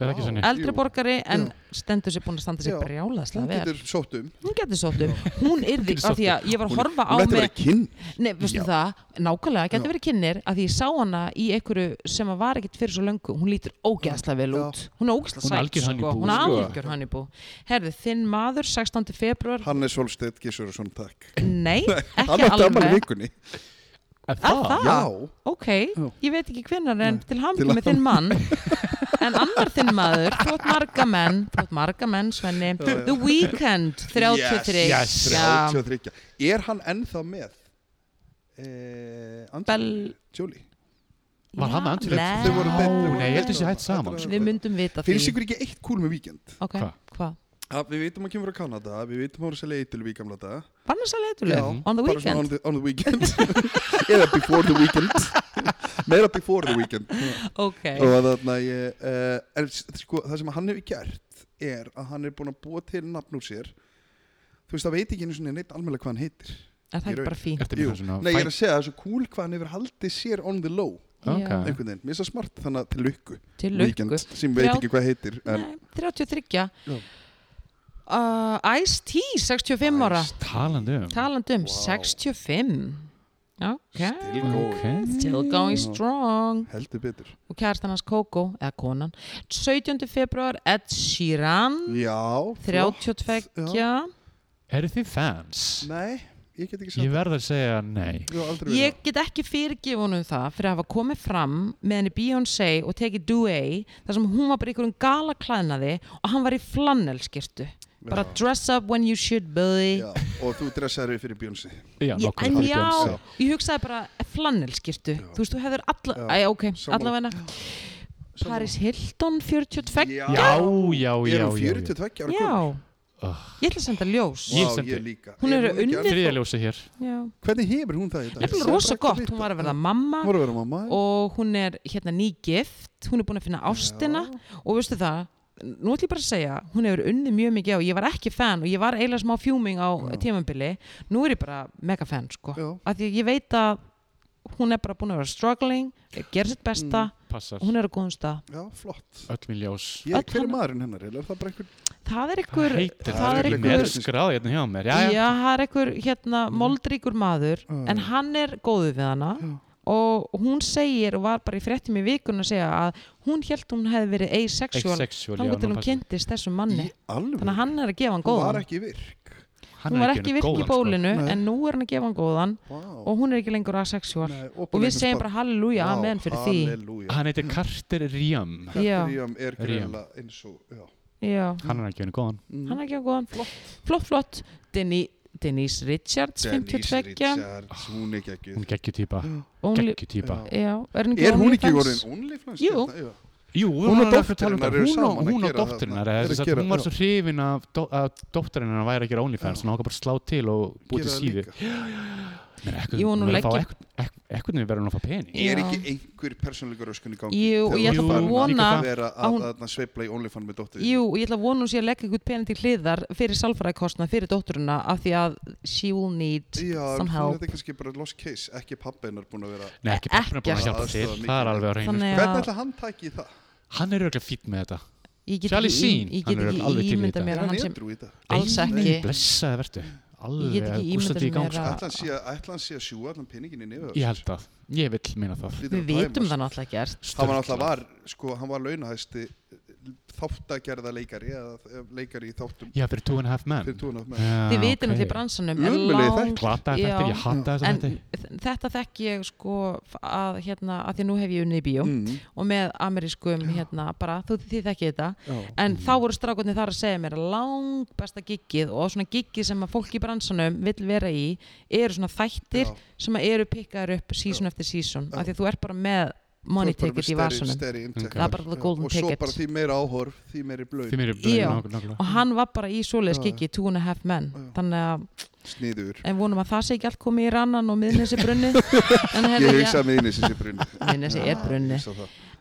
B: Er það ekki
C: Vá.
B: sannig?
A: eldri
C: Jú.
A: borgari en stendur sér búin að standa sér
C: Já.
A: brjálaðslega
C: Hún
A: vel
C: getur sótt um
A: hún getur sótt um, hún yrði
B: getur
A: af því að ég var að
C: Hún
A: horfa á
C: ætti að
A: mig
C: vera kinn
A: Nei, veistu
C: Já.
A: það, nákvæmlega, getur
C: Já.
A: verið kynir að því ég sá hana í einhverju sem að var ekkert fyrir svo löngu, hún lítur ógeðslega vel
C: Já.
A: út hún er ógeðslega
B: Hún
A: sæt,
B: er algjör
A: sko.
B: honeybú,
A: hún er
B: sko.
A: algjör hannibú herðu, þinn maður, 16. februar
C: Hannes Holstedt Gissursson, takk
A: nei,
C: Hann
A: ekki
C: átti afmæli í
A: alveg Ah,
C: vikunni
B: Er
A: það?
C: Já,
A: ok,
C: Já.
A: ég veit ekki hvenær en
C: Nei.
A: til
C: Til
A: hamingju með
C: ham-
A: þinn mann en annar þinn maður, þú átt marga menn þú átt marga menn, Svenni
C: já.
A: The Weeknd, 33
B: Yes, yes.
A: Já.
C: 33 Er hann ennþá með? Eh, Angelina
A: Bell-
C: Jolie
B: Var hann með andlitið?
A: Nei.
C: Þau voru beint-
B: Nei, ég held þessi hætt saman, sko.
A: við myndum vita
C: Finnst
A: því
C: ykkur ekki eitt kúl með víkend?
A: ok,
B: Hva?
A: hvað?
C: Að við vitum að hann kemur frá Kanada, við vitum að hann er selja eitil í gamla dag
A: Var hann að segja
C: Já,
A: leituleg? On the
C: bara svona
A: Weeknd?
C: on the, on the weekend Eða before the weekend Meira before the weekend
A: Ok,
C: Og þarna ég uh, er, sko, Það sem hann hefur gert er að hann er búin að búa til nafn úr sér Þú veist, það veit ekki einu svona neitt almennlega hvað hann heitir
A: er það
C: Ég
A: ekki
C: raun.
A: bara fín?
B: þetta með
C: Jú.
B: svona
C: Nei, ég er að segja það er svo cool hvað hann hefur haldið sér on the low
B: Ok.
A: Já.
C: einhvern veginn, mér finnst það smart þannig að til lukku,
A: til lukku
C: Weekend, sem veit
A: Þrjá-
C: ekki hvað heitir en,
A: Nei, 33
C: Já.
A: uh, Ice-T, 65 ára
B: Talandi um
A: talandum,
C: Wow.
A: 65 ok,
C: Still going.
B: Ok.
A: still going
C: Já.
A: strong
C: heldur betur
A: og kærastan hans Coco, eða konan 17. februar, Ed Sheeran
C: Já, flott.
A: 32
C: já.
B: Eru þið fans?
C: Nei, ég get ekki
B: Ég
C: sagt
B: verð að segja nei
C: Ég, aldrei
A: ég get ekki fyrirgifunum það fyrir að hafa komið fram með henni Beyoncé og tekið Duet þar sem hún var bara í einhverjum gala klæðnaði og hann var í flannelskirtu bara dress up when you should buddy
C: Já, og þú dressaður við fyrir Bjónsi
B: Já,
A: Ég,
B: nokkuð
A: en
B: fyrir
A: já,
B: Beyonce.
A: ég hugsaði bara flannelskirtu,
C: Já.
A: þú veist, þú hefur alla,
C: Já.
A: æ, ok,
C: Sammála.
A: allavega Paris Hilton, 42
C: Já,
B: Já, já, já,
C: Ég er um
B: já, já.
C: 42 ára
A: já,
C: gömul.
A: ég ætla að senda ljós
B: Ég
C: Vá,
B: sendi.
C: ég líka
A: Hún
C: Er
A: hefur
C: ekki
A: unnið-
C: alveg-
B: Þriðja ljósi hér
A: já,
C: Hvernig hefur hún það í dag?
A: nefnilega rosa gott, hún var að verða mamma
C: Hún var að vera mamma
A: Mm. og hún er hérna nýgift hún er búin að finna ástina og veistu það, nú ætlum ég bara að segja hún hefur unnið mjög mikið á, ég var ekki fan og ég var eiginlega smá fjúming á
C: Já.
A: tímambili nú er ég bara mega fan sko
C: Já.
A: af því að ég veit að hún er bara búin að vera struggling gera sitt besta
C: Mm.
B: Passar
A: og hún er á góðum stað
C: Já, flott
B: Öll mín ljós
C: Ég,
A: Öll
C: Hver er
A: hann-
C: maðurinn hennar? eiginlega? Er það bara einhver
A: það er
B: Hvað
A: ykkur
B: heitir
A: það er
B: Mér
A: ykkur
B: er skráð hérna hjá mér Já, já
A: Já, það er einhver hérna
C: Mm.
A: moldríkur maður
C: Já.
A: en hann er góður við hana
C: Já.
A: og hún segir og var bara í fréttum í vikun að segja að hún held hún hefði verið asexual
B: Asexual, já,
A: þannig til
B: nú
A: hún
B: passar.
A: kynntist þessum manni
C: Alveg
A: þannig að hann er að gefa hann
C: Hún var
A: góðan
C: ekki virk
B: Hann
A: hún
B: er
A: var
B: ekki
A: ekki
B: einu
A: virk í
B: góðan, sko.
A: bólinu
C: Nei.
A: en nú er hann að gefa hann góðan
C: Vá
A: og hún er ekki lengur asexual
C: Nei,
A: og við segjum bara halleluja, amen fyrir því
C: Halleluja
B: Hann heitir Carter Riam
A: Já.
C: Ríam er
B: Ríam.
C: greinlega eins og já. Mm.
A: Já,
B: Hann er ekki henni góðan
A: hann er að gefa hann góðan flott, flott, Deni, Denise Richards
C: Denise
A: 52
C: Richards, hún er ekki
B: Hún er geggjutýpa
A: Only-
B: Geggjutýpa
A: Já,
C: Já.
A: er hún ekki
C: Er hún
A: OnlyFans?
C: ekki orðin OnlyFans?
A: Jú.
C: hérna? Já.
B: Jú,
C: Hún og
B: var alveg að tala um
C: dóttirinnar
B: það.
C: eru
B: Hún og-
C: saman að
B: Hún og
C: gera það
B: dóttirinnar
C: þarna.
B: eða
C: Eru
B: þess
C: að
B: að
C: gera-
B: Hún var
C: já.
B: svo hrifin af dó- að dóttirinnar væri að gera OnlyFans
C: Já.
B: Hún ákvað bara að slá til og búið
C: Gera
B: til
C: það
B: síðu
C: líka.
A: Jú, hún leggi-
B: Ekkert niður verður hún að fá pening
A: Já.
C: Er ekki einhver persónleika röskun í gangi?
A: Jú, og
C: Þegar
A: ég
B: ætla
C: þú
B: bara
C: farin
B: að vona
C: að vera
A: að
C: að,
A: hún-
C: að, að sveifla í OnlyFans með dóttur
A: Jú, og ég ætla að vona hún sé að leggja eitthvað pening til hliðar fyrir salfræðikostna, fyrir dótturuna af því að she will need
C: Já, en
A: some
C: hún er
A: help
C: þetta kannski bara lost case ekki pappi hennar búin að vera
B: Nei, ekki pappina búin að
A: Ekkert.
B: hjálpa til
C: Aðstoða
B: Það er
C: mikið.
B: alveg að reyna
A: Þannig
C: Hvernig
A: að
C: ætla hann tæki í það?
B: Hann er auðvitað fýtt með þetta
A: ég get
B: Charlie
A: ekki,
B: Sheen,
A: ég
B: hann
A: get
B: er alveg til í
A: ekki ímynda
B: þetta.
A: mér að
C: Er hann
A: hann sem
C: edru í það?
A: alls
B: Nei,
A: ekki
B: Blessaði verður
A: Ég get
B: Alveg
A: ekki
B: gústandi í
A: ímyndað
B: gang
A: mér
B: sko.
A: að-
C: Ætla hann sé að- ætli hann sé að sjúa allan peningin í nefið á
B: Ég
C: sér?
B: held það Ég vil meina það
C: Hlýtur
A: Við
C: að sko.
A: vitum
C: tæmast.
A: það náttúrulega gert
C: Hann var náttúrulega var, sko, hann var launahæsti þáttagerða leikari eða eh, leikari í þáttum
B: Já, fyrir two and a half men
C: fyrir túnaf með
A: Þið vitum náttúrulega í bransanum er
C: Ömurlegir
A: langt-
B: Glata þetta,
A: Já.
B: ég hata þess
A: En
B: að
A: þetta þekk ég sko að hérna, að því að nú hef ég unnið í
C: Mm.
A: bíó og með amerískum hérna bara, þú þið þekki þetta en þá voru strákunni þar að segja mér að lang besta giggið og svona giggið sem að fólk í bransanum vill vera í eru svona þættir
C: Já.
A: sem að eru pikkaður upp season eftir season
C: Já.
A: af því að þú ert bara með money ticket í vasunum
C: Það
A: Það er bara the golden
C: Og svo
A: ticket.
C: bara því meira áhorf, því meiri
B: Þið
C: blöð
B: mér
A: Já.
B: er nákvæmlega
A: og hann var bara í svoleiðis
C: Já.
A: giggi two and a half men
C: Já.
A: þannig að
C: Sniður
A: en vonum að það sé ekki allt komið í rannan og miðnesi brunni en
C: Ég
A: herði
C: hugsa að miðinni sem sé brunni
A: miðnesi er brunni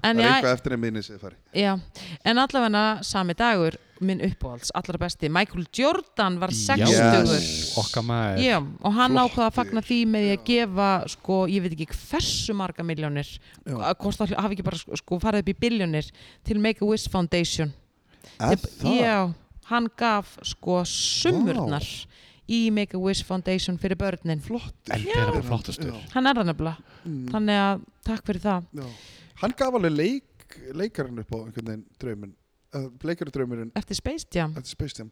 C: Það
A: en
C: er
A: já,
C: eitthvað eftir en miðinni sem fari
A: já, en allavega sami dagur minn uppáhalds, allra besti Michael Jordan var 60
B: Yes, Okkar maður
A: Já, og hann
C: Flottur.
A: ákvaða að fagna því með því að gefa, sko, ég veit ekki hversu marga miljónir,
C: Já.
A: að hvort það hafi ekki bara sko- sko farið upp í biljónir til Make-A-Wish Foundation.
C: Er
A: Þeir- Já, hann gaf sko sumurnar í Make-A-Wish Foundation fyrir börnin.
C: Flottur
B: En það er bara flottastur
C: Já.
A: Hann er það nefnilega,
C: Mm.
A: þannig að takk fyrir það.
C: Já. Hann gaf alveg leik, leikarinn upp á einhvern veginn drauminn, uh, leikaradraumurinn
A: Eftir Space Jam,
C: eftir Space Jam,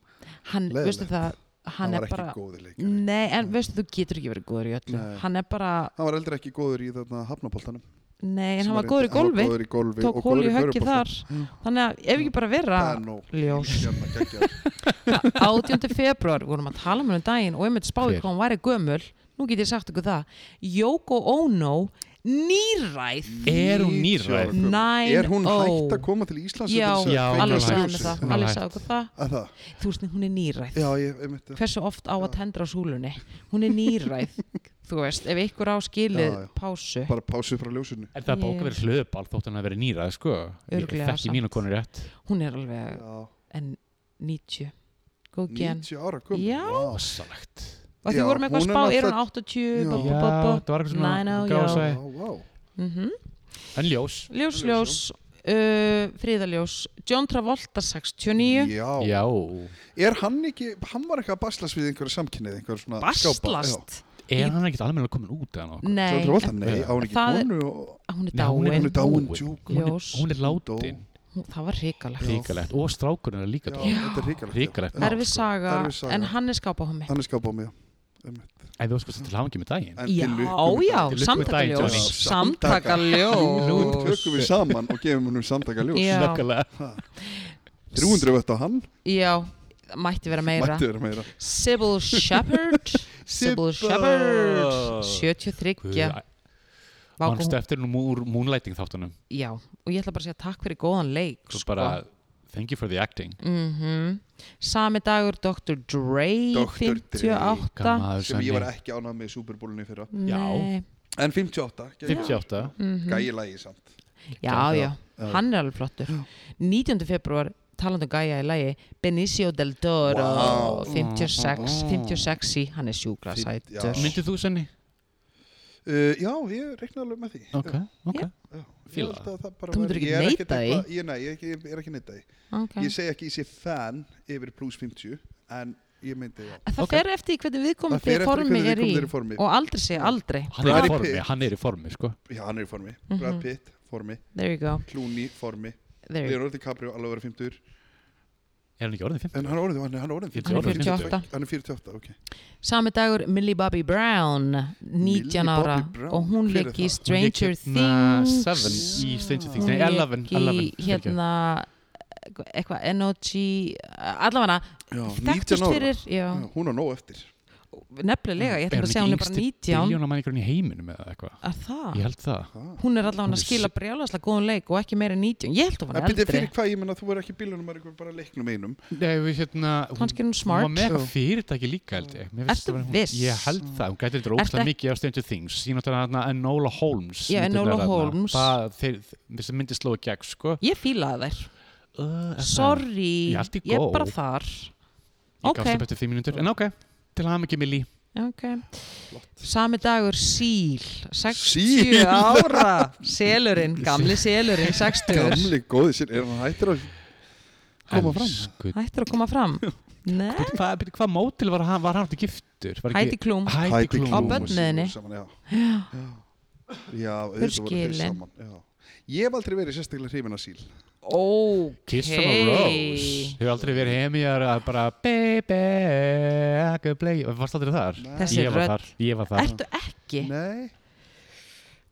A: hann,
C: Leiðinlegt.
A: veistu það, hann,
C: hann
A: er
C: var ekki
A: bara, Mm.
C: góði leikari
A: nei, en
C: Nei.
A: veistu þú getur ekki verið góður í öllu.
C: Nei.
A: Hann er bara,
C: hann var eldur ekki góður í þarna hafnapoltanum
A: nei, en
C: Sem
A: hann var góður í
C: hann var
A: golfi,
C: góður í golfi
A: tók
C: og
A: hól í
C: góður
A: höggið
C: körfubolta.
A: þar. Þannig að ef ekki bara
C: það er
A: vera
C: nóg
A: ljós.
C: Hérna, geggjaður.
A: 18. februar vorum að tala um hennu daginn og ég myndi spáði
B: Hver?
A: hvað hún væri gömul nú get ég sagt ykkur það Yoko Ono nýræð
B: Er hún
C: 90 ára
B: nýræð?
C: gömul.
A: Nine
C: er hún hægt
A: oh.
C: að koma til Íslands
A: Já,
C: til þess að
B: Já,
C: kveikja
A: alveg
B: hún er
A: sagði
C: ljósið?
A: með
B: hætt.
A: það
B: Hún er
A: alveg
B: hætt.
A: sagði okkur það
C: Að það?
A: þú veist, hún er nýræð
C: já, ég, ég myndi
A: hversu oft á að tendra á súlunni hún er nýræð, þú veist ef ykkur á skilið
C: Já, já.
A: pásu
C: bara pásu frá ljósunni
B: Er það að bóka
A: Ég-
B: verið hlöðbál þótt hann að verið nýrað sko Ég
A: Örugglega,
B: Þekki
A: samt.
B: mínu konur rétt
A: hún er alveg
C: já,
A: en 90 góð gen
C: 90 ára gömul
A: Já.
C: Vá.
B: Ossalegt
A: og því
C: Já,
A: vorum eitthvað
C: hún
A: að
C: er
A: spá, er hún
C: náttúrulega-
A: 80
C: Já.
A: bá,
B: Já,
A: bá, bá,
B: það var eitthvað svona
A: Nine oh,
B: gáðu að
A: já.
B: segja.
C: Já, vá.
A: bá. Mhm.
B: En ljós.
A: Ljós, ljós, uh, fríðaljós John Travolta 69
C: Já.
B: Já.
C: Er hann ekki, hann var eitthvað að baslast við einhverja samkynnið, einhverja svona skápa. Já.
A: Baslast
B: Er hann ekkert almennilega komin út eða nokkuð?
C: John
A: Nei,
C: Travolta, nei,
B: Já.
C: á hann ekki
A: Það er-
C: konu og...
A: hún er
B: Nei, hún er-
C: Hún
A: dáin
C: er dáin,
B: Dáin.
C: djúk.
B: Hún er-
A: Ljós,
B: Hún er látin.
A: Hún- það var hrikalegt
C: Já.
B: Ríkalegt. Og strákurinn er líka
C: Já,
B: dáin.
C: þetta er hrikalegt.
B: Hrikalegt.
C: Já.
A: Erfið saga,
C: Erfið saga.
A: en hann er skápað hún
C: Hann er skápa á mig, já.
B: En við óskast til hafa ekki með daginn.
C: En til
A: Já,
C: lukku með
A: já,
C: daginn.
B: Til lukku með daginn,
A: samtakaljós
B: Johnny.
C: Nú
A: Samtakaljós
C: tökum við saman og gefum hennum samtaka ljós.
A: Já.
B: Snöggalega.
C: 300 vett á hann,
A: Já, mætti vera meira
C: mætti vera meira.
A: Sybil Shepherd Sybil Shepherd 73 Vá, hvað
B: Manstu
A: hún-
B: eftir nú úr Moonlighting þáttunum.
A: Já, og ég ætla bara að segja takk fyrir góðan leik
B: Svo
A: sko.
B: bara, thank you for the acting.
A: Mhm. Sami dagur Dr. Dre
C: Dr. Dre,
A: 58
B: Gammaður
C: Sem Sko, ég var
B: Svenni.
C: ekki ánað með í Superbólunni fyrra.
A: Nei. mhm.
C: En 58, gegn-
B: 58.
C: gæi lagi samt.
A: Já, já,
C: Já.
A: hann er alveg flottur 19. februar, talandi um gæja í lægi Benicio del Toro
C: Vá. Mhm.
A: 56, 56 hann er sjúkla
C: Fínt, já.
A: sætur
B: Myndið þú senni?
C: Uh, já, ég reikna alveg með því.
B: Ok, ok.
C: Já.
B: Fíla
C: Ég held að það bara
A: Þú myndir
C: væri-
A: ekki
C: ég er
A: neita
C: ekkert
A: því?
C: eitthvað- Ég, nei, ég, ég, ég er ekki neita því.
A: okay.
C: Ég segi ekki ég sé fan yfir plus 50, en ég myndi já.
A: Það
B: Ok.
A: fer eftir í hvernig
C: Það
A: viðkomandi
C: fer eftir
A: formi
C: hvernig
A: er í
C: viðkomandi er í formi.
A: og aldrei segja aldrei
B: Hann er, í
C: Brad
B: formi,
C: Pitt.
B: hann er í formi, sko.
C: Já, hann er í formi.
A: Mhm.
C: Brad Pitt, formi.
A: There you go,
C: Clooney, formi.
A: There you go.
C: Leonardo DiCaprio, alveg verið 50.
B: Er hann ekki orðið 50?
C: En hann er orðið, hann er, hann er orðið 50.
A: Hann er
B: orðinn
A: 48
C: Hann er 48, ok.
A: Sami dagur Millie Bobby Brown 19
C: Millie
A: ára
C: Bobby Brown,
A: og hún
C: hver er
A: leik í
C: það?
A: Stranger
B: Hérna, Seven
A: Things
B: í Stranger Things.
A: hún
B: Nei, Eleven.
A: leik í
B: Eleven. fyrirgefðu.
A: hérna eitthvað Energy allavega
C: Já, 19
A: þekktist
C: ára.
A: fyrir já,
C: Já, hún á nóg eftir.
A: nefnilega, ég ætla bara að segja hún er bara 19
B: biljóna manningurinn í heiminum eða eitthvað?
A: að það,
B: Ég held það.
C: Ah.
A: hún er allavega
B: Hún
A: að
B: er
A: skila brjálaslega góðan leik og ekki meira en 19, ég held að hún
C: En
A: er
C: byrja
A: eldri
C: fyrir hvað, ég menna þú er ekki bílunum, maður er bara leiknum einum.
B: Nei, við hérna...
A: kannski er hún smart
B: Hún var með eitthvað fyrirtæki líka, held ég. Mér finnst
A: Ertu
B: það vera hún-
A: viss?
B: Ég held það. Hún gæti
A: Ertu
B: eitthvað óslega
A: ekki-
B: mikið á Stranger Things. Ég náttúrulega hérna Enola Holmes.
A: Já,
B: myndi
A: Enola
B: vera þarna.
A: Holmes.
B: Það, þeir, þeir myndi sló í gegn, sko.
A: ég fílaði þær
B: Uh, er það-
A: sorry,
B: Ég allt í
A: ég er
B: góð.
A: bara þar
B: Ég
A: ok,
B: gafst upp eftir 5 mínútur. En ok, til að hafa mikið milli.
A: ok sami dagur síl 60
C: Síl.
A: ára selurinn, gamli selurinn 60
C: Gamli góði sér, er hann hættur að koma fram?
B: Elsku
A: hættur að koma fram Nei,
C: Sko,
B: Bíddu, Hvað bíddu, hvað mótil var hann, var hann eftir giftur? Var
A: hætti klúm
B: Heidi Klum.
A: Klum. Á börn. börniðinni.
C: Saman, já. Já. Já, auðvitað voru þeir
A: skilin.
C: saman. Já. Ég hef aldrei verið sérstaklega hrifin að síl.
A: ok
B: Kiss from a Rose. Hefur aldrei verið heimíðar að bara Baby, I can play Varst aldrei þar?
A: Þessi
B: ég var
A: rödd.
B: þar, ég var þar
A: ertu ekki
C: Nei,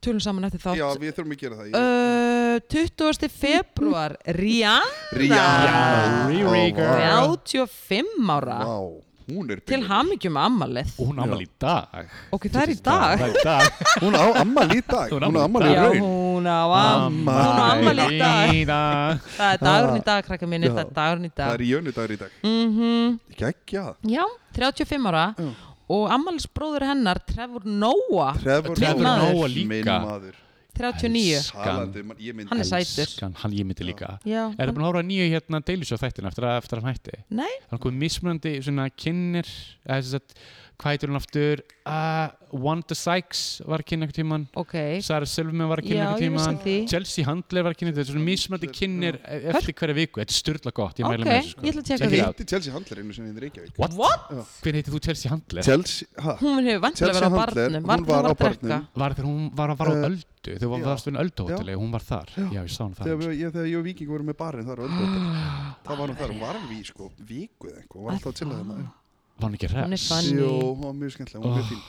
A: tölum saman eftir
C: já,
A: þátt
C: við þurfum að gera það. Ég-
A: uh, 20. februar Rihanna
C: Rihanna.
B: Riri
C: Ó,
B: girl.
C: vá.
A: 85 ára
C: Vá, hún er
A: til
C: byrjuð.
A: hamingjum ammalið
B: Og hún ámali í dag
A: ok, það er í dag
B: Það er í dag
C: Hún á ammal í dag
B: Hún á
C: Hún á
B: afmæli í
C: ammal í
A: Já,
C: raun
A: hún á amma Hún á ammali í dag
B: dag
A: Það er dagurinn í dag, krakka mínir, það er dagurinn í
C: Það
A: dag
C: er í jönu dagur í dag
A: mm
C: Gekja
A: Já, 35 ára
B: Mm.
C: Já.
A: Og ammælisbróður hennar, Trevor Noah
C: Trevor
A: Trevor
C: Noah,
B: Noah líka.
C: Minn maður
A: 39
B: Elskan.
C: Talandi mann, Ég myndi
A: Hann er sæ- sætur.
B: Elskan, Hann ég myndi líka
A: Já,
B: Er það
A: hann-
B: búin að hóra nýju hérna deilis á þættinu eftir að, eftir að hann hætti?
A: Nei.
B: Það er komið mismunandi svona kynir, eða þess að, hvað heitir hún aftur? Uh, Wanda Sykes var kynna einhvern tíman,
A: ok
B: Sarah Silverman var
A: Já,
B: kynna einhvern
A: ég vissi
B: tíman,
A: því.
B: Chelsea Handler var kynna, þetta er svona mismunandi kynir e- eftir hverja viku, þetta er styrla gott, ég
A: Ok,
B: mæla með þessu sko.
A: ég ætla að tjekka
B: Check
A: því
B: it out.
C: Hitti Chelsea Handler einu sinni í Reykjavík
B: What?
C: Já.
B: Hvernig heitir þú Chelsea Handler?
C: Chelsea, ha?
A: Hún hefur vantilega verið
C: Chelsea
A: á
C: Handler,
A: barnum
C: hún
A: Barnum
C: var á
A: að drekka
C: barnum.
B: Var þegar hún var, var á
C: Eh,
B: öldu, þegar
C: já.
B: hún varst hún ölduhóteli, hún var þar. Já, ég sá hún
C: Þegar
B: það.
C: við- ég, þegar ég og Víking vorum með barinn þar á Ölduðar
A: Ah.
C: Það var hún þar, hún var alveg í sko viku eða eitthvað, hún var alltaf að chilla þarna
B: Var hún ekki
A: Hún er
B: ræð?
A: Funny.
C: Jó, hún var mjög skemmtilega, hún var mjög fín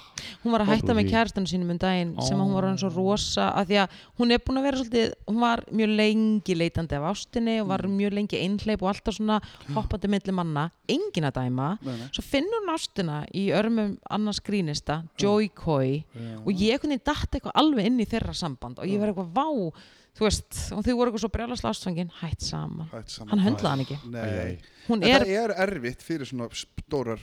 A: Hún var að hætta með
B: Ótrúlegt.
A: kærastanu sínum um daginn sem að hún var hann
B: Oh.
A: svo rosa að því að hún er búin að vera svolítið hún var mjög lengi leitandi af ástinni og var
B: Mm.
A: mjög lengi einhleip og alltaf svona hoppandi milli manna engin að dæma
C: Nei, nei.
A: svo finnur hún ástina í örmum annars grínista,
B: Mm.
A: Joy Coy og ég kunni datt eitthvað alveg inn í þeirra samband og ég var eitthvað vá þú veist, og þau voru eitthvað svo brjálaslega ástfangin hætt saman,
C: Hætt saman.
A: hann höndlaði hann ekki
C: Nei,
A: hún
C: þetta
A: er,
C: er erfitt fyrir svona stórar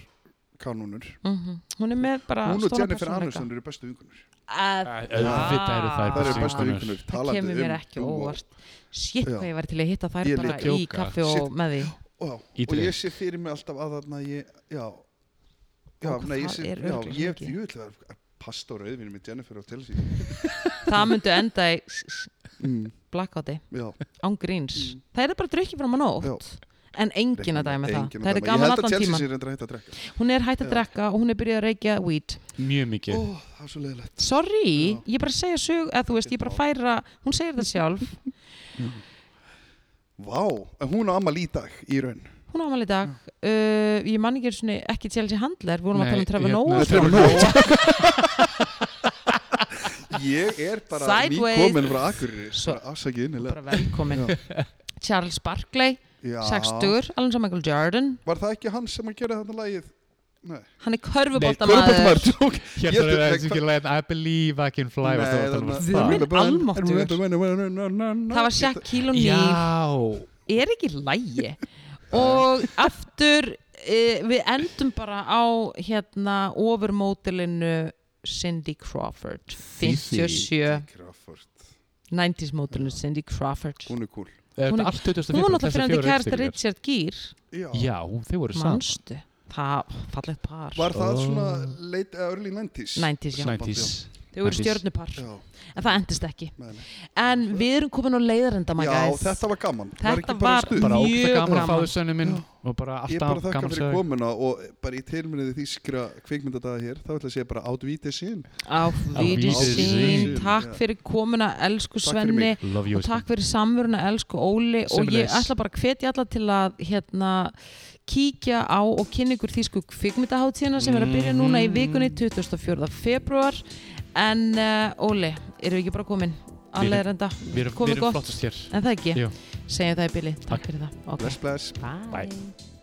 C: kanunur
A: mm hún er með bara
C: Hún og
A: Ah, stóra
C: Jennifer
A: persónuleika.
C: Anisson eru bestu vingunur
A: Að-
B: Auðvitað eru
A: Ah,
B: þær
C: Það eru
B: bestu
C: bestu um
B: vinkonur.
C: vingunur
A: það kemur mér ekki óvart shit
C: Já.
A: hvað ég væri til að hitta þær
C: Ég
A: bara
B: líka.
A: í
B: Djóka.
A: kaffi og
C: Shit.
A: með því
C: Ó,
B: Í
C: og ég
B: drykk.
C: sé fyrir mig alltaf að þarna ég, já, já,
A: Ó, hvað
C: nei, ég
A: það
C: sé,
A: er
C: já,
A: örugglega
C: ég,
A: mikið.
C: ég ætla að pasta á rauðvinni með Jennifer á telsi.
A: það myndi enda í
C: mm,
A: blackouti,
C: já,
A: án gríns
C: Mm.
A: það er bara drukkið fram að nótt en engin að dæmi það, það er
C: Ég
A: gaman
C: held að
A: allan
C: Chelsea
A: tíman
C: sér reyndar hægt að drekka
A: hún er hægt að
C: Já.
A: drekka og hún er byrjuð að reykja weed
B: mjög mikið
C: Ó, það er svo leiðilegt
A: sorry,
C: Já.
A: ég bara segja sög eða þú veist, ég bara færa, hún segir það sjálf
C: Vá, en hún á ammali í dag í raun
A: hún á ámali í dag uh, ég man ekki einu sinni, ekki Chelsea Handler við vorum að
B: Nei,
A: tala um Trevor
B: hérna-
A: Noah
C: Trevor Noah Ég er bara
A: Sideways.
C: nýkomin frá Akureyri
A: Svo-
C: bara Afsakið innilega
A: bara velkomin Charles Barkley,
C: Já.
A: sextugur Alonso Michael Jordan,
C: Var það ekki hann sem að gera þetta lagið? Nei,
A: hann er
C: körfuboltamaður,
A: körfuboltamaður
C: tjók.
B: Hér
C: Ég
B: þarf
C: þurfti-
B: að þessi ekki lægin I believe I can fly
C: Nei,
B: var það að tala um
C: þarna-
B: það?
A: Guð minn almáttugur. það
C: Það
A: var Shaquille O'Neal
B: Já
A: er ekki lægi og aftur uh, við endum bara á hérna ofurmótilinu Cindy Crawford
B: Fifi.
A: 57
C: Crawford,
A: 90s mótilinu Cindy Crawford
C: hún er cool
B: Er
A: Hún er-
B: þetta allt 25?
A: hún var náttúrulega fyrir
B: Þessar
A: sko. hann
B: fjórar
A: kærasta
B: uppstillingar?
A: Richard Gere
C: Já,
B: Já, þau voru saman
A: mannstu það, fallegt par
C: Var það
B: Ó.
C: svona late, eh, early 90s?
A: 90s já,
B: 90s
A: þau voru
B: 90s.
A: stjörnupar
C: Já,
A: en það endist ekki
C: nei, nei.
A: en við erum komin á leiðarenda my
C: já
A: guys.
C: þetta var gaman
A: Þetta
C: ekki bara
A: var-
C: stuð?
B: Bara
A: Mjög
B: ógæta gaman að
A: gaman.
B: fáðu sönni minn
C: Já.
B: Og bara
C: Ég er bara
B: alltaf
C: þakka
B: gaman
C: fyrir
B: sög
C: komuna og bara í tilminniði þýskra kvikmyndadaga hér, þá ætla ég að segja bara átvítið sín.
A: á
B: Wiedersehen.
A: Víðisín takk
C: Já.
A: fyrir komuna elsku
C: Takk fyrir
A: Svenni
B: Love you
A: og takk fyrir samveruna elsku Óli og ég
B: Sömuleiðis.
A: ætla bara að hvetja alla til að hérna kíkja á og kynna ykkur þýsku kvikmyndaháttíðina sem er að byrja núna í vikunni
B: Mhm.
A: 24. februar en uh, Óli, erum við ekki bara komin
B: Við erum-
A: alveg reynda,
B: Við erum- við
A: komið
B: erum
A: gott
B: flottast hér
A: en það ekki,
B: Jú.
A: segjum það í bili takk
B: Takk.
A: fyrir það, ok,
C: Bless, bless.
A: bye,
B: Bye.